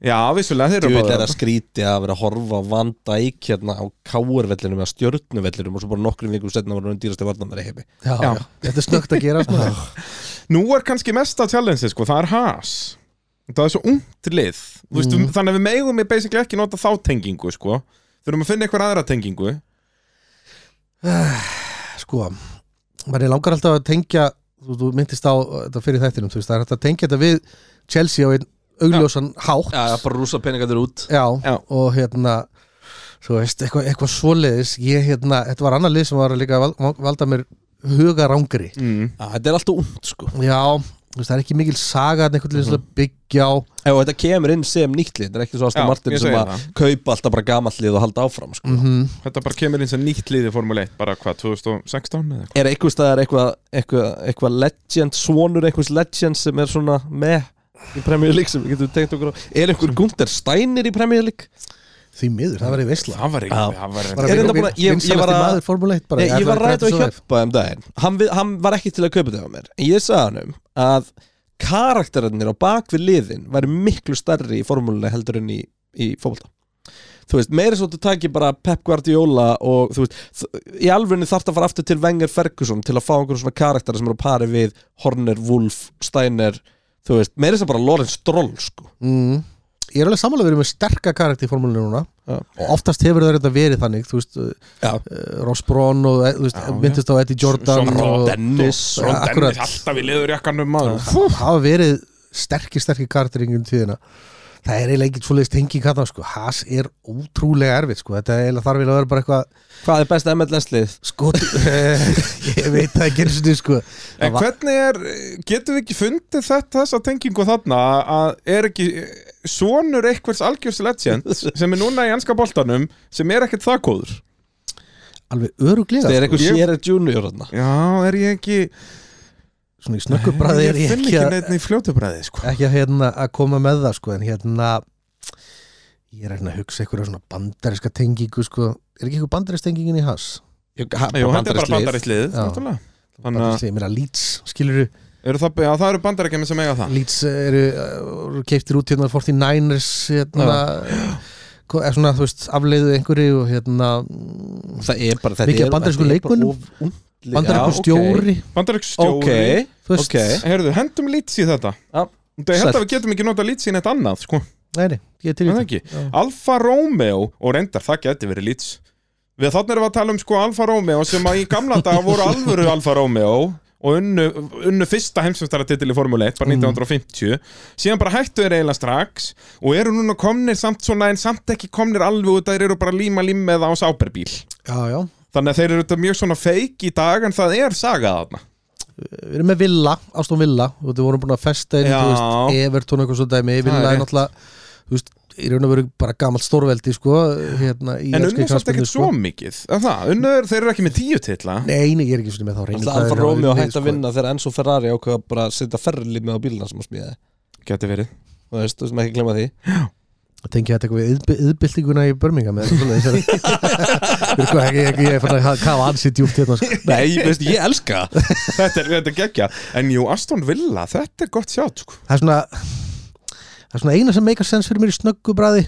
Speaker 2: Já, vissulega þeir
Speaker 1: Þú
Speaker 2: eru
Speaker 1: vil er
Speaker 2: bara
Speaker 1: að skríti að vera að horfa á Van Dijk hérna á káarvellinum eða stjörnuvellinum og svo bara nokkrum vikum setna var hann dýrasti varnamæri heimi
Speaker 3: já,
Speaker 2: Já.
Speaker 3: já. þetta er snögt að gera sko.
Speaker 2: Nú er kannski mesta challenge sko, það er Haas Það er svo ungt lið Þú veist,
Speaker 3: Mm.
Speaker 2: Þannig að við megum við basically ekki nota þá tengingu sko. þurfum að finna eitthvað aðra tengingu
Speaker 3: sko, maður langar alltaf að tengja þú, þú myndist á uh, þetta fyrir þættinum þú veist, það er hægt að tengja þetta við Chelsea á einn augljósan hátt
Speaker 1: Já, bara rúsa peningaður út
Speaker 3: Já,
Speaker 2: Já.
Speaker 3: og hérna þú veist, eitthvað, eitthvað svoleiðis ég hérna, þetta var annað lið sem var að líka val- valda mér hugarangri
Speaker 2: mm.
Speaker 1: Já, þetta er alltaf umt sko
Speaker 3: já, þú veist, það er ekki mikil saga en einhvern veginn
Speaker 1: Mhm.
Speaker 3: mm -hmm. byggja á
Speaker 1: Já, og þetta kemur inn sem nýtt lið Þetta er ekki svo
Speaker 2: Já,
Speaker 1: Aston Martin
Speaker 2: ég
Speaker 1: sem
Speaker 2: segi
Speaker 1: að
Speaker 2: það.
Speaker 1: kaupa alltaf bara gamall lið og halda áfram sko.
Speaker 3: mm
Speaker 2: Þetta bara kemur eins og nýtt lið í Formule 1 bara hvað, 2016 eða eitthvað
Speaker 1: Er einhvers staðar eitthvað eitthvað eitthva legend, svonur einhvers legend sem er svona með í Premier League sem við getum tengt okkur á Er einhver Gunther Steiner í Premier League?
Speaker 3: því miður, það var í veisla
Speaker 2: Það var
Speaker 1: Já.
Speaker 2: eitthvað, það var
Speaker 3: Bara
Speaker 1: Er
Speaker 2: eitthvað
Speaker 1: þetta búin að- ég- ég
Speaker 3: vinsalasti
Speaker 1: var að-
Speaker 3: maður Formule 1 bara,
Speaker 1: Nei, ég
Speaker 3: ætlaði
Speaker 1: var
Speaker 3: að
Speaker 1: ræðið
Speaker 3: græta
Speaker 1: að
Speaker 3: svo vel.
Speaker 1: hjálpa um daginn hann, við, hann var ekki til að kaupa þetta á mér En ég sagði hann um að karakterarnir á bak við liðin væri miklu starri í formúluna heldur en í, í fótbolta Þú veist, meira svo þú takir bara Pep Guardiola og þú veist, þ- í alvegni þarf það að fara aftur til Wenger Ferguson til að fá einhverjum svona karaktera sem eru að pari við Horner, Wolf, Steiner þú veist, meira svo bara Lawrence Stroll sko.
Speaker 3: mm. Ég er alveg sammála að vera með sterka karakter í formúlinu núna
Speaker 1: Já.
Speaker 3: og oftast hefur það reynda verið þannig þú veist, uh,
Speaker 1: Já,
Speaker 3: Ross Braun og eh, þú veist,
Speaker 2: Já,
Speaker 3: myndist á Eddie Jordan
Speaker 2: Svo-
Speaker 3: og
Speaker 1: Dennis
Speaker 3: Ja,
Speaker 2: Ron
Speaker 3: akkurat.
Speaker 2: Dennis alltaf í liðurjakkanum maður
Speaker 3: hafa verið sterkir, sterkir karakter í yngum tíðina það er eiginlega ekki svoleiðist tenging hann sko. Haas er ótrúlega erfitt sko. þetta er eiginlega þarf eiginlega að vera bara eitthvað
Speaker 1: Hvað er besta MLS lið? <laughs>
Speaker 3: skot <laughs> ég veit það ekki eins og niður sko.
Speaker 2: En hvernig er, getum við ekki fundið þetta þessa tengingu þarna að er ekki sonur einhvers algjörs legend sem er núna í enska boltanum sem er ekkert það góður
Speaker 3: alveg öruglega
Speaker 1: Það er
Speaker 3: sko.
Speaker 1: eitthvað
Speaker 2: Ég-
Speaker 1: Sierra Junior þarna
Speaker 2: Já, er ég ekki
Speaker 3: svona í snökkubræði er
Speaker 2: Ég
Speaker 3: ég
Speaker 2: finn
Speaker 3: ekki
Speaker 2: ekki
Speaker 3: að
Speaker 2: neitt í fljótu bræði sko.
Speaker 3: ekki að, hérna, að koma með það sko, en hérna ég er hérna að hugsa einhverja svona bandariska tengingu sko. er ekki einhver bandarisk tengingin í hans?
Speaker 1: Jú, ha-
Speaker 2: Jú, þetta er
Speaker 1: bandarískt
Speaker 2: bara
Speaker 1: lið.
Speaker 2: bandarist lið
Speaker 3: Já.
Speaker 2: náttúrulega. Þannig að
Speaker 3: Bandarisk, ég meira Leeds, skilur þú
Speaker 2: eru það, já, það eru bandarækjum sem eiga það
Speaker 3: Leeds eru, eru keiptir út hérna 49ers hérna, ko- er svona, þú veist, afleiðu einhverju og hérna
Speaker 1: Það er bara þetta
Speaker 3: Mikið af
Speaker 1: er-
Speaker 3: bandarísku
Speaker 1: þetta er bara
Speaker 3: leikmönnum.
Speaker 1: of ungt lið. Já,
Speaker 3: bandarisku
Speaker 1: ok.
Speaker 3: stjóri
Speaker 2: Bandaríks
Speaker 1: Ok,
Speaker 2: stjóri
Speaker 3: þú veist,
Speaker 1: Ok.
Speaker 2: Herðu, hendum lítið í þetta
Speaker 1: Já.
Speaker 2: Þetta ég held
Speaker 1: Sæll.
Speaker 2: að við getum ekki nota lítið í neitt annað sko.
Speaker 3: nei, nei, ég er til í
Speaker 2: Er það
Speaker 3: þetta
Speaker 2: ekki?
Speaker 3: Já.
Speaker 2: Alfa Romeo og reyndar, það geti verið lítið Við þannig erum við að tala um sko Alfa Romeo sem að í gamla
Speaker 3: <laughs>
Speaker 2: dag voru alvöru Alfa Romeo og unnu, unnu fyrsta heimsumstaratitil í Formule
Speaker 3: Mm.
Speaker 2: 1 bara 1950 síðan bara hættu þeir eiginlega strax og eru núna komnir samt svona en samt ekki komnir alveg út að þeir eru bara líma límmeða á sáperbíl
Speaker 3: já, já,
Speaker 2: þannig að þeir eru þetta mjög svona feik í dag en það er saga þarna
Speaker 3: við erum með Villa, Ástón Villa og við vorum búin að festa inn,
Speaker 2: Já.
Speaker 3: þú veist, Evertón eitthvað svo dæmi, Villa
Speaker 2: Það er
Speaker 3: er
Speaker 2: rétt.
Speaker 3: náttúrulega þú veist, í raun og veru bara gamalt stórveldi sko, hérna, í
Speaker 2: en
Speaker 3: enskri
Speaker 2: unnu samt
Speaker 3: knattspyrnu,
Speaker 2: ekkert svo mikið er það, unnu er, þeir eru ekki með tíu titla
Speaker 3: Nei, nei, ég er sko. ekki svona með þá reynu
Speaker 1: Alltaf Alfa Romeo hætti að vinna þegar Enzo Ferrari ákveða bara að setja ferli með á bílina sem að smíða
Speaker 2: geti verið
Speaker 1: Þú veist, þú sem ekki glemma því
Speaker 3: Það tengi þetta eitthvað við yðby- yðbyltinguna í Birmingham eða
Speaker 2: <laughs>
Speaker 3: svona þessari Ég er ekki, ekki, ég er fann að kafa ansi djúpt hérna sko.
Speaker 1: <laughs> Nei, ég veist, ég elska það
Speaker 2: þetta er, þetta er geggja en jú, Aston Villa, þetta er gott sjátt sko.
Speaker 3: Það er svona Það er svona eina sem meikar sens fyrir mér í snöggu bræði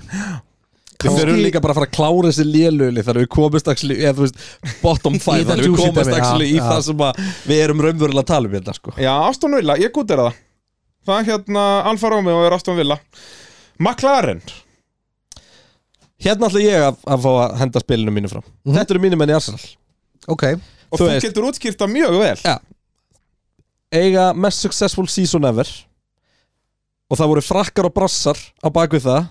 Speaker 1: Við þurfum líka bara að fara að klára þessi léluli þar við komumst axli, eða þú veist, bottom five
Speaker 3: Í
Speaker 1: þar
Speaker 3: það
Speaker 1: við
Speaker 3: juicy
Speaker 1: komumst
Speaker 3: dæmi,
Speaker 1: axli
Speaker 3: já,
Speaker 1: í
Speaker 3: já.
Speaker 1: það sem að við erum raunverulega að tala um hérna, sko
Speaker 2: já, Aston Villa, ég gútir það það er hérna Alfa Romeo er Aston Villa McLaren
Speaker 1: Hérna ætla ég að, að fá að henda spilinu mínu fram
Speaker 3: Mhm.
Speaker 1: Þetta eru mínu menn í Arsenal
Speaker 3: Ok,
Speaker 2: og
Speaker 1: Þú
Speaker 2: þú,
Speaker 1: veist.
Speaker 2: getur útskýrt það mjög vel
Speaker 1: Já. Eiga mest successful season ever Og það voru frakkar og brassar á bakvið það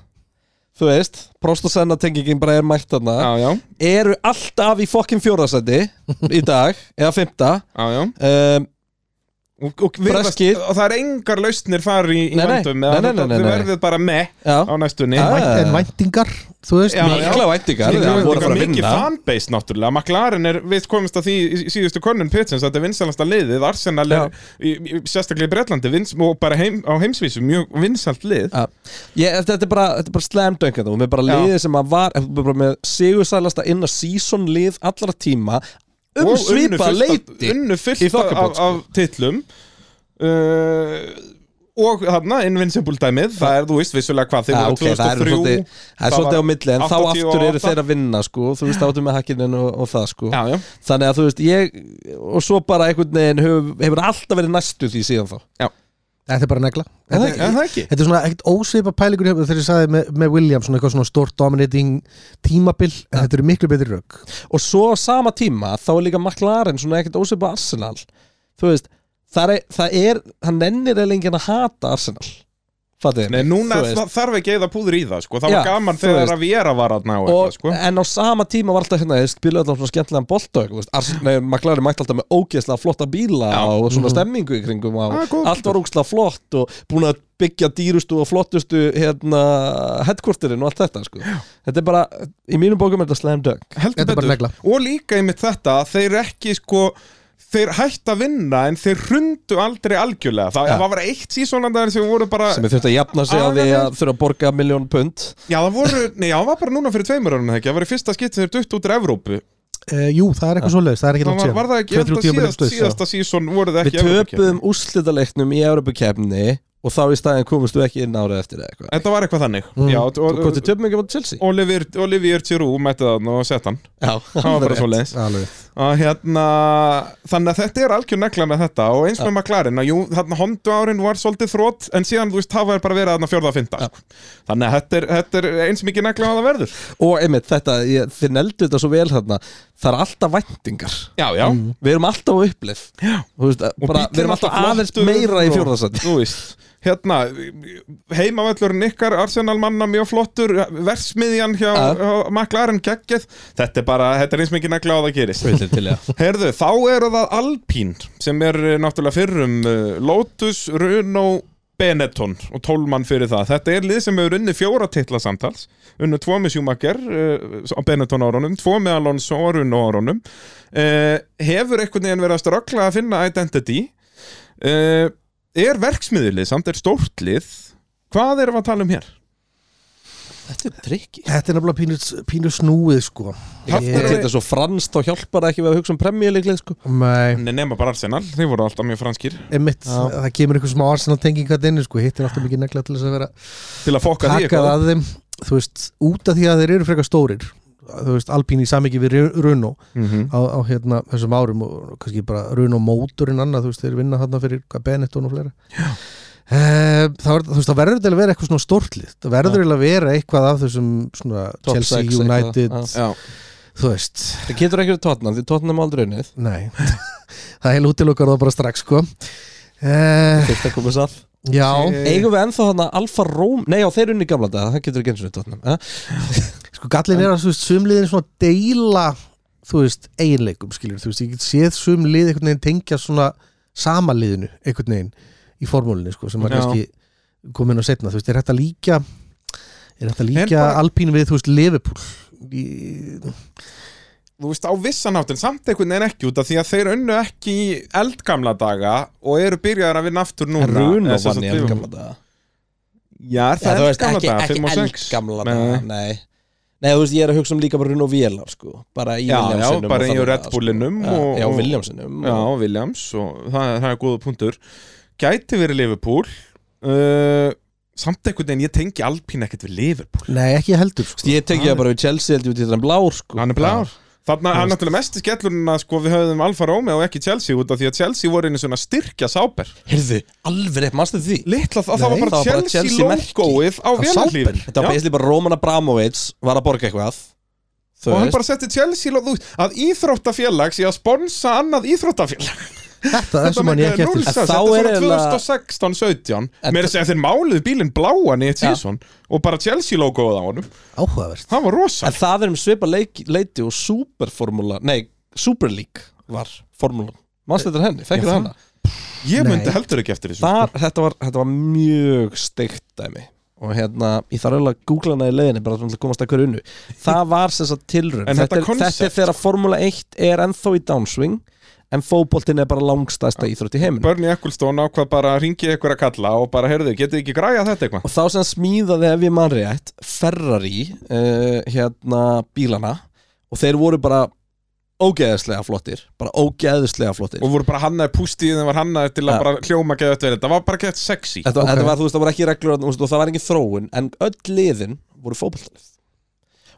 Speaker 1: Þú veist, Prost og Senna tengingin bara er mætt þarna
Speaker 2: já, já,
Speaker 1: eru alltaf í fokkin
Speaker 2: <laughs>
Speaker 1: fjórðarsæti í dag, eða fymta
Speaker 2: já, já.
Speaker 1: um,
Speaker 2: Og, og, virðast,
Speaker 1: Breskir.
Speaker 2: og það er engar lausnir fari í, í
Speaker 1: Nei, nei.
Speaker 2: vandum
Speaker 1: Nei, nei, nei, nei,
Speaker 2: þið
Speaker 1: nei.
Speaker 2: verðið bara með
Speaker 1: já,
Speaker 2: á næstunni
Speaker 1: Já,
Speaker 3: vænt, en væntingar, þú
Speaker 2: Ah.
Speaker 3: veist
Speaker 2: Já,
Speaker 3: mér-
Speaker 1: mikla væntingar
Speaker 2: Mikið
Speaker 1: það voru að fara að
Speaker 2: mikið
Speaker 1: vinna
Speaker 2: fanbase náttúrulega McLaren er, við komumst að því í- í síðustu konnun Pitsins, þetta er vinsalasta liðið Arsenal er, í, í, sérstaklega í Bretlandi vins, og bara heim, á heimsvísu, mjög vinsalt lið
Speaker 1: Já. Ég, þetta, þetta er bara, þetta er bara slam dunk hérna, og með bara
Speaker 2: Já.
Speaker 1: liðið sem að var bara með sigursælasta inn að season lið allra tíma um
Speaker 2: Og unnu
Speaker 1: svipa
Speaker 2: fullt af-
Speaker 1: leiti
Speaker 2: unnu
Speaker 1: í
Speaker 2: fullt
Speaker 1: þokkabót,
Speaker 2: af,
Speaker 1: sko.
Speaker 2: af titlum uh, og þarna Invincible dæmið, það er, þú veist, vissulega hvað þeir
Speaker 1: Já,
Speaker 2: voru
Speaker 1: Ah, ok, það er
Speaker 2: 2003
Speaker 1: svolítið, það er
Speaker 2: það
Speaker 1: svolítið á
Speaker 2: var
Speaker 1: milli en þá
Speaker 2: 88.
Speaker 1: aftur eru þeir að vinna sko, þú veist áttu með hakkinin og, og það sko
Speaker 2: Já, já,
Speaker 1: þannig að þú veist, ég og svo bara einhvern veginn hefur, hefur alltaf verið næstu því síðan þá
Speaker 3: Þetta er bara negla
Speaker 2: en
Speaker 3: Þetta-
Speaker 2: það ekki
Speaker 3: Þetta er svona ekkert ósveipa pælingur hjá- þegar ég sagði með, með William svona eitthvað svona stórt dominating tímabil en þetta eru miklu betri rauk
Speaker 1: og svo á sama tíma þá er líka McLaren svona ekkert ósöpa Arsenal þú veist, það er, það er hann nennir eða enginn að hata Arsenal fattir
Speaker 2: Nei, núna það þarf ekki eða púður í það, sko Það var
Speaker 1: Já,
Speaker 2: gaman
Speaker 1: þú
Speaker 2: þegar
Speaker 1: veist.
Speaker 2: að Vera var aðna á
Speaker 1: Og, Eh,
Speaker 2: eitthvað, sko
Speaker 1: en á sama tíma var alltaf hérna þeir spilaði alltaf svona skemmtilegan boltök McLaren mætti alltaf með ógeðslega flotta bíla
Speaker 2: Já. Mhm.
Speaker 1: og svona stemmingu í kringum og
Speaker 2: Ah, góð
Speaker 1: allt var ógeðslega flott og búin að byggja dýrustu og flottustu hérna, headquarterin og allt þetta sko. þetta er bara, í mínum bókum er þetta slam dunk
Speaker 2: heldur
Speaker 3: Þetta er bara
Speaker 2: betur.
Speaker 3: negla.
Speaker 2: og líka einmitt þetta að þeir ekki sko þeir hætt að vinna en þeir hrundu aldrei algjörlega það
Speaker 1: Já.
Speaker 2: það var eitt sísónandaðar sem voru bara
Speaker 1: sem er þurft að jafna sig á því að þurfa að borga miljón pund
Speaker 2: já það voru, nei já það var bara núna fyrir tveimur ánum það ekki, það var í fyrsta skipt sem þeir dutt út úr Evrópu
Speaker 3: uh, Jú, það er eitthvað svoleiðis, það er ekki
Speaker 2: það
Speaker 3: langt
Speaker 2: var,
Speaker 3: síðan
Speaker 2: var það ekki, ég held
Speaker 3: 2-3
Speaker 2: að
Speaker 3: tímabil
Speaker 2: síðast,
Speaker 3: eftir, já.
Speaker 2: síðasta sísón voru það
Speaker 1: Við
Speaker 2: ekki í Evrópukeppni.
Speaker 1: töpuðum úrslitaleiknum í Europakefni og þá í staðin komumst við ekki inn árið eftir eða eitthvað
Speaker 2: þetta var eitthvað þannig
Speaker 3: Mm.
Speaker 2: já,
Speaker 1: Og
Speaker 2: og,
Speaker 1: Hvort við töpum ekki mot Chelsea?
Speaker 2: Olivier, Olivier Giroud mætti það og
Speaker 1: <laughs>
Speaker 2: sett hann
Speaker 1: Já,
Speaker 2: það var bara svo leiðis
Speaker 3: Alveg.
Speaker 2: að hérna, þannig að þetta er algjör negla með þetta og eins með McLaren að jú, þarna Honda árin var svolítið þrótt en síðan, þú veist, hafa er bara verið þarna fjórða að fynda þannig að þetta er, þetta er eins mikið negla að það verður
Speaker 1: Og einmitt þetta, ég, þið neldu þetta svo vel þarna Það er alltaf væntingar
Speaker 2: já, já,
Speaker 1: Við erum alltaf á upplif Þú veist, Mm. bara,
Speaker 2: bíllinn
Speaker 1: Við erum alltaf
Speaker 2: alltaf
Speaker 1: aðeins
Speaker 2: flottur
Speaker 1: meira í
Speaker 2: og-
Speaker 1: fjórðarsæti
Speaker 2: þú veist, hérna heimavöllurinn ykkar, Arsenal manna mjög flottur, versmiðjan hjá
Speaker 1: Já.
Speaker 2: uh, McLaren geggjað þetta er bara, þetta er eins mikið negla að það gerist
Speaker 1: Vildir til, já
Speaker 2: Herðu, þá eru það Alpine sem er eh, náttúrulega fyrrum eh, Lotus, Renault, Benetton og tólmann fyrir það. Þetta er lið sem hefur unni fjóra titla samtals, unnu tvo með Schumacher eh, á Benetton árunum, tvo með Alonso og Renault árunum. Eh, Hefur einhvern veginn verið að ströggla að finna identity uh, Er verksmiðurlið samt er stórtlið Hvað erum við að tala um hér?
Speaker 1: Þetta er trikki
Speaker 3: Þetta er nefnilega pínu, pínu snúið sko
Speaker 2: Hafnar
Speaker 1: Þetta
Speaker 2: er-
Speaker 3: Ég-
Speaker 1: er svo franskt og hjálpar ekki við að hugsa um premjuleiklið sko
Speaker 3: Nei,
Speaker 2: Nei, nema bara Arsenal, þeir voru alltaf mjög franskir
Speaker 3: einmitt,
Speaker 1: Já.
Speaker 3: það kemur einhver smá Arsenal tenging að inni sko, hittir alltaf mikið negla til þess að vera
Speaker 2: Til að fokka því
Speaker 3: takkað að þeim, þú veist, út af því að þeir eru frekar stórir þú veist, Alpín í samhengi við Ru- Runo
Speaker 2: mm
Speaker 1: Mhm.
Speaker 2: -hmm.
Speaker 3: á, á hérna þessum árum og kannski bara Runo móturinn annað, þú veist, þeir vinna þarna fyrir hvað, Benetton og fleira Eh, Það var- þú veist, það verður til að vera eitthvað svona stórtlið það verður til að vera eitthvað af þessum svona
Speaker 1: Top
Speaker 3: Chelsea,
Speaker 1: six eitthvað,
Speaker 3: United,
Speaker 1: já.
Speaker 2: Já,
Speaker 3: þú veist
Speaker 1: Það getur ekki verið tótnam því tótnam aldrei unnið
Speaker 3: nei, <laughs> það heil útilokar það bara strax sko eh,
Speaker 1: Þetta komið sall
Speaker 3: Já,
Speaker 2: Eh.
Speaker 1: Eigum við ennþá þarna Alfa Róm Nei já þeir unni gamla dag Það getur ekki eins og tótnam eh?
Speaker 3: sko gallin er að þú veist, sumliðin svona deila þú veist, eiginleikum skilur þú veist, ég get séð sumlið einhvern veginn tengja svona samaliðinu einhvern veginn í formúlinni sko,
Speaker 2: Já.
Speaker 3: sem maður kannski komin á setna, þú veist, er hægt að líka er hægt að
Speaker 2: En
Speaker 3: líka
Speaker 2: bara-
Speaker 3: Alpín við, þú veist, Liverpool í,
Speaker 2: þú veist, á vissanáttin samt einhvern veginn ekki út af því að þeir unnu ekki í eldgamla daga og eru byrjaðar að vinna aftur núna
Speaker 1: Runo
Speaker 2: Eða sem
Speaker 1: vann í
Speaker 2: sagt,
Speaker 1: enn
Speaker 2: við-
Speaker 1: gamla dag
Speaker 2: Já, er
Speaker 1: Já,
Speaker 2: það
Speaker 1: þú veist,
Speaker 2: eldgamla
Speaker 1: ekki,
Speaker 2: daga,
Speaker 1: ekki
Speaker 2: 5 og 6
Speaker 1: eldgamla daga, nei Nei, þú veist, ég er að hugsa um líka bara Runo Vélar, sko Bara í
Speaker 2: Já, já,
Speaker 1: Williamsinum
Speaker 2: bara
Speaker 1: og
Speaker 2: í
Speaker 1: það
Speaker 2: Red
Speaker 1: sko.
Speaker 2: Bullinum
Speaker 1: Já,
Speaker 2: og-
Speaker 1: Já,
Speaker 2: og-
Speaker 1: Williamsinum
Speaker 2: Já,
Speaker 1: og-
Speaker 2: Williams og það, það er góða punktur Gæti verið Liverpool uh, Samt einhvern veginn, ég tengi Alpín ekkert við Liverpool
Speaker 3: nei, ekki heldur
Speaker 1: Þú
Speaker 3: sko.
Speaker 1: veist, Ég teki það bara við Chelsea held ég út í þetta blár, sko
Speaker 2: Ah. Hann er blár Þannig að hann náttúrulega mest í skellunina sko við höfðum Alfa Romeo og ekki Chelsea út af því að Chelsea voru einu svona styrkja sáber
Speaker 1: Heyrðu, alveg rétt, mannstu því?
Speaker 2: Litla, það, það
Speaker 1: Nei,
Speaker 2: var bara
Speaker 1: það var bara
Speaker 2: Chelsea,
Speaker 1: Chelsea merki.
Speaker 2: logoið á
Speaker 3: Á
Speaker 2: vélarlífin
Speaker 3: sápinn.
Speaker 1: Þetta var basically bara Roman Abramovits var að borga eitthvað Þú
Speaker 2: og hann
Speaker 1: veist,
Speaker 2: bara setti Chelsea lóð út að íþróttafélag sé að sponsa annað íþróttafélag
Speaker 3: þetta, þessu man ég ekki
Speaker 2: núl
Speaker 3: eftir
Speaker 1: En
Speaker 2: sens,
Speaker 1: þá
Speaker 2: þetta er
Speaker 1: er
Speaker 2: svona
Speaker 1: eiginlega-
Speaker 2: 2016-17
Speaker 1: En
Speaker 2: mér er að segja að þeir máluðu bílinn bláan í eitt
Speaker 1: Já.
Speaker 2: sísón og bara Chelsea logoið á honum
Speaker 3: áhugavert
Speaker 2: það var rosa
Speaker 1: en það er um svipa leik, leiti og superformula Nei, Super League var formúlan Mannstu þetta henni, þekkir
Speaker 2: Já,
Speaker 1: það hana
Speaker 2: ég
Speaker 3: Nei.
Speaker 2: myndi heldur ekki eftir þessu
Speaker 1: Þar, þetta var, þetta var mjög steikt dæmi Og hérna, ég þarf alveg að googla hana í leiðinni bara til að komast að hverju unnu Það var sem sagt tilraun
Speaker 2: En þetta
Speaker 1: þetta, er-
Speaker 2: konsept-
Speaker 1: þetta er þegar Formula 1 er ennþá í downswing En fótboltinn er bara langstæsta íþrótt í heiminum
Speaker 2: Bernie Ecclestone ákvað bara að ringi ykkur að kalla og bara, heyrðu, getið ekki græja þetta eitthvað
Speaker 1: og þá sem smíðaði ef ég man rétt Ferrari uh, hérna bílana og þeir voru bara ógeðislega flottir bara ógeðislega flottir
Speaker 2: og voru bara hannaði pústið þeim var hannaði til að
Speaker 1: Já.
Speaker 2: bara hljóma geða þetta þetta var bara gett sexy
Speaker 1: þetta,
Speaker 3: ok.
Speaker 1: þetta var, þú veist, það voru ekki reglur þarna, þú veist, og það var engin þróun en öll liðin voru fótballtalið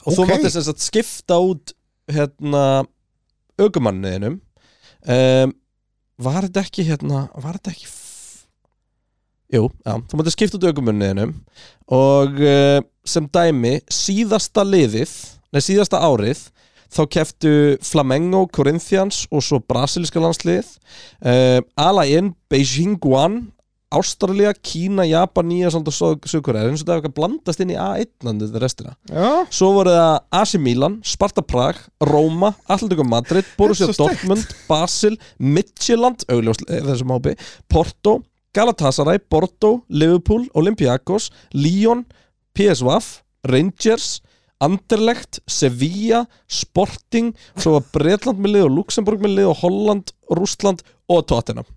Speaker 1: og þú
Speaker 2: Ok.
Speaker 1: mátti sem sagt skipta út hérna augumanniðinum um, var þetta ekki hérna var þetta ekki f- Jú, já, þú mátti skipta út augumanniðinum og uh, sem dæmi síðasta liðið nei, síðasta árið þá keftu Flamengo, Corinthians og svo brasilíska landslið uh, Alain, Beijing, Guan Ástralía, Kína, Japan, Nýjasand og Sökuræðir eins og það er eitthvað blandast inn í A1-nandi þetta restina
Speaker 2: já,
Speaker 1: Svo voru það AC Milan, Sparta Prag, Róma, Atlético Madrid, Borussia
Speaker 2: Þetta er svo steikt.
Speaker 1: Dortmund, Basel, Midtjylland, augljóslega í þessum hópi, Porto, Galatasaray, Porto, Liverpool, Olympiakos, Lyon, PSV, Rangers, Anderlecht, Sevilla, Sporting, svo var Bretland með lið og Luxemburg með lið og Holland, Rústland og Tottenham.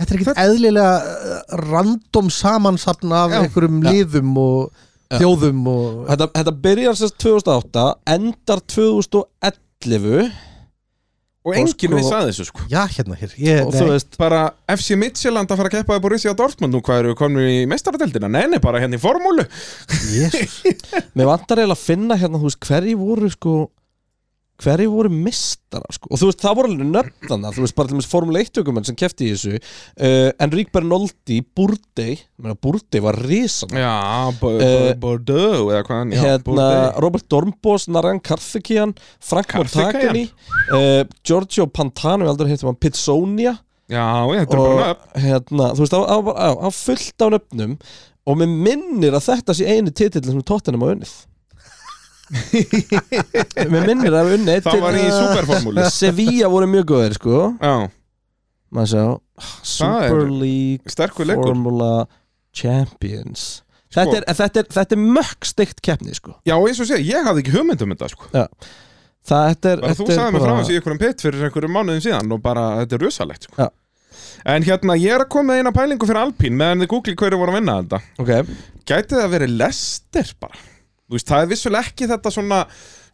Speaker 3: Þetta er ekkert eðlilega eh, random samansapn af
Speaker 2: Já.
Speaker 3: einhverjum
Speaker 1: Já.
Speaker 3: liðum og þjóðum og
Speaker 1: Þetta, þetta byrjar sérst 2008, endar 2011
Speaker 2: og enginn
Speaker 1: sko-
Speaker 2: veist að þessu sko
Speaker 3: Já, hérna hér ég,
Speaker 1: og
Speaker 3: nei,
Speaker 1: þú veist,
Speaker 2: bara FC Midtjylland að fara að keppa í Borussia Dortmund nú hvað eru komin í meistaradeldina nei, nei, bara hérna í formúlu
Speaker 3: Jesus.
Speaker 1: Mér vantar eiginlega að finna hérna, þú veist, hverji voru sko hverji voru mistara sko. og þú veist, það voru alveg nöfnana þú veist, bara til þess formule 1 tökumenn sem kefti í þessu uh, Enrique Bernoldi, Burdei Burdei var risan
Speaker 2: já,
Speaker 1: Eh,
Speaker 2: Bordeaux eða hvað hann, já,
Speaker 1: hérna,
Speaker 2: Bordeaux
Speaker 1: Robert Dornbos, Naran Karthikeyan Frank
Speaker 2: Karthikeyan?
Speaker 1: Montagani uh, Giorgio Pantano, við aldrei heitum hann Pizzonia
Speaker 2: já, já, þetta er bara
Speaker 1: og
Speaker 2: nöfn
Speaker 1: hérna, þú veist, það var- það var það var fullt á nöfnum og mér minnir að þetta sé eini titill sem tóttinum á
Speaker 2: <laughs>
Speaker 1: unnið mér minnir að unnið einn
Speaker 2: það var í
Speaker 1: titill.
Speaker 2: superformúlu
Speaker 1: Sevilla voru mjög góðir sko
Speaker 2: já,
Speaker 1: maður sjá
Speaker 2: Það er
Speaker 1: Super League
Speaker 2: sterkur leikur
Speaker 1: Formula Champions
Speaker 2: Sko.
Speaker 1: þetta, er, en þetta, er, þetta er mökk steikt keppni sko
Speaker 2: já, og eins og segja, ég hafði ekki hugmynd um þetta sko
Speaker 1: það þetta er,
Speaker 2: bara þú
Speaker 1: þetta er
Speaker 2: sagði mig frá
Speaker 1: bara-
Speaker 2: þessu í einhverjum pitt fyrir einhverjum mánuðum síðan og bara, þetta er rosalegt sko
Speaker 1: Já.
Speaker 2: En hérna, ég er að koma með eina pælingu fyrir Alpín meðan þið googlið hverju voru að vinna þetta
Speaker 1: Ok,
Speaker 2: Gæti það að vera lestir bara Þú veist, það er vissulega ekki þetta svona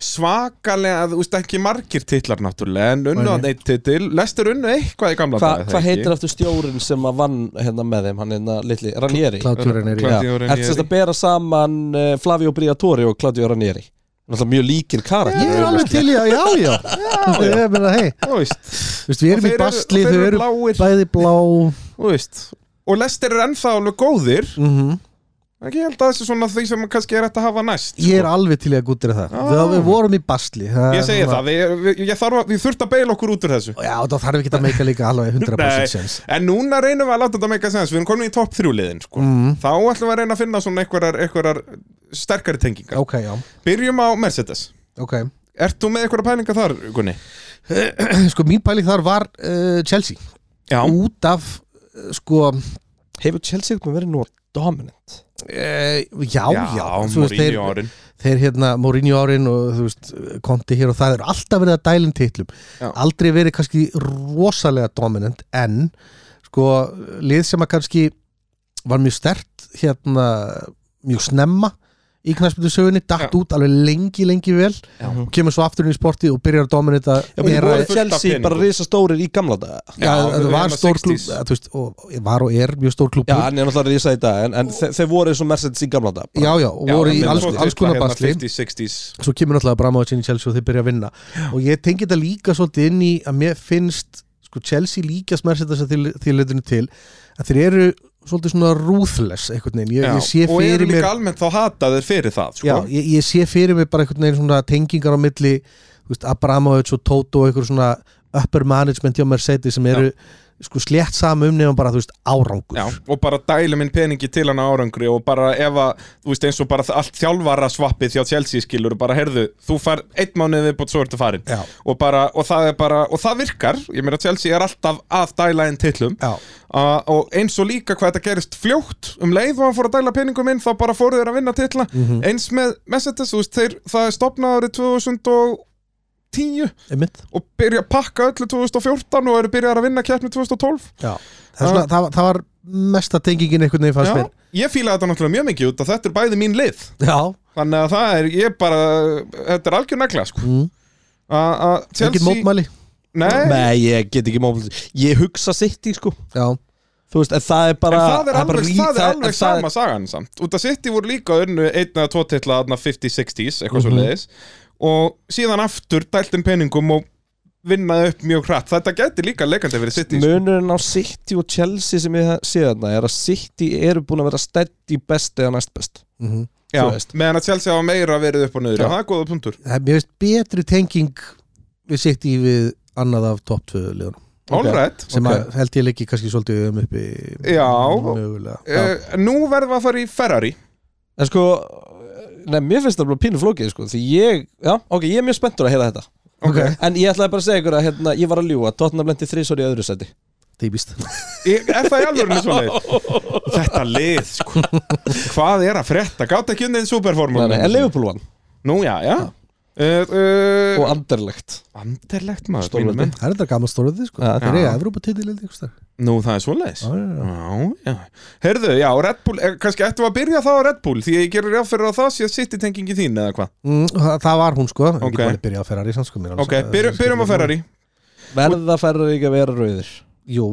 Speaker 2: svakalega, þú veist, ekki margir titlar náttúrulega, en unnu
Speaker 3: Nei,
Speaker 2: að neitt titil lestir unnu eitthvað í gamla
Speaker 1: Hva,
Speaker 2: daga,
Speaker 1: hvað
Speaker 2: það ekki?
Speaker 1: heitir aftur stjórin sem að vann hérna með þeim, hann hérna litli, Ranieri
Speaker 3: Claudio Ranieri.
Speaker 2: Claudio
Speaker 1: Já,
Speaker 2: Ranieri.
Speaker 1: Ertu sérst að bera saman uh, Flavio Briatore og Claudio Ranieri Náttúrulega mjög líkir karakter
Speaker 3: Ég er alveg til í að, já,
Speaker 2: <laughs>
Speaker 3: já, já, já. Meina, hey,
Speaker 2: Þú veist,
Speaker 3: þú veist, við
Speaker 2: Og þeir
Speaker 3: erum í
Speaker 2: eru-
Speaker 3: basli,
Speaker 2: og
Speaker 3: þau
Speaker 2: þeir eru
Speaker 3: eru
Speaker 2: bláir.
Speaker 3: bæði blá
Speaker 2: þú veist Og lestir eru ennþá alveg góðir
Speaker 3: mm
Speaker 2: Ekki ég held að þessi svona því sem kannski er hægt að hafa næst
Speaker 3: Ég er alveg til í að gúttir það
Speaker 2: Ah.
Speaker 3: Við við vorum í basli
Speaker 2: Ég segi það, við, við, ég þarf að, við þurft að beila okkur út úr þessu
Speaker 3: Já, þá þarf ekki að meika líka
Speaker 2: <laughs>
Speaker 3: alveg 100% sens
Speaker 2: En núna reynum við að láta þetta meika sens Við erum komin í topp þrjú liðin sko.
Speaker 3: Mm.
Speaker 2: Þá ætlum við að reyna að finna svona einhverjar, einhverjar sterkari tengingar
Speaker 3: Ok, já,
Speaker 2: Byrjum á Mercedes
Speaker 3: ok <clears throat>
Speaker 2: Ert þú með einhverja pælinga þar, Gunni?
Speaker 3: Sko, mín pæling þar var uh, Chelsea
Speaker 2: Já
Speaker 3: Út af, uh, sko,
Speaker 1: Hefur Chelsea ekki verið nú dominant?
Speaker 3: Uh, já, já,
Speaker 2: Já,
Speaker 3: þú
Speaker 2: Mourinho
Speaker 3: veist, þeir,
Speaker 2: árin
Speaker 3: þeir hérna Mourinho árin og þú veist Konti hér og það er alltaf verið að dælum titlum
Speaker 2: Já.
Speaker 3: aldrei verið kannski rosalega dominant en sko lið sem að kannski var mjög stert hérna mjög snemma í knæspöldu sögunni datt
Speaker 2: Já.
Speaker 3: út alveg lengi, lengi vel
Speaker 1: Já.
Speaker 3: og kemur svo aftur inn í sporti og byrjar að dominita
Speaker 1: Já, menn
Speaker 2: Era-
Speaker 1: voru
Speaker 2: fullt af
Speaker 1: Chelsea
Speaker 2: peningum.
Speaker 1: bara risastórir í gamla daga
Speaker 3: Já, það
Speaker 2: við
Speaker 3: var
Speaker 2: erum að
Speaker 3: stór
Speaker 2: 60s.
Speaker 3: klub eða, þú veist, og var og er mjög stór klub
Speaker 1: Já, hann er náttúrulega risa í dag En, en þe þeir voru eins og Mercedes í gamla daga
Speaker 3: já, já, og
Speaker 2: Já,
Speaker 3: voru í
Speaker 2: menn
Speaker 3: alls,
Speaker 2: fór
Speaker 3: alls
Speaker 2: titla
Speaker 3: konar
Speaker 2: hérna
Speaker 3: basli
Speaker 2: 50s, 60s
Speaker 3: svo kemur náttúrulega Bramovic inn í Chelsea og þeir byrja að vinna og ég tengi þetta líka svolítið inn í að mér finnst sko, Chelsea líka smersið þess að því leitinu til að þeir eru svolítið svona ruthless einhvern veginn, ég,
Speaker 2: Já,
Speaker 3: ég sé
Speaker 2: Og eru
Speaker 3: fyrir
Speaker 2: líka
Speaker 3: mér
Speaker 2: almennt þá hata þeir fyrir það sko.
Speaker 3: já, ég, ég sé fyrir mér bara einhvern veginn svona tengingar á milli þú veist, Abramovic og Toto og einhver svona upper management hjá Mercedes sem eru sko slétt saman um nefnum bara þú veist árangur
Speaker 2: Já, og bara dæla minn peningi til hann á árangri og bara ef að, þú veist eins og bara allt þjálfara svappið hjá Chelsea skilur og bara herðu, þú fær einn mánuð viðbútt svo ertu farin
Speaker 3: Já.
Speaker 2: og, bara, og það er bara, og það virkar ég meira Chelsea er alltaf að dæla inn tillum
Speaker 3: Já.
Speaker 2: Uh, og eins og líka hvað þetta gerist fljótt um leið og hann fór að dæla peningum inn þá bara fóru þeir að vinna titla
Speaker 3: Mhm.
Speaker 2: eins með Messetes, þú veist, þeir, það er stopnað árið 2010
Speaker 3: einmitt
Speaker 2: og byrja að pakka öllu 2014 og eru byrjað að vinna keppni 2012
Speaker 3: já. Það, er svona, það, var- það var mesta tengingin einhvern veginn fannst
Speaker 2: Uh. Já,
Speaker 3: mér
Speaker 2: ég fíla þetta náttúrulega mjög mikið út að þetta er bæði mín lið
Speaker 3: já,
Speaker 2: þannig að það er, ég bara þetta er algjör negla sko
Speaker 3: Mm.
Speaker 2: að að
Speaker 3: engin
Speaker 2: Chelsea,
Speaker 3: mótmæli
Speaker 2: nei,
Speaker 1: Nei, ég get ekki mófald Ég hugsa sitt í sko
Speaker 3: já
Speaker 1: Þú veist, en það er
Speaker 2: en
Speaker 1: bara
Speaker 2: það er
Speaker 1: bara
Speaker 2: alveg,
Speaker 1: rí-
Speaker 2: það er
Speaker 1: en
Speaker 2: alveg
Speaker 1: það-
Speaker 2: sama sagan samt, út að City voru líka unnu einn eða tvo titla þarna 50-60s, eitthvað svo leiðis og síðan aftur dæltum peningum og vinnaði upp mjög hratt, þetta gæti líka leikandi verið City sko.
Speaker 1: Munurinn á City og Chelsea sem ég sé þarna er að City eru búin að vera stætt í best eða næst best
Speaker 3: Mhm.
Speaker 2: Já,
Speaker 1: þú veist.
Speaker 2: meðan að Chelsea hafa meira verið upp og niður,
Speaker 1: Já.
Speaker 2: og það er góða punktur
Speaker 3: Það er mér veist betri tenging við sitt í við annað af topp 2 liðunum
Speaker 2: All right
Speaker 3: sem
Speaker 1: Ok.
Speaker 3: að held ég leiki kannski svolítið um uppi
Speaker 2: Já.
Speaker 3: mögulega já.
Speaker 2: Uh, nú verðum við að fara í Ferrari
Speaker 1: En sko, nei, mér finnst það bara pínu flókið sko, því ég, já, ok, ég er mjög spenntur að heyra þetta
Speaker 2: Ok.
Speaker 1: En ég ætlaði bara að segja ykkur að hérna, ég var að ljúga Tottenham lendi þrísor í öðru seti
Speaker 3: típist
Speaker 2: Ég- Er það í alvörinu svo leið? Þetta lið, sko Hvað er að frétta? Gátt ekki unnið
Speaker 1: Nei,
Speaker 2: superformúlum
Speaker 1: nei, en Liverpool vann
Speaker 2: Nú, já, já uh, uh,
Speaker 1: og Anderlegt
Speaker 2: Anderlegt maður
Speaker 1: Stórveldi.
Speaker 2: mínu menn.
Speaker 3: Það er þetta gaman stórið þið sko
Speaker 1: Já.
Speaker 3: Það er eiga Evrópatitil held ég einhvers staðar.
Speaker 2: Nú, það er svo leiðis
Speaker 3: Já, já, já.
Speaker 2: Já, já Herðu, já, Red Bull eh, Kannski ættum við að byrja þá á Red Bull Því ég gerir ráð fyrir að það sé sitt í tengingi þín eða hvað
Speaker 3: Mm, það- Það var hún sko okay.
Speaker 2: Ok.
Speaker 3: Ég búin að byrja á Ferrari sann sko mér er alveg
Speaker 2: Ok,
Speaker 3: sama-
Speaker 2: byrjum, byrjum á Ferrari
Speaker 1: Verða færður ekki að vera rauðir
Speaker 3: Jú,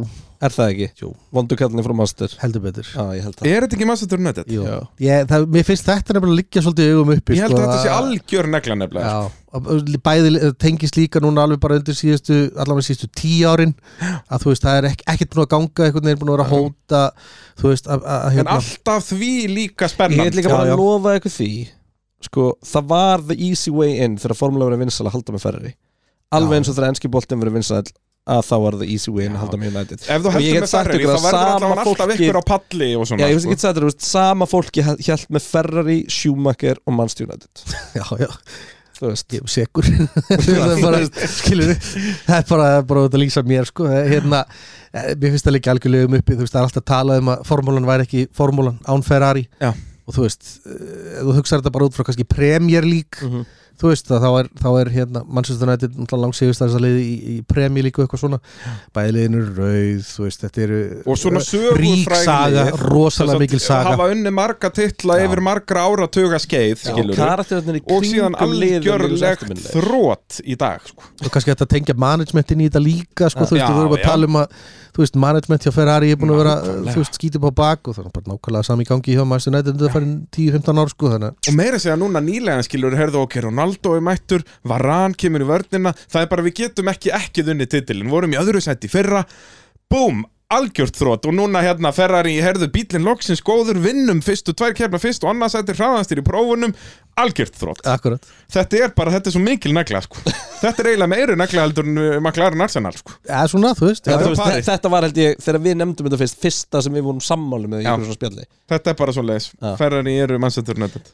Speaker 1: Er það ekki?
Speaker 3: Jú.
Speaker 1: Vondu kallinni frá Master
Speaker 3: heldur betur
Speaker 1: Já, ég held það
Speaker 2: Er þetta ekki Master United?
Speaker 3: Jú.
Speaker 1: Já.
Speaker 3: Ég, það, Mér finnst þetta nefnilega liggja svolítið í augum uppi
Speaker 2: Ég held
Speaker 3: sko,
Speaker 2: að þetta sé algjör negla nefnilega sko.
Speaker 3: Já, og bæði tengist líka núna alveg bara undir síðustu, allavega síðustu tíu árin að þú veist, það er ekk ekkert búin að ganga einhvern veginn búin að vera að hóta þú veist, að, að, hérna, að
Speaker 2: En alltaf því
Speaker 1: hérna-
Speaker 2: líka
Speaker 1: Ég
Speaker 2: spennand
Speaker 1: veit líka
Speaker 3: Já,
Speaker 1: bara
Speaker 3: já.
Speaker 1: að lofa ykkur því Sko, það var the easy way in þegar formúla verið vinsal að halda með ferri
Speaker 3: Já.
Speaker 1: Alveg eins og þegar enski boltin verið vinsal að þá var the easy way in að halda með United
Speaker 2: Ef þú
Speaker 1: Og ég get
Speaker 2: heldur með
Speaker 1: sagt
Speaker 2: Ferrari,
Speaker 1: ykkur
Speaker 2: þá
Speaker 1: að
Speaker 2: verður
Speaker 1: sama
Speaker 2: allavega alltaf
Speaker 1: fólki-
Speaker 2: ykkur á palli og svona
Speaker 1: Já, ég finnst
Speaker 2: sko.
Speaker 1: ekki að þetta, þú veist, sama fólki hjælt með Ferrari, Schumacher og Manchester United
Speaker 3: <laughs> já, já,
Speaker 1: Þú veist,
Speaker 3: ég
Speaker 2: <laughs>
Speaker 3: er segur það er bara, skilur það er bara, bara að lýsa mér sko Það er hérna, eh, mér finnst það líka algjörlega um uppi þú veist, það er alltaf talað um að formúlan væri ekki formúlan án Ferrari
Speaker 2: Já.
Speaker 3: og þú veist, eh, ef þú hugsar þetta bara út frá kannski Premier League
Speaker 1: Mhm.
Speaker 3: þú veist að þá er, þá er hérna, Manchester United náttúrulega langsíðust að þess að liði í, í premi líku eitthvað svona bæliðinu rauð, þú veist, þetta eru
Speaker 2: og svona
Speaker 3: ríksaga,
Speaker 2: sögurfræðilegir
Speaker 3: rosalega mikil saga
Speaker 2: hafa unni marga titla
Speaker 1: Já.
Speaker 2: yfir margra ára tuga skeið skilurðu.
Speaker 1: karakterarnir í
Speaker 2: og síðan
Speaker 1: kringum liðin eru svo
Speaker 2: algjörlegt
Speaker 1: eftirminnilegir.
Speaker 2: þrótt í dag sko.
Speaker 3: og kannski hægt að tengja managementin í þetta líka sko, þú veist,
Speaker 2: Já,
Speaker 3: við vorum að
Speaker 2: já.
Speaker 3: tala um að þú veist, management hjá Ferrari er búin að vera
Speaker 2: Nákvæmlega.
Speaker 3: þú veist, skítið á bak og það er bara nákvæmlega sami í gangi hjá Manchester United þetta farin 10-15 ár sko, þannig að-
Speaker 2: og meira segja núna nýlegan skilur herðu ok, Ronaldo er mættur, Varan kemur í vörnina, það er bara við getum ekki ekki þunni titilin, vorum í öðru sett í fyrra búm, algjört þrótt og núna hérna Ferrari, herðu bílinn loksins góður, vinnum fyrstu, tvær kemna fyrst og annars þetta er hraðanstir í prófunum algjört þrótt,
Speaker 3: akkurat
Speaker 2: þetta er bara, þetta er svo mikil negla sko, þetta er eiginlega meiri negla heldur en uh, McLaren Arsenal sko
Speaker 3: eða svona, þú veist,
Speaker 1: Já,
Speaker 3: já,
Speaker 1: þú
Speaker 2: þetta
Speaker 1: veist,
Speaker 2: parið.
Speaker 1: þe- þetta var held ég, þegar við nefndum þetta fyrst, fyrsta sem við vorum sammáli með í
Speaker 2: Já.
Speaker 1: einhverjum svona spjalli
Speaker 2: þetta er bara svo leiðis,
Speaker 1: Já.
Speaker 2: Ferrari eru Manchester United,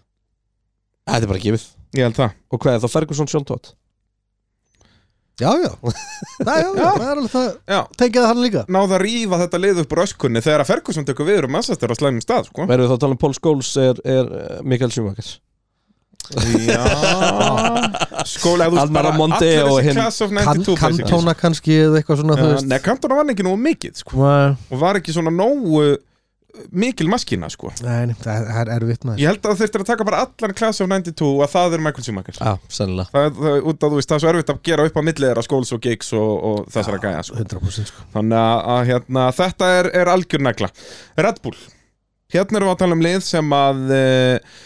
Speaker 1: Þetta er bara gefið
Speaker 2: ég held það
Speaker 1: Og hvað er þá Ferguson Sjón Tótt?
Speaker 3: já, já, já, já, <laughs> það er alveg það
Speaker 2: Já.
Speaker 3: tengja það hann líka
Speaker 2: náða að rífa þetta lið upp úr öskunni þegar að Ferguson tekur viður um Manchester á slæmum stað sko.
Speaker 1: Verðum við þá að tala um Paul Scholes er, er eh, Mikael Schumacher
Speaker 2: Já Skóla ef þú
Speaker 1: Almar
Speaker 2: bara-
Speaker 1: Amonte
Speaker 2: allir þessi
Speaker 1: og hinn-
Speaker 2: Class of
Speaker 3: kan,
Speaker 2: 92 basically.
Speaker 3: kantona kannski eða eitthvað svona, þú
Speaker 2: Já,
Speaker 3: veist
Speaker 2: Nei, Kantona vann ekki nú mikið sko,
Speaker 3: Nei,
Speaker 2: og var ekki svona nógu uh, mikil maskína sko.
Speaker 3: nei, það er- það er erfitt maður
Speaker 2: Ég held að þeir þurftir að taka bara allan Class of 92 og að það er Michael Schumacher
Speaker 1: Já, sennilega
Speaker 2: Það, er- það, er- út að, þú veist, það er svo erfitt að gera upp á millið þeirra skóls og gigs og, og þessara gæja sko.
Speaker 3: 100% sko.
Speaker 2: Þannig að, að hérna, þetta er, er algjör negla Red Bull Hérna erum við að tala um lið sem að uh,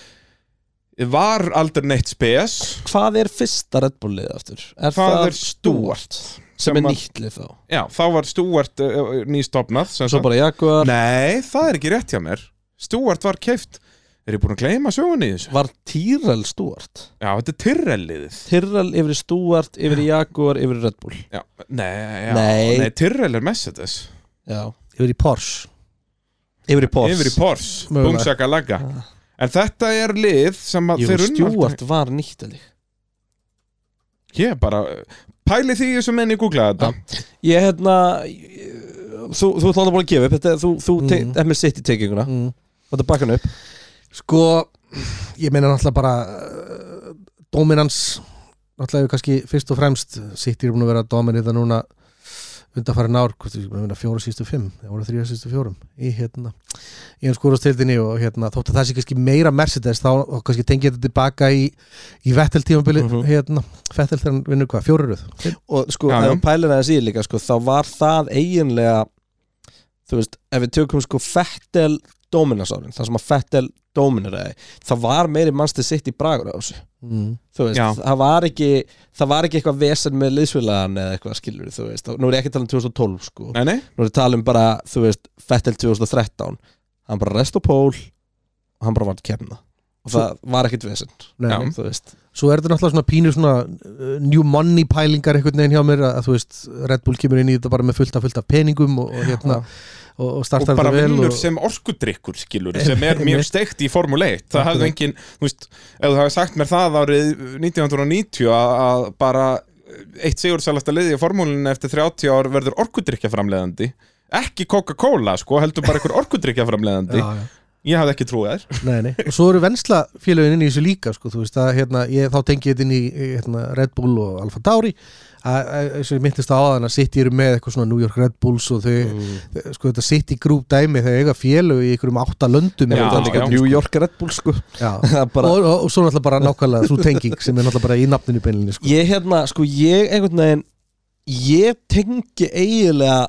Speaker 2: var aldrei neitt spes
Speaker 1: Hvað er fyrsta Red Bull liðið aftur? Er
Speaker 2: Það er Stuart
Speaker 1: Sem er
Speaker 2: sem að-
Speaker 1: nýtt lið þá
Speaker 2: Já, þá var Stuart uh, nýstopnað sem
Speaker 1: Svo
Speaker 2: sagt.
Speaker 1: bara Jaguar
Speaker 2: Nei, það er ekki rétt hjá mér Stuart var keift Er ég búin að gleyma sögunni í þessu?
Speaker 1: Var Tyrell Stuart
Speaker 2: Já, þetta er Tyrrelliðið
Speaker 1: Tyrell yfir í Stuart, yfir í Jaguar, yfir í Red Bull
Speaker 2: Já, nei, já,
Speaker 1: Nei.
Speaker 2: nei Tyrrell er Mercedes
Speaker 1: Já
Speaker 3: yfir í Porsche
Speaker 1: Yfir í Pors
Speaker 2: Yfir í Porsche,
Speaker 3: Mögulega. Ah.
Speaker 2: búmsaka lagga En þetta er lið sem að
Speaker 1: Jú,
Speaker 2: þeir unnu aldrei-
Speaker 1: Stuart var nýtt held ég
Speaker 2: Ég bara, pæli því sem enn ég googlaði þetta
Speaker 1: Ég hérna ég- Þú, þú ætlaði bara að gefa upp þetta, Þú, þú mm.
Speaker 3: Mm.
Speaker 1: te, MS City tekinguna
Speaker 3: mm.
Speaker 1: Þetta bakka hann upp
Speaker 3: Sko, ég meina náttúrulega bara uh, dominans náttúrulega hefur kannski fyrst og fremst City er búin að vera dominita núna undanfærin ár, hvort ég meina fjóra sístu fimm það voru þrjá sístu fjórum í hérna í hans skúrastildinni og hérna þótt að það sé kannski meira Mercedes þá þá kannski tengi ég þetta tilbaka í, í Vettel tímabili
Speaker 1: Mhm.
Speaker 3: hérna, Vettel þegar hann vinnur hvað, fjóruruð
Speaker 1: og sko,
Speaker 2: Já, já.
Speaker 1: ef pælina þess í líka sko, þá var það eiginlega þú veist, ef við tökum sko Fettel Dominasárin, það sem að Fettel Domineraði, það var meiri mannstu sitt í bragur á þessu,
Speaker 3: mm.
Speaker 1: þú veist
Speaker 2: Já.
Speaker 1: það var, ekki, það var ekki eitthvað vesen með liðsfélagan eða eitthvað skilur, þú veist nú er ég ekki að tala um 2012 sko
Speaker 2: Nei, nei,
Speaker 1: nú er ég að tala um bara, þú veist, Fettel 2013 hann bara rest og pól og hann bara var að kemna og það var ekkit vesen,
Speaker 3: Nei,
Speaker 2: Já.
Speaker 3: nei.
Speaker 1: þú veist
Speaker 3: svo er þetta náttúrulega svona pínur svona uh, new money pælingar einhvern veginn hjá mér að, að þú veist, Red Bull kemur inn í þetta bara með fullt af fullt af peningum og, og hérna og, og
Speaker 2: og
Speaker 3: startar
Speaker 2: bara
Speaker 3: þetta vel
Speaker 2: vinnur
Speaker 3: og,
Speaker 2: sem orkudrykkur skilur, sem er mjög steikt í Formule 1 það hafði engin, þú veist, ef þú hafði sagt mér það árið 1990 að, að bara eitt sigursalasta liði í formúlinu eftir 30 ár verður orkudrykja framleiðandi ekki Coca-Cola sko, heldur bara einhver orkudrykja framleiðandi
Speaker 3: já, já.
Speaker 2: ég hafði ekki trúið þér
Speaker 3: Nei, nei. og svo eru vennsla félögin inn í þessu líka sko, þú veist, að, hérna, ég, þá tengi ég þetta inn í hérna, Red Bull og Alfa Tauri að, að, eins og ég myndist á aðan að City eru með eitthvað svona New York Red Bulls og þau,
Speaker 2: Mm.
Speaker 3: sko þetta City Group dæmi þegar eiga félög í einhverjum átta löndum
Speaker 2: Já,
Speaker 1: það er líka
Speaker 2: já.
Speaker 1: New York Red Bull sko <laughs>
Speaker 3: Já.
Speaker 1: Það er bara,
Speaker 3: og, og, og svo náttúrulega bara nákvæmlega svo tenging sem er náttúrulega bara í nafninu beinlinni sko.
Speaker 1: Ég hérna, sko, ég einhvern veginn Ég tengi eiginlega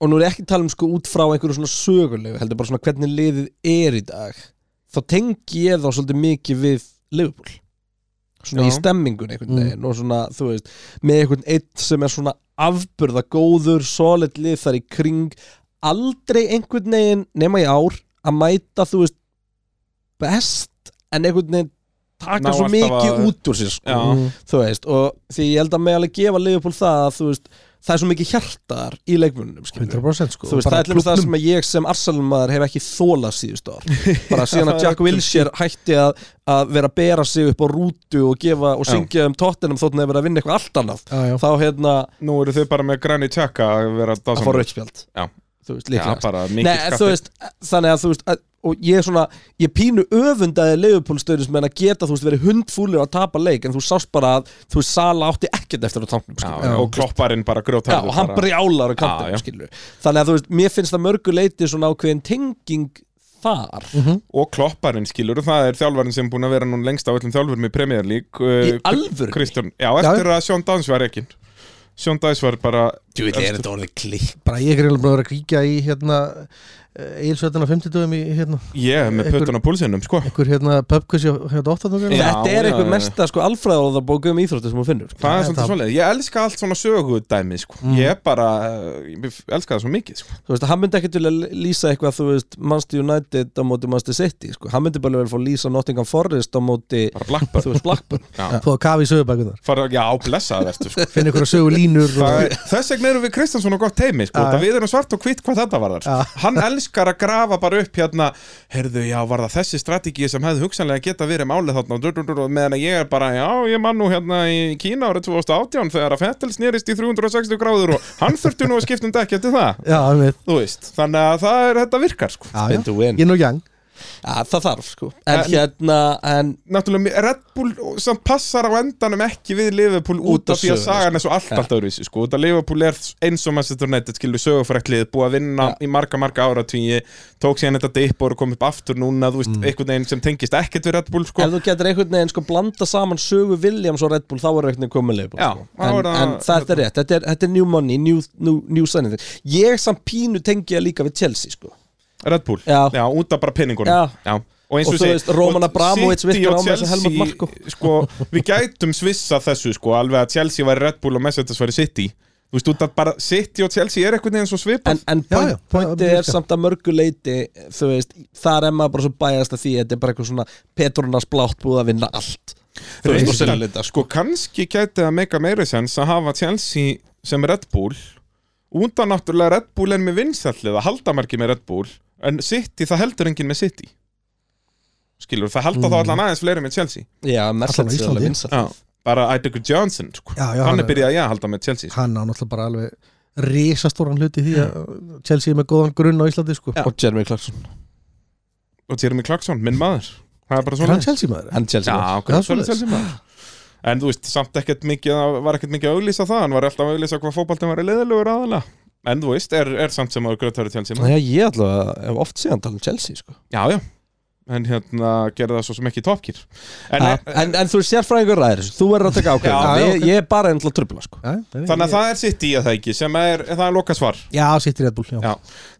Speaker 1: Og nú er ég ekki að tala um sko út frá einhverju svona sögulegu Heldur bara svona hvernig liðið er í dag Þá tengi ég þá svolítið mikið við Liverpool Svona
Speaker 2: Já.
Speaker 1: í stemmingun einhvern
Speaker 3: Mm.
Speaker 1: veginn Og svona, þú veist, með einhvern eitt sem er svona afburða góður Solid lið þar í kring Aldrei einhvern veginn, nema í ár Að mæta, þú veist, best En einhvern veginn
Speaker 2: Ná
Speaker 1: taka svo
Speaker 2: alltaf
Speaker 1: mikið
Speaker 2: að-
Speaker 1: út úr sér sko
Speaker 2: Já.
Speaker 3: Mm.
Speaker 1: þú veist, og því ég held að með alveg gefa Liverpool það að þú veist, það er svo mikið hjartar í leikmunum, skilur
Speaker 3: 100% sko
Speaker 1: þú veist, það
Speaker 3: bara
Speaker 1: er allir það
Speaker 3: klúbbnum.
Speaker 1: sem að ég sem Arsenal-maður hef ekki þólað síðust ár
Speaker 3: <laughs>
Speaker 1: bara síðan að Jack Wilshere hætti að, að vera að bera sig upp á rútu og gefa og
Speaker 2: Já.
Speaker 1: syngja um tóttinum þótt hann hefur verið að vinna eitthvað allt annað
Speaker 3: já, já.
Speaker 1: þá hérna,
Speaker 2: nú eru þau bara með Granny Chaka að vera
Speaker 1: að
Speaker 2: dásamlega.
Speaker 1: fá rauðspjald
Speaker 2: Já.
Speaker 1: þú veist,
Speaker 2: Já,
Speaker 1: líklegast
Speaker 2: bara mikið
Speaker 1: Nei, þú veist, þannig að þú veist að, og ég er svona, ég pínu öfundaði leifupólstöðis með að geta, þú veist, verið hundfúlir að tapa leik, en þú sást bara að þú veist, Sala átti ekkert eftir að táknum
Speaker 2: Já,
Speaker 1: skilur.
Speaker 2: já, og klopparinn bara grjótarður
Speaker 1: Já, og hann
Speaker 2: bara-
Speaker 1: brjálar á
Speaker 2: Já, já.
Speaker 1: kantinum, skilur Þannig að þú veist, mér finnst það mörgu leiti svona ákveðin tenging þar
Speaker 2: og klopparinn skilur, það er þjálfarinn sem er búin að vera núna lengst af öllum þjálfurum í Premier League uh,
Speaker 1: Í alvörunni?
Speaker 2: Kristján, já, eftir að Sean Downs var ekki Sean Downs var bara
Speaker 1: Þú veit, er þetta orðið klikk
Speaker 3: bara ég er reynilega búin að vera að kíkja í hérna eilsveitin á 50 dögum í hérna
Speaker 2: ég yeah, með
Speaker 3: Einhver-
Speaker 2: pötun á púlsinum, sko
Speaker 3: einhver hérna pubquiz hjá- hérna. hjá Dóttarnum
Speaker 2: Já,
Speaker 1: Þetta er
Speaker 2: já,
Speaker 1: einhver
Speaker 2: já.
Speaker 1: mesta, sko, alfræðorðabóku um íþróttu sem hún finnur sko.
Speaker 2: það
Speaker 3: Já,
Speaker 2: er svolítið
Speaker 3: það-
Speaker 2: svolítið, ég elska allt svona sögudæmi, sko,
Speaker 1: Mm.
Speaker 2: ég er bara eh, ég elska það svo mikið, sko
Speaker 1: Þú veist, hann myndi ekkert vilja lýsa eitthvað, þú veist, Manchester United á móti Manchester City, sko Hann myndi bara vilja fá að lýsa Nottingham Forest á móti,
Speaker 2: bara
Speaker 1: þú
Speaker 2: Blackburn,
Speaker 1: veist,
Speaker 2: <laughs>
Speaker 1: Blackburn
Speaker 2: já,
Speaker 3: þú að kafa í sögubækunar
Speaker 2: fara, já, blessað ertu, sko
Speaker 3: finna ykkur að sögu línur
Speaker 2: Það
Speaker 3: og,
Speaker 2: er- Þess vegna erum við Kristjánsson og gott teimi sko.
Speaker 3: Já,
Speaker 2: Það
Speaker 3: já.
Speaker 2: við erum svart og hvitt hvað þetta var
Speaker 3: Já.
Speaker 2: þar Hann elskar að grafa bara upp hérna Herðu, já, var það þessi strategíu sem hefði hugsanlega geta verið málið þarna dur, dur, dur, og meðan að ég er bara, já, ég man nú hérna í Kína árið 2018 þegar að Fettel snerist í 360 gráður og hann þurfti nú að skipta um dekk eftir það
Speaker 3: já, einmitt.
Speaker 2: Þú veist, þannig að það er, þetta virkar sko.
Speaker 3: já,
Speaker 1: Win
Speaker 3: já.
Speaker 1: to win.
Speaker 3: ég er nú jang
Speaker 1: Já, það þarf, sko En
Speaker 2: En-
Speaker 1: hérna, en
Speaker 2: Náttúrulega, Red Bull sem passar á endanum ekki við Liverpool út
Speaker 1: Út af
Speaker 2: af því að
Speaker 1: sögunni,
Speaker 2: sagan er svo allt, allt öðruvísi sko. Þetta Liverpool er eins og Manchester United skilur sögufræklið, búið að vinna í marga, marga áratvíi, tók síðan þetta dip og eru komið upp aftur núna, þú veist, einhvern veginn sem tengist ekkert við Red Bull,
Speaker 1: Mm.
Speaker 2: sko
Speaker 1: ef þú getur einhvern veginn sko blanda saman sögu Williams og Red Bull þá er einhvern veginn komið leifból
Speaker 2: Já,
Speaker 1: sko.
Speaker 2: þá er
Speaker 1: en, en
Speaker 2: það-
Speaker 1: þetta er rétt, þetta er, þetta er new money new, new, new signing ég samt pínu tengi það líka við Chelsea sko.
Speaker 2: Red Bull,
Speaker 1: Já.
Speaker 2: út af bara penningunum
Speaker 1: Já.
Speaker 2: Og, eins
Speaker 1: Og
Speaker 2: og,
Speaker 1: þú
Speaker 2: ég segi,
Speaker 1: veist, Roman
Speaker 2: og
Speaker 1: Abramovich
Speaker 2: City
Speaker 1: virkar á
Speaker 2: og
Speaker 1: með þessu
Speaker 2: Chelsea,
Speaker 1: Helmut Marko.
Speaker 2: sko, Við gætum svissa þessu sko, alveg að Chelsea væri Red Bull og Mercedes væri City Þú veist, út af bara City og Chelsea er einhvern veginn svo svipað
Speaker 1: en, en
Speaker 3: Já,
Speaker 1: point,
Speaker 3: já, það-
Speaker 1: pointi
Speaker 3: það
Speaker 1: er
Speaker 3: virkar.
Speaker 1: samt að mörgu leiti þú veist, þar er maður bara svo bæjast að því þetta er bara eitthvað svona Petrunas blátt búið að vinna allt Þú veist, og
Speaker 2: Reynslan-
Speaker 1: selja þetta,
Speaker 2: sko kannski gæti það meika meira sens að hafa Chelsea sem Red Bull út af náttúrulega Red Bull en með vinsallið að halda margir með Red Bull en City það heldur enginn með City skilur það halda
Speaker 3: Mhm.
Speaker 2: þá allan aðeins fleiri með Chelsea
Speaker 1: já, Mercedes er
Speaker 3: Íslandi.
Speaker 1: alveg vinsæll.
Speaker 2: já. bara Eidegur Johnson sko.
Speaker 3: Já, já,
Speaker 2: hann
Speaker 3: hann
Speaker 2: er
Speaker 3: er-
Speaker 2: byrjað að ég að halda með Chelsea sko.
Speaker 3: hann á náttúrulega bara alveg risastóran hluti í því að Chelsea er með góðan grunn á Íslandi sko.
Speaker 1: og Jeremy Clarkson,
Speaker 2: og Jeremy Clarkson, minn maður það er bara
Speaker 3: er
Speaker 2: svona
Speaker 3: hann Chelsea maður?
Speaker 1: hann Chelsea sko.
Speaker 2: já,
Speaker 1: maður.
Speaker 2: okkur,
Speaker 3: Já,
Speaker 2: svona
Speaker 3: svoleiðis.
Speaker 2: Chelsea maður en þú veist, samt ekkert mikið það var ekkert mikið að auglýsa það, hann var alltaf að auglýsa hvað fótboltinn var leiðilegur aðalega en þú veist, er, er samt sem að grötari Chelsea
Speaker 1: Já,
Speaker 2: maður
Speaker 1: ég ætla að hef oft síðan tala um Chelsea sko.
Speaker 2: Já, já En hérna gerði það svo sem ekki topkir en,
Speaker 1: en, en, en þú er sérfræðingur ræðir þessu, þú verður að taka
Speaker 2: Já,
Speaker 1: ákveð
Speaker 3: já,
Speaker 1: ég, ég er bara ennlega trubla sko.
Speaker 3: Já, nei, nei,
Speaker 2: Þannig að
Speaker 3: ég-
Speaker 2: það er sitt í að það ekki sem er, það er lokasvar
Speaker 3: já, sittir Red Bull já.
Speaker 2: Já.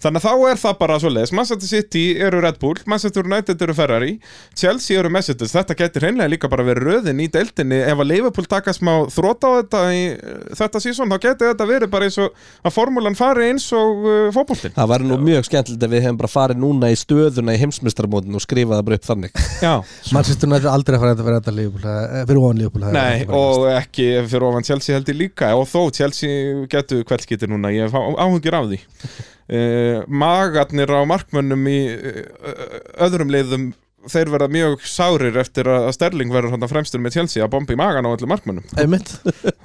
Speaker 2: Þannig að þá er það bara svoleiðis Manchester City eru Red Bull, Manchester United eru Ferrari Chelsea eru Mercedes Þetta gæti hreinlega líka bara verið röðin í deildinni Ef að Liverpool taka smá þróta á þetta í eh, þetta sísón þá gæti þetta verið bara eins og að formúlan fari eins og uh, fótboltinn
Speaker 1: Það væri nú mjög skemmtilegt að við hefum bara farið núna í stöðuna í heimsmyndstramótin og skrifað það bara upp þannig
Speaker 2: Já,
Speaker 3: Manchester United er aldrei að fara þetta fyrir þetta Liverpool, það- eh, fyrir ofan Liverpool það er
Speaker 2: Nei,
Speaker 3: aldrei að fara
Speaker 2: og ekki fyrir ofan Chelsea held ég líka og þó Chelsea getur kveldskittir núna ég hef á- áhugir af því uh, magarnir á markmönnum í uh, öðrum leiðum þeir verða mjög sárir eftir að að Sterling verður hann fremstur með Chelsea að bomba í magan á öllum markmönnum
Speaker 3: þetta. Einmitt.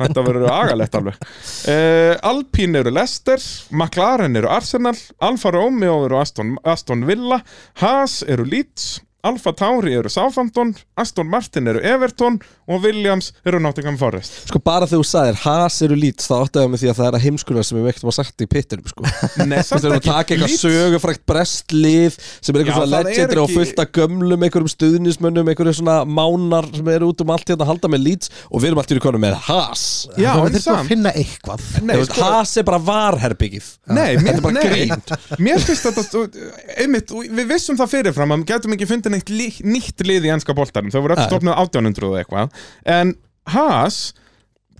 Speaker 2: þetta verður agalegt alveg uh, Alpín eru Leicester McLaren eru Arsenal Alfa Romeo eru Aston, Aston Villa Haas eru Leeds Alfa Tauri eru Southampton Aston Martin eru Everton og Williams eru Nottingham Forest
Speaker 1: Sko bara þegar þú sagðir Haas eru lít þá áttaði mig því að það er að heimskunar sem við veitum að sagt í pittinum sko Þú
Speaker 2: Nei, samt
Speaker 1: veist erum að taka eitthvað
Speaker 2: Leeds-
Speaker 1: sögufrækt brestlið sem er
Speaker 2: Já,
Speaker 1: eitthvað svona
Speaker 2: það er
Speaker 1: legendri og
Speaker 2: ekki-
Speaker 1: fullt af gömlum einhverjum stuðnismönnum, einhverjum svona mánar sem eru út um allt hérna að halda með lít og við erum allt í rauninu með Haas
Speaker 2: Já,
Speaker 3: Það
Speaker 2: en
Speaker 3: þurfti að
Speaker 2: samt
Speaker 3: finna eitthvað
Speaker 2: Nei,
Speaker 1: Þú veist,
Speaker 2: sko-
Speaker 1: Haas er bara varherbyggið
Speaker 2: Nei, mér,
Speaker 1: Þetta er bara
Speaker 2: nei,
Speaker 1: grín.
Speaker 2: mér finnst þetta þú- einmitt, við vissum það fyrirfram að við gætum ekki fundið neitt lí, nýtt lið í ennska boltarum, þau voru öll
Speaker 1: Nei.
Speaker 2: stofnað 1800 og eitthvað, en Haas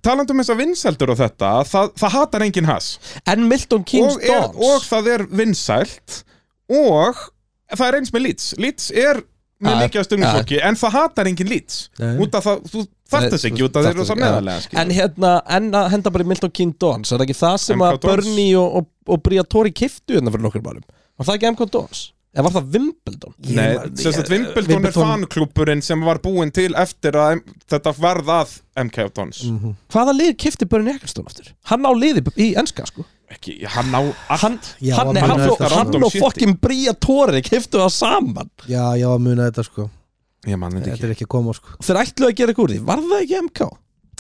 Speaker 2: talandi um þess að vinseldur og þetta það, það hatar engin Haas
Speaker 1: En Milton Keynes
Speaker 2: og, er, og
Speaker 1: Dons
Speaker 2: það er vinsælt og það er eins með Leeds Leeds er með
Speaker 1: Ja,
Speaker 2: mikið af stungumfólki en það hatar engin Leeds
Speaker 3: Nei.
Speaker 2: út af það, þú
Speaker 1: Nei,
Speaker 2: þarft þess ekki út af þeir
Speaker 1: þarft
Speaker 2: eru
Speaker 1: þess
Speaker 2: það
Speaker 1: ekki, já.
Speaker 2: neðarlega skilur.
Speaker 1: En hérna, en að henda bara í Milton King Dons Er það ekki það sem
Speaker 2: MK
Speaker 1: að
Speaker 2: Dons?
Speaker 1: Bernie og, og, og Briatori kiftu hérna fyrir nokkur málum Var það ekki MK Dons? eða var það Wimbledon?
Speaker 3: Ég
Speaker 2: Nei,
Speaker 3: man-
Speaker 2: sem sagt
Speaker 3: ég-
Speaker 2: Wimbledon er
Speaker 3: Wimbledon-
Speaker 2: fanklúpurinn sem var búinn til eftir að M- þetta varð að MK Dons
Speaker 3: Mhm.
Speaker 1: Hvaða lið kifti Börn Ecclestone aftur? Hann á liði í enska sko
Speaker 2: ekki, hann á allt
Speaker 1: Hann,
Speaker 3: Já,
Speaker 1: hann, hann,
Speaker 3: hann
Speaker 2: munaði
Speaker 1: hann,
Speaker 2: þetta
Speaker 1: hann
Speaker 2: random
Speaker 1: og
Speaker 2: shiti.
Speaker 1: fokkin Bría Tóri kiftu það saman
Speaker 3: Já, já, að muna þetta sko
Speaker 2: ég man þetta
Speaker 3: Þetta
Speaker 2: ekki
Speaker 3: er ekki að koma sko
Speaker 1: Þeir ætluðu að gera ykkur úr því, var það ekki MK?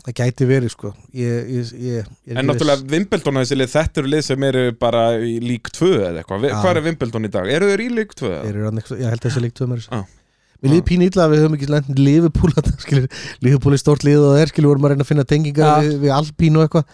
Speaker 3: Það gæti verið sko ég, ég, ég, ég
Speaker 2: En
Speaker 3: er ekki viss.
Speaker 2: náttúrulega Wimbledon og þessi lið, þetta eru lið sem eru bara í lík 2 eða eitthvað.
Speaker 3: Já.
Speaker 2: Hvað er Wimbledon í dag? Eru þeir í lík 2?
Speaker 3: Þeir eru annars, ég held að þessi leik tvö mér
Speaker 2: Já.
Speaker 3: Mér
Speaker 2: Ah.
Speaker 3: líði pínu illa að við höfum ekki lendin Liverpool að <laughs> það skilur Liverpool er stórt lið og það er skilur vorum að reyna að finna tengingar
Speaker 2: Ah.
Speaker 1: Já.
Speaker 3: við, við Alpín og eitthvað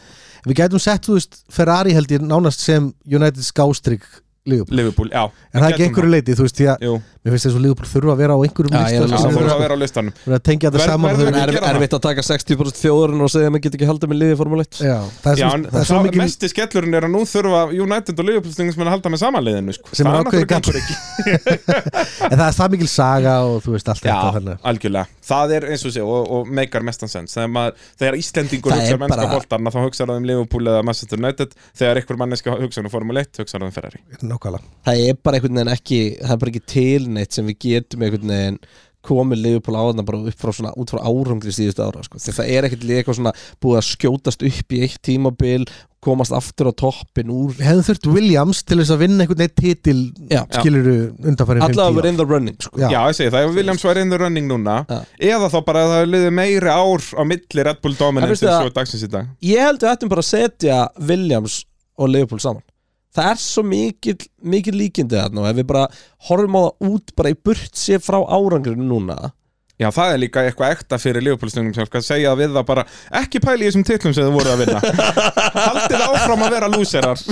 Speaker 3: Við gætum sett, þú veist, Ferrari held ég nánast sem United skástrygg Liverpool
Speaker 2: Liverpool, já.
Speaker 3: En það er ekki
Speaker 2: Gætum
Speaker 3: einhverju leiti, þú veist, því að
Speaker 2: Jú,
Speaker 3: mér finnst þess að Liverpool þurfa að vera á einhverjum
Speaker 1: Já, ég er
Speaker 2: já,
Speaker 1: alveg
Speaker 2: það
Speaker 1: sammála.
Speaker 2: voru að
Speaker 3: lista
Speaker 2: vera á listanum.
Speaker 3: Það er að tengja
Speaker 2: Verð-
Speaker 3: þetta saman
Speaker 2: verður
Speaker 3: þau-
Speaker 1: En
Speaker 2: ekki
Speaker 1: er,
Speaker 2: gera það.
Speaker 1: erfitt að taka 60% þjóðurinn og segja að maður get ekki haldið með liði í Formule 1
Speaker 3: Já, það er
Speaker 2: Já, en
Speaker 3: sem- það er
Speaker 2: sá,
Speaker 3: svo mikil
Speaker 2: mesti skellurinn er að nú þurfa United og Liverpool stingum að halda með samanliðinu sko.
Speaker 3: Sem er
Speaker 2: Það
Speaker 3: ákveðið
Speaker 2: náttúrulega gengur ekki.
Speaker 3: En það er það mikil saga og þú veist, allt þetta
Speaker 2: Já,
Speaker 3: þannig
Speaker 2: algjörlega. Það er eins og sé og, og meikar mestan sens. Þegar, maður, þegar Íslendingur
Speaker 1: Það er
Speaker 2: hugsaður mennska
Speaker 1: bara-
Speaker 2: boltarna þá hugsaður það um Liverpool eða Manchester United. Þegar einhver manneska hugsaður um Formule 1 hugsaður það um Ferrari.
Speaker 3: Nákvæmlega
Speaker 1: Það er bara einhvern veginn ekki, það er bara ekki tilneitt sem við getum einhvern veginn komið Liverpool á þarna bara upp frá svona út frá árangri síðustu ára sko. þegar það er ekkert lið eitthvað svona búið að skjótast upp í eitt tímabil komast aftur á toppin úr
Speaker 3: Við hefðum þurft Williams til þess að vinna einhvern eitt titil
Speaker 1: Já.
Speaker 3: skiluru undanfærin
Speaker 1: allavega verið in the running sko.
Speaker 3: Já.
Speaker 2: Já, ég segi það, ef Williams var in the running núna
Speaker 1: Já.
Speaker 2: eða þá bara að það hefur liðið meiri ár á milli Red Bull
Speaker 1: En
Speaker 2: Dominance
Speaker 1: veistu
Speaker 2: eins
Speaker 1: það-
Speaker 2: og dagsins í dag
Speaker 1: ég held við ættum bara að setja Williams og Liverpool saman það er svo mikil, mikil líkindi þarna og ef við bara horfum á það út bara í burt sér frá árangrinu núna
Speaker 2: Já, það er líka eitthvað ekta fyrir Liverpool-stungum sem skal segja við það bara ekki pæli í þessum titlum sem þið voru
Speaker 1: <laughs>
Speaker 2: að vinna Haldið áfram að vera lúserar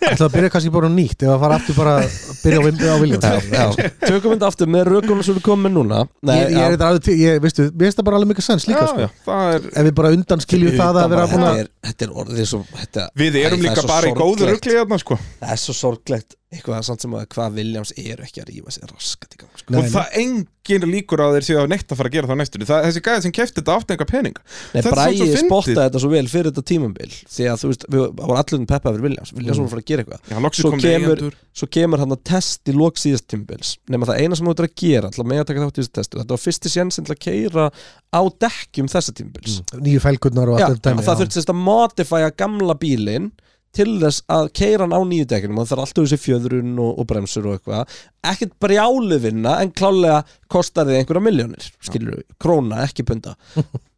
Speaker 3: Það að byrja kannski bara á nýtt ef að fara aftur bara að byrja á, Wim- á Williams
Speaker 1: já, já. tökum þetta aftur með rökunum sem við komum með núna
Speaker 3: Ég, ég er
Speaker 1: já.
Speaker 3: þetta alveg til, ég, veistu, mér finnst það bara alveg mikil sens líka
Speaker 2: Já,
Speaker 3: sko.
Speaker 2: já, það er
Speaker 3: Ef við bara undan skiljum það að vera búin
Speaker 1: þetta,
Speaker 3: að
Speaker 1: er, þetta er orðið svo þetta,
Speaker 2: Við erum
Speaker 1: Æ, það er
Speaker 2: líka
Speaker 1: svo
Speaker 2: bara í góðu
Speaker 1: sorglegt.
Speaker 2: rugli hérna, sko.
Speaker 1: Það er svo sorglegt eitthvað samt sem að hvað Williams eru ekki að rífa sér raskat í gang sko.
Speaker 3: Nei,
Speaker 2: og það engin líkur á að þeir séu að neitt að fara að gera það á næstunni það, Þessi gæði sem kefti þetta átti einhver pening
Speaker 1: Nei,
Speaker 2: þetta er
Speaker 1: Bræði
Speaker 2: svolítið svo
Speaker 1: spottaði
Speaker 2: fyndið.
Speaker 1: þetta svo vel fyrir þetta tímambil því að þú veist, við varum allir peppa fyrir Williams Williams mm. voru að fara að gera eitthvað
Speaker 2: Já, loksins
Speaker 1: svo
Speaker 2: kom
Speaker 1: kemur,
Speaker 2: eigendur.
Speaker 1: svo kemur hann að test í lok síðast tímabils nema það eina sem þú ert að gera til að mega taka þátt í þessu testu þetta var fyrsti sjensin til að keira á dekkjum þessa tímabils
Speaker 3: nýju fælgurnar og
Speaker 1: Já,
Speaker 3: allt þetta dæmi,
Speaker 1: og það þurfti sérst að modifæja gamla bílinn til þess að keira hann á nýju dekkinum og það er alltaf þessi fjöðrun og, og bremsur og eitthvað ekkert brjálu vinna en klálega kostar þið einhverja miljónir skilur við, króna, ekki punda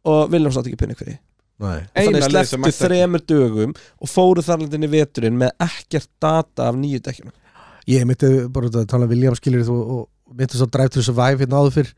Speaker 1: og Viljum sátt ekki pinni hverju
Speaker 3: Nei.
Speaker 1: og þannig
Speaker 2: Eina lið sem
Speaker 1: sleftu
Speaker 2: mætti-
Speaker 1: þremur dögum og fóru þarlandinni veturinn með ekkert data af nýju dekkinum
Speaker 3: Ég myndi bara út að tala um Williams skilur þú og og myndi svo Drive to Survive hérna áður fyrr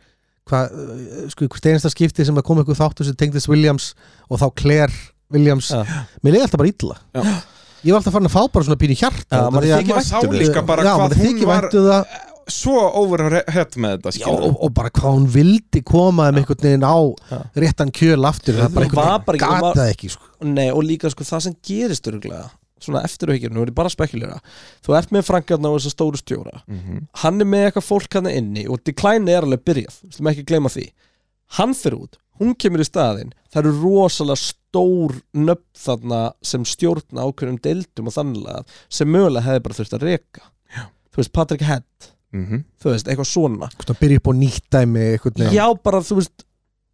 Speaker 3: hvað, eh, sko, hvert einasta skipti sem það kom eitthvað þáttur sem tengdist Williams og þá Claire Williams
Speaker 1: Já.
Speaker 3: Mér leiði alltaf bara illa
Speaker 2: Já.
Speaker 3: Ég var alltaf farin að fá bara svona pínu hjarta
Speaker 1: Já,
Speaker 3: út af
Speaker 1: manni
Speaker 3: því að-
Speaker 1: þykir um
Speaker 2: Maður sá
Speaker 1: væntu þér.
Speaker 2: líka bara
Speaker 3: Já,
Speaker 2: hvað
Speaker 3: maður
Speaker 2: hún
Speaker 3: þykir
Speaker 2: var
Speaker 3: væntu það
Speaker 2: svo overhead með þetta
Speaker 3: Já,
Speaker 2: skilur.
Speaker 3: og, og bara hvað hún vildi koma um einhvern veginn á
Speaker 1: Já.
Speaker 3: réttan kjöl aftur það bara
Speaker 1: Hún var
Speaker 3: einhvern
Speaker 1: bara
Speaker 3: veginn
Speaker 1: ekki- hún var-
Speaker 3: gatað ekki sko.
Speaker 1: Nei, og líka sko það sem gerist örgulega svona eftir aukjur, nú er ég bara að spekulera þú ert með frankarna og þess að stóru stjóra
Speaker 2: Mhm.
Speaker 1: hann er með eitthvað fólk hann inni og Decline er alveg byrjað, við slum ekki gleyma því hann fyrir út, hún kemur í staðinn það eru rosalega stór nöfn þarna sem stjórna ákveðum deildum og þannlega sem mögulega hefði bara þurft að reka
Speaker 2: Já.
Speaker 1: þú veist Patrick Head,
Speaker 2: Mhm.
Speaker 1: þú veist, eitthvað svona
Speaker 3: Svona byrja upp á nýtt dæmi einhvern veginn
Speaker 1: já, bara þú veist,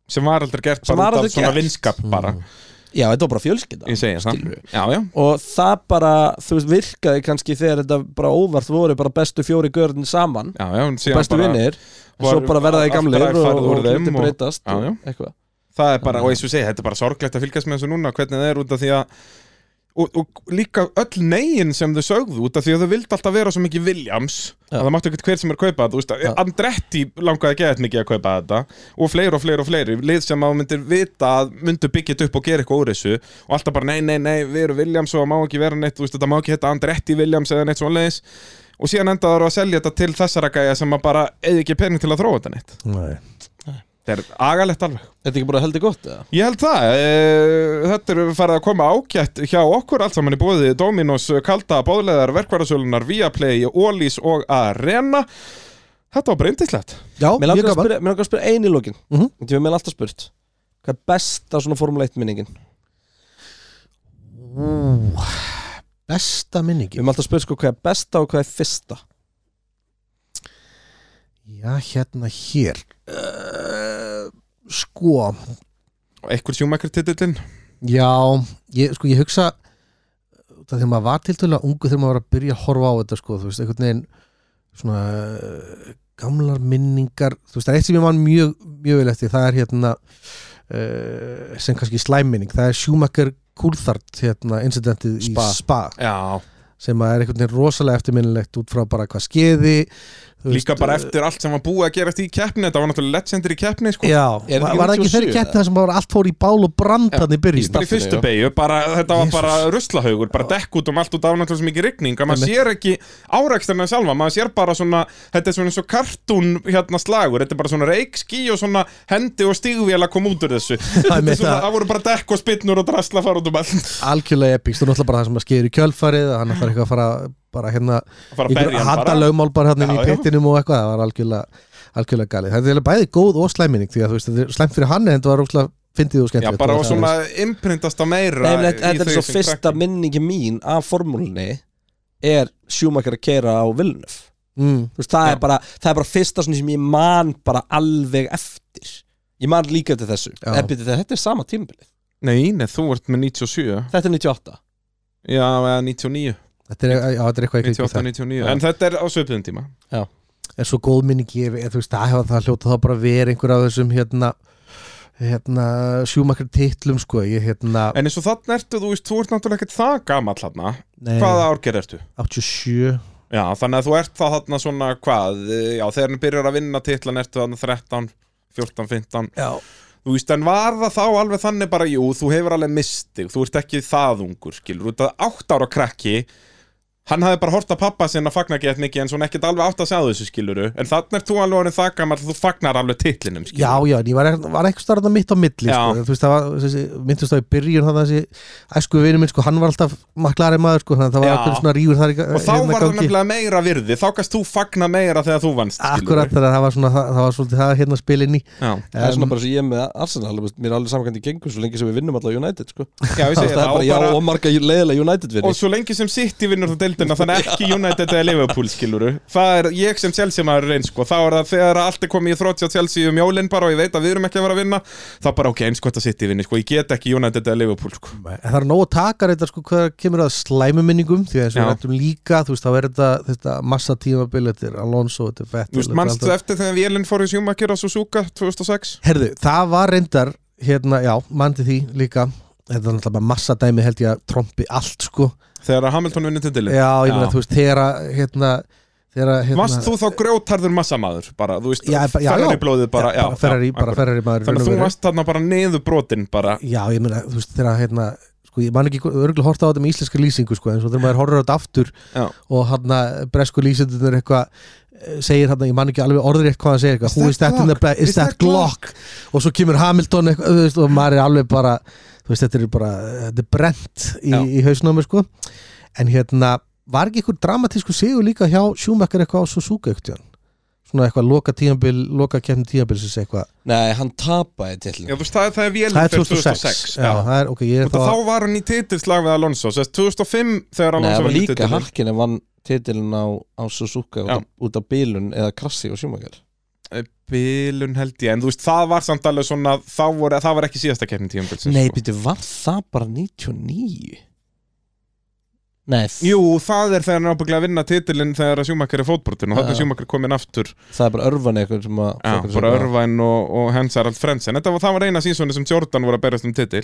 Speaker 2: sem var aldrei gert
Speaker 1: Sem
Speaker 2: bara
Speaker 1: var aldrei
Speaker 2: út af svona
Speaker 1: gert. Mm.
Speaker 2: vinskap bara
Speaker 1: já, þetta var bara fjölskylda
Speaker 2: Ég segi það
Speaker 1: skilurðu.
Speaker 2: Já, já
Speaker 1: og það bara, þú veist, virkaði kannski þegar þetta bara óvart voru bara bestu fjóri görðin saman
Speaker 2: Já, já, en síðan
Speaker 1: bestu
Speaker 2: bara-
Speaker 1: vinnir, en
Speaker 2: var-
Speaker 1: svo bara verða þið
Speaker 2: aftur
Speaker 1: gamlir
Speaker 2: að
Speaker 1: og,
Speaker 2: farið
Speaker 1: og,
Speaker 2: úr
Speaker 1: og
Speaker 2: þeim
Speaker 1: hluti
Speaker 2: og-
Speaker 1: breytast
Speaker 2: Já,
Speaker 1: og
Speaker 2: já.
Speaker 1: eitthvað
Speaker 2: Það er bara, og eins og segja, þetta er bara sorglegt að fylgjast með þessu núna hvernig það er út af því að og, og líka öll negin sem þau sögðu út af því að þau vildi alltaf vera svo mikið Williams
Speaker 1: Já.
Speaker 2: að það máttu ekkert hver sem er að kaupa þetta þú veist,
Speaker 1: Já.
Speaker 2: Andretti langaði ekki eitthvað mikið að kaupa þetta og fleiri og fleiri og fleiri lið sem að þú myndir vita að myndu byggja þetta upp og gera eitthvað úr þessu og alltaf bara nei, nei, nei, við erum Williams og það má ekki vera neitt þú veist, þetta má ekki þetta Andretti Williams eða neitt svoleiðis og síðan endaður að selja þetta til þessara gæja sem að bara eigi ekki pening til að þróa þetta neitt
Speaker 3: Nei.
Speaker 2: þetta er agalegt alveg
Speaker 1: Þetta er ekki bara heldur gott, eða?
Speaker 2: Ég held það, e, þetta er farið að koma ágætt hjá okkur allt saman í bóði Dominos, Kalda, Bóðleðar, Verkvarðasölunar, Viaplay, Ólís og Arena Þetta var bara yndislegt
Speaker 3: Já,
Speaker 1: Mér langar
Speaker 3: mjög
Speaker 1: að
Speaker 3: gaman
Speaker 1: spyrja, mig langar að spyrja einu í lókin
Speaker 3: Mhm.
Speaker 1: Þetta er mér alltaf spurt Hvað er besta svona Formule 1 minningin?
Speaker 3: Ú, Besta
Speaker 1: Við
Speaker 3: minningi
Speaker 1: erum alltaf spurt sko hvað er besta og hvað er fyrsta
Speaker 3: já, hérna hér uh, sko
Speaker 2: Eitthvað sjúmækri titillin
Speaker 3: já, ég, sko, ég hugsa það þegar maður var til tölulega ungu þegar maður var að byrja að horfa á þetta sko, þú veist, einhvern veginn svona uh, gamlar minningar þú veist, það er eitt sem ég mann mjög mjög vel eftir, það er hérna uh, sem kannski slæmminning, það er Schumacher Coulthard, hérna, incidentið
Speaker 1: Spa.
Speaker 3: í Spa,
Speaker 2: Já,
Speaker 3: sem að er einhvern veginn rosalega eftirminnilegt út frá bara hvað skeiði þú
Speaker 2: líka
Speaker 3: veist,
Speaker 2: bara
Speaker 3: uh,
Speaker 2: eftir allt sem var búið að gerast í keppni Þetta var náttúrulega legendir í keppni sko.
Speaker 3: Já,
Speaker 1: Er þetta
Speaker 3: var
Speaker 1: ekki
Speaker 3: var það ekki
Speaker 1: 97
Speaker 3: þeirri kætti það sem bara allt fór í bál og brand hann í byrjun
Speaker 2: Bara í fyrstu
Speaker 1: já.
Speaker 2: beigju, bara, þetta var
Speaker 3: Jesus.
Speaker 2: bara ruslahaugur bara dekk út um allt og það var náttúrulega svo mikið rigning að maður
Speaker 3: Einmitt.
Speaker 2: sér ekki áreksturna sjálfa maður sér bara svona, þetta er svona svo kartún hérna slagur, þetta er bara svona reikski og svona hendi og stígvél að koma út úr þessu Þetta er
Speaker 3: Einmitt,
Speaker 2: svona,
Speaker 3: það-
Speaker 2: það voru bara dekk og spinnur og drasla að fara út um allt
Speaker 3: Algjörlega epíks, þú er náttúrulega bara það sem að skeiður í kjölfarið og hann þarf eitthvað að fara bara hérna
Speaker 2: að fara að
Speaker 3: einhver
Speaker 2: berja hann
Speaker 3: handa
Speaker 2: bara
Speaker 3: lögmál bara hann
Speaker 2: Já,
Speaker 3: í
Speaker 2: já.
Speaker 3: pittinum og eitthvað, það var algjörlega algjörlega galið, það er eiginlega bæði góð og slæminning því að þú veist, þetta er slæmt fyrir hann en þetta var rúkslega fyndið
Speaker 2: Já,
Speaker 3: og skemmtilegt
Speaker 2: bara og
Speaker 3: Það er-
Speaker 2: svona imprintast að meira
Speaker 1: Nei, menn,
Speaker 2: í
Speaker 1: þetta er
Speaker 2: þau
Speaker 1: svo
Speaker 2: sem
Speaker 1: fyrsta
Speaker 2: krakki.
Speaker 1: minningi mín af formúlunni er sjúmakar að keira á Villeneuve
Speaker 3: mm,
Speaker 1: Þú veist, það,
Speaker 2: Já.
Speaker 1: er bara, það er bara fyrsta svona sem ég man bara alveg eftir ég man líka til þessu
Speaker 3: Já.
Speaker 1: Epi, þetta, þetta er sama tímabilið,
Speaker 2: Nei, nei, þú ert með 97
Speaker 1: þetta er 98
Speaker 2: Já, eða 99
Speaker 3: þetta er, já, þetta er eitthvað ekki
Speaker 2: 98,
Speaker 3: það
Speaker 2: 99
Speaker 1: Já.
Speaker 2: En þetta er á svipiðum tíma
Speaker 3: en svo góð minning ég, ég- þú veist, það hefur það hljóta þá bara verið einhver af þessum hérna hérna, sjúmakar titlum sko, ég hérna,
Speaker 2: En eins og þannig ertu, þú veist, þú ert náttúrulega ekkert það gamall hana
Speaker 3: nei,
Speaker 1: Eh.
Speaker 2: Hvaða árgerð ertu?
Speaker 3: 87
Speaker 2: Já, þannig að þú ert það þarna svona hvað, eh, já, þegar hann byrjar að vinna titlan ertu þarna 13, 14, 15
Speaker 3: Já.
Speaker 2: Þú veist, en var það þá alveg þannig bara, jú, þú hefur alveg mistið, þú ert ekki það ungur, skilur, út að átt ára krakki Hann hafði bara hort að pappa sinna fagna gett mikið en svona ekkert alveg átt að segja þessu skiluru En þannig er þú alveg orðin það gammal þú fagnar alveg titlinum skilur
Speaker 3: Já, já, en ég var, ekk- var eitthvað starfðan mitt á milli
Speaker 2: Já.
Speaker 3: sko. þú veist, það var, þessi, myndist það í byrjun þannig að þessi æsku vinur minn, sko, hann var alltaf maklari maður, sko, þannig að það var
Speaker 2: Já.
Speaker 3: eitthvað svona rífur þar í ga-
Speaker 2: Og þá
Speaker 3: hérna
Speaker 2: var það
Speaker 3: gangi.
Speaker 2: nefnilega meira virði, þá kannst þú fagna meira þegar þú vannst
Speaker 3: Akkurat þegar það var svona, það, það var svolítið það hérna spilin í
Speaker 2: Já,
Speaker 1: það er
Speaker 3: Em,
Speaker 1: svona bara sem ég er með Arsenal þú veist, mér er alveg samankandi gengur svo lengi sem við vinnum alla United sko.
Speaker 2: já ég
Speaker 1: það
Speaker 2: segi
Speaker 1: er bara já og marga leiðilega United
Speaker 2: Og
Speaker 1: vinni
Speaker 2: svo lengi sem City vinnur þá deildina Þannig ekki United eða Liverpool skiluru Það er ég sem Chelsea maður reyns sko Þá er það þegar allt er komið í þrótt hjá Chelsea um jólinn bara og ég veit að við erum ekki að vera að vinna Þá bara ok, eins gott að City vinni sko Ég get ekki United eða Liverpool sko
Speaker 3: En það er nóg að taka þetta, sko, hvað kemur að slæmu minningum, því að eins og við
Speaker 2: Já.
Speaker 3: rættum líka þú veist, þá er þetta, þetta massa tímabil þetta er Alonso, þetta er Vettel
Speaker 2: Þú veist,
Speaker 3: þetta er
Speaker 2: manstu
Speaker 3: alltaf-
Speaker 2: eftir þegar Vélinn fór í Schumacher á Suzuka 2006
Speaker 3: Herðu, það var reyndar, hérna, já, mandi því líka þetta er náttúrulega bara massa dæmi held ég að trompi allt, sko
Speaker 2: Þegar að Hamilton vinnur tindilin
Speaker 3: Já, ég meina, þú veist, þegar að, hérna, þegar að, hérna
Speaker 2: Varst þú þá grjótarður massamaður bara, þú veist,
Speaker 3: Já, bara- já, já.
Speaker 2: Ferrari blóðið bara, já,
Speaker 3: Ferrari,
Speaker 2: já,
Speaker 3: bara
Speaker 2: akkurat.
Speaker 3: Ferrari maður í raun
Speaker 2: Þannig
Speaker 3: og
Speaker 2: að þú
Speaker 3: veru.
Speaker 2: varst þarna bara niður brotin bara
Speaker 3: Já, ég meina, þú veist, þegar að, hérna sko, ég man ekki örgulega horta á þetta með íslenska lýsingu sko, en svo þegar maður horfir á þetta aftur
Speaker 2: Já.
Speaker 3: og hann bresku lýsindunir eitthvað eh, segir hann, ég man ekki alveg orður eitthvað hann segir eitthvað,
Speaker 2: Is
Speaker 3: who
Speaker 2: that
Speaker 3: is that, in the
Speaker 2: Glock?
Speaker 3: back, is, that, Glock? og svo kemur Hamilton eitthvað, þú veist, og maður er alveg bara þú veist, þetta er bara, þetta er brent í,
Speaker 2: Já.
Speaker 3: í hausnámi, sko en hérna, var ekki eitthvað dramatísku sigur líka hjá Schumacher eitthvað á Suzuka eitthvað svona eitthvað loka tíambil, loka kemni tíambilsins eitthvað
Speaker 1: nei, hann tapaði
Speaker 2: Já,
Speaker 1: til
Speaker 2: þú veist, það, það er Vélinn
Speaker 3: það er
Speaker 2: fer
Speaker 3: 2006,
Speaker 2: 2006
Speaker 3: Já, það er, okay, ég er
Speaker 2: Þá,
Speaker 3: þá-
Speaker 2: þá var hann í titilslag við Alonso sérst 2005 þegar
Speaker 1: Hérna- nei,
Speaker 2: Alonso
Speaker 1: það var
Speaker 2: vann
Speaker 1: líka
Speaker 2: titilinn.
Speaker 1: harkinn en vann titilin á, á Suzuka út,
Speaker 2: Já.
Speaker 1: af- út af bílun eða krassi og sjúmakar
Speaker 2: Bilun held ég, en þú veist, það var samt alveg svona þá voru, það var ekki síðasta keppni tíumbilsins
Speaker 1: nei,
Speaker 2: sko.
Speaker 1: býtu, var það bara 99? nei,
Speaker 2: Jú, það er þegar hann ábygglega að vinna titilinn þegar að sjúmakar er fótbrotin og þannig
Speaker 1: Já.
Speaker 2: að sjúmakar komin aftur
Speaker 1: það er bara örvan eitthvað sem að
Speaker 2: já,
Speaker 1: fólk er
Speaker 2: bara
Speaker 1: að-
Speaker 2: Örvæn og, og Hans Harald Frensen Þetta var, það var eina sínsoni sem Jordan voru að berjast
Speaker 1: <gasps>
Speaker 2: um titil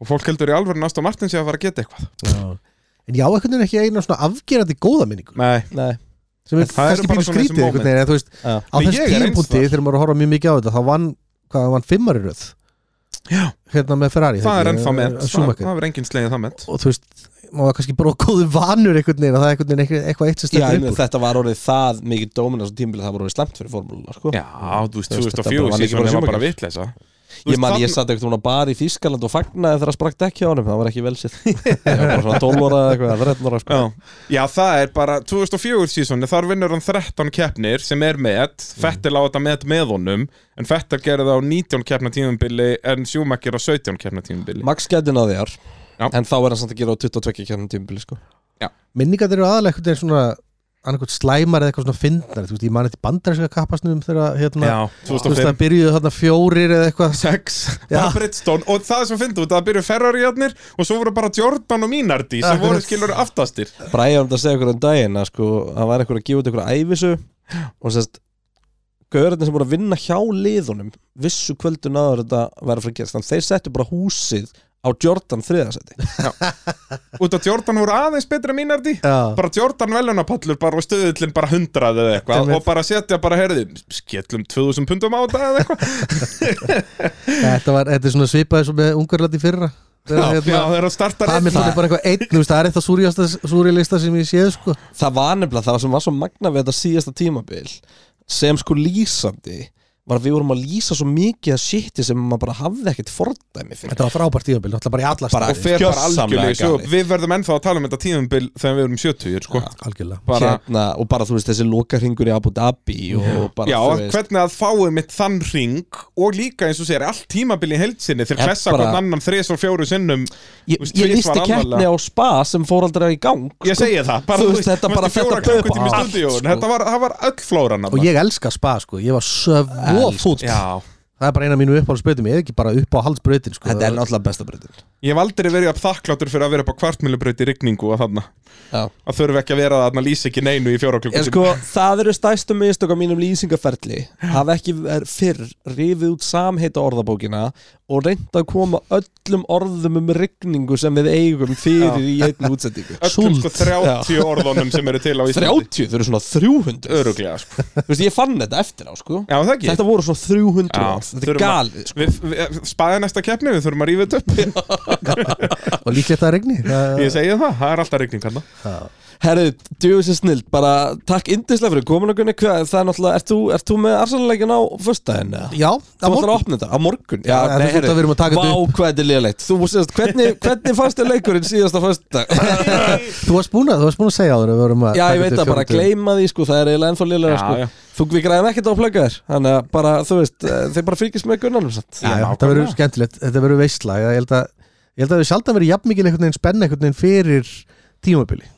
Speaker 2: og fólk heldur í alvöru Aston Martin sé að fara að geta eitthvað
Speaker 3: Já. En já, einhvern veginn ekki eina svona afgerandi góða minningu
Speaker 2: Nei,
Speaker 1: nei,
Speaker 3: sem er
Speaker 2: það eru
Speaker 3: kannski
Speaker 2: bara
Speaker 3: býr
Speaker 2: svona þessi
Speaker 3: skrítið einhvern veginn, en þú veist,
Speaker 1: já.
Speaker 3: á
Speaker 2: Nei, ég
Speaker 3: þessu
Speaker 2: er eins
Speaker 3: tímpúti
Speaker 2: þar.
Speaker 3: þegar maður horfa mjög mikið á þetta þá vann, hvað, það vann fimmari röð
Speaker 2: Já.
Speaker 3: hérna með Ferrari
Speaker 2: það er
Speaker 3: ekki,
Speaker 2: ennþá
Speaker 3: eh,
Speaker 2: ment
Speaker 3: eh,
Speaker 2: Það
Speaker 3: Schumacher.
Speaker 2: það er enginn slegið það ment
Speaker 3: og þú veist, maður var kannski bara góðu vanur einhvern veginn og það er einhvern veginn eitthvað- eitthvað eitt sem
Speaker 1: Já, ég
Speaker 3: stendur
Speaker 1: meina,
Speaker 3: upp úr
Speaker 1: þetta var orðið það mikið dóminans og tímbilið það var orðið slemt fyrir formúluna sko.
Speaker 2: Já, þú veist,
Speaker 1: Þú veist, þetta
Speaker 2: 2004
Speaker 1: var líka bara
Speaker 2: sísoni var bara
Speaker 1: Schumacher.
Speaker 2: vitleysa
Speaker 1: Ég man, ég satt einhvern veginn á bar í Þískaland og fagnaði þegar það sprakk dekki á honum, það var ekki vel <laughs> sér Það var bara svona 12 óra eða eitthvað, 13 óra sko.
Speaker 2: Já. Já, það er bara 2004 sísoni, þar vinnur hann 13 keppnir sem er met,
Speaker 3: Mhm.
Speaker 2: Fettil á þetta met með honum en Fettil gerði það á 19 keppna tímumbili en Schumacher á 17 keppna tímumbili
Speaker 1: Max gæti náði ár,
Speaker 2: Já.
Speaker 1: en þá er hann samt að gera á 22 kjörnum tímbili sko.
Speaker 3: minningar eru aðalega einhvern veginn svona annarkvæmt slæmar eða eitthvað svona fyndnar þú veist, ég man þetta í bandarinska kappasnum þegar hérna,
Speaker 2: Já,
Speaker 3: þú veist,
Speaker 2: 2005
Speaker 3: það byrjuðu þarna fjórir eða eitthvað
Speaker 2: 6
Speaker 3: Já.
Speaker 2: var Bridgestone og það sem finnst út að byrju Ferrari-jarnir og svo voru bara Jordan og Minardi sem
Speaker 3: Akkurat.
Speaker 2: voru skilur aftastir
Speaker 1: Bræði var að segja okkur um daginn að sko, hann var eitthvað að gefa út eitthvað æfisu og sérst Gaurarnir sem voru að vinna hjá liðunum vissu kvöldun aður þetta verið að fara að gerast þannig að þeir settu bara húsið á Jordan þriðasetti
Speaker 2: út að Jordan voru aðeins betri en Minardi
Speaker 3: Já.
Speaker 2: bara Jordan velunapallur bara og stöðullin bara hundrað eða eitthvað
Speaker 3: Einmitt.
Speaker 2: og bara setja bara herði skellum 2000 pundum á þetta eða
Speaker 3: <laughs>
Speaker 2: eitthvað
Speaker 3: þetta, var, þetta er svona svipaði svo með ungarlandi fyrra
Speaker 2: Já,
Speaker 3: þegar
Speaker 2: já,
Speaker 3: hérna
Speaker 2: það er að starta
Speaker 3: Það
Speaker 2: rétt.
Speaker 3: er bara eitthvað einn, þú veist, það er eitthvað súrjasta, súrjalista sem ég séð, sko.
Speaker 1: Það var nefnilega það sem var svo magna við þetta síðasta tímabil sem sko lýsandi var að við vorum að lýsa svo mikið að shiti sem maður bara hafði ekkert fordæmi fyrir
Speaker 3: Þetta var frábært tíðabil, náttúrulega bara í alla
Speaker 1: Bara-
Speaker 2: og fer bara algjörlega
Speaker 1: Gjörsamlega
Speaker 2: í sögu.
Speaker 1: galið.
Speaker 2: við verðum ennþá að tala um þetta tíðumbil þegar við erum 70 sko.
Speaker 3: staði. Algjörlega.
Speaker 2: bara,
Speaker 1: hérna, og bara þú veist þessi lokarhingur í Abu Dhabi og bara
Speaker 2: já,
Speaker 1: þú veist
Speaker 2: hvernig að fáið mitt þann ring og líka eins og segir allt tímabil í heilsinni þeir
Speaker 1: Er
Speaker 2: klessa
Speaker 1: bara-
Speaker 2: hvern annan þrís og fjóru sinnum
Speaker 1: ég,
Speaker 2: Þú veist,
Speaker 1: ég
Speaker 2: tvisvar
Speaker 1: listi keppni
Speaker 2: alvarlega.
Speaker 1: á spa sem fór aldrei í gang sko.
Speaker 2: ég segi það, bara
Speaker 1: Þú veist, þetta bara-
Speaker 2: varst
Speaker 1: þetta
Speaker 2: í fjóra
Speaker 1: bauð
Speaker 2: klukkutíma í
Speaker 1: bara allt,
Speaker 2: stúdíóinu.
Speaker 1: sko.
Speaker 2: þetta var, það var öll flóran
Speaker 3: Og ég elska spa, sko. Ég var svo
Speaker 1: Elska
Speaker 3: fúll.
Speaker 2: já,
Speaker 3: Það er bara eina af mínu uppáhaldsbrautum. Ég er ekki bara upp á haldsbrautin, sko.
Speaker 1: Þetta er náttúrulega besta breytin
Speaker 2: ég hef aldrei verið jafn þakkláttur fyrir að vera upp á kvartmjölubraut í rigningu og þarna
Speaker 1: Já.
Speaker 2: að þurfa ekki að vera þarna lýsa ekki neinu í fjóra
Speaker 1: En
Speaker 2: klukkutíma
Speaker 1: sko, það eru stæstu mistök á mínum lýsingarferli hafa ekki ver- fyrr rifið út samheita orðabókina og reynda að koma öllum orðum um rigningu sem við eigum fyrir í einn útsendingu
Speaker 2: öllum sko
Speaker 3: súld.
Speaker 2: 30 orðunum sem eru til
Speaker 1: <laughs>
Speaker 2: á Íslandi
Speaker 1: 30, þau eru svona 300
Speaker 2: öruglega sko.
Speaker 1: Þú veist, ég fann þetta eftir á, sko
Speaker 2: já, það ekki
Speaker 1: Þetta voru svona 300
Speaker 2: Já,
Speaker 1: orð, þetta er
Speaker 2: þurfum að-
Speaker 1: galið sko.
Speaker 2: Við, við, spaði næsta keppni, við þurfum að rífa
Speaker 3: <laughs>
Speaker 2: þetta upp
Speaker 3: Og líklegt það regni. Það-
Speaker 2: Ég segi það, það er alltaf rigning hann
Speaker 1: Herðu, djöfisir snild, bara takk indislega fyrir komin og gunni hvað, það er náttúrulega, ert þú, ert þú með arsalanleikin á föstudaginn eða?
Speaker 3: Já, á
Speaker 1: Þú ætlar
Speaker 3: morgun.
Speaker 1: að opna þetta á morgun Já,
Speaker 3: Já, það er
Speaker 1: nei,
Speaker 3: svo
Speaker 1: herri,
Speaker 3: að við erum að taka
Speaker 1: vá
Speaker 3: þetta
Speaker 1: hvað þetta er liðleitt Þú sést,
Speaker 3: <laughs>
Speaker 1: hvernig, hvernig fannst þér leikurinn síðasta föstudag?
Speaker 3: Þú varst búin að, þú varst búin að segja áður að við vorum að
Speaker 1: Já,
Speaker 3: taka
Speaker 1: ég veit
Speaker 3: þetta
Speaker 1: að bara
Speaker 3: fjórum dögum.
Speaker 1: gleyma því sko, það er eiginlega ennþá liðlega
Speaker 2: Já, já.
Speaker 1: sko. Þú við græðum ekkert á að plugga þér Þannig að bara, þú veist, eh, þeir bara fylgjast með um Gunnarnum satt
Speaker 3: Já,
Speaker 2: Já,
Speaker 3: þetta verður
Speaker 2: nákvæmlega.
Speaker 3: skemmtilegt, þetta verður veistla ég held að, ég held að við sjaldan verið jafn mikil einhvern veginn spenna einhvern veginn fyrir tímabili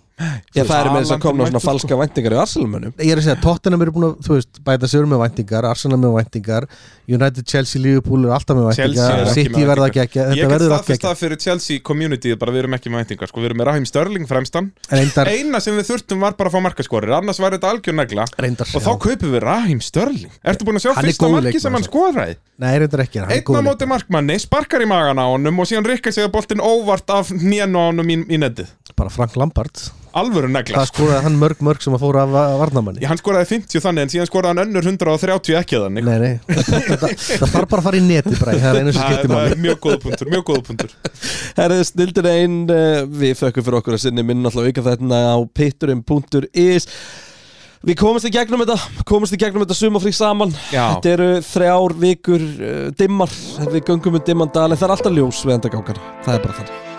Speaker 1: Já, það er með þess að
Speaker 2: Haaland
Speaker 1: komna svona
Speaker 2: mættur,
Speaker 3: sko.
Speaker 1: falska væntingar í Arsalmönnum
Speaker 3: Ég er að segja, Tottenham eru búin að, þú veist, bæta sigur með væntingar Arsenal með væntingar, United, Chelsea, Liverpool eru alltaf með
Speaker 2: Chelsea er
Speaker 3: væntingar
Speaker 2: ekki
Speaker 3: City
Speaker 2: með
Speaker 3: verða
Speaker 2: væntingar.
Speaker 3: ekki ekki,
Speaker 2: Ég get
Speaker 3: þetta verður ekki
Speaker 2: staðfist
Speaker 3: ekki
Speaker 2: það fyrir Chelsea community bara við erum ekki með væntingar, sko, við erum með Raheem Sterling fremstan
Speaker 3: Reyndar,
Speaker 2: Eina sem við þurftum var bara að fá markaskorir annars var þetta algjör negla
Speaker 3: reyndar,
Speaker 2: og þá kaupum við Raheem Sterling Ertu búin að sjá
Speaker 3: Hann er
Speaker 2: fyrsta
Speaker 3: góður
Speaker 2: marki sem
Speaker 3: leikmaður,
Speaker 2: hann skoraði?
Speaker 3: nei, reyndar ekki hann er
Speaker 2: Einna
Speaker 3: góður
Speaker 2: móti markmanni, sparkar í magan á honum og síðan rikka sig að boltinn óvart af nén á honum í, í netið
Speaker 3: leikmaður. Bara Frank Lampard,
Speaker 2: Alvöru negla
Speaker 3: það skoraði hann mörg mörg sem að fóra af af varnamanni
Speaker 2: Já, Hann skoraði 50 þannig en síðan skoraði hann önnur 130 ekki þannig
Speaker 3: Nei, <laughs> nei, það, það þarf bara að fara í neti bræ, það er einu sem
Speaker 2: Það
Speaker 3: skiptir
Speaker 2: það
Speaker 3: máli
Speaker 2: er mjög góða punktur, mjög góða punktur
Speaker 1: Herðu, snildin einn, eh, við þökkum fyrir okkur að sinni minn alltaf auka þetta á pitturum.is Við komumst í gegnum þetta, komumst í gegnum þetta sumafrí saman
Speaker 2: Já.
Speaker 1: Þetta eru eh, þrjár vikur uh, dimmar, við göngum um dimman dal en það er alltaf ljós við enda gákana, það er bara þannig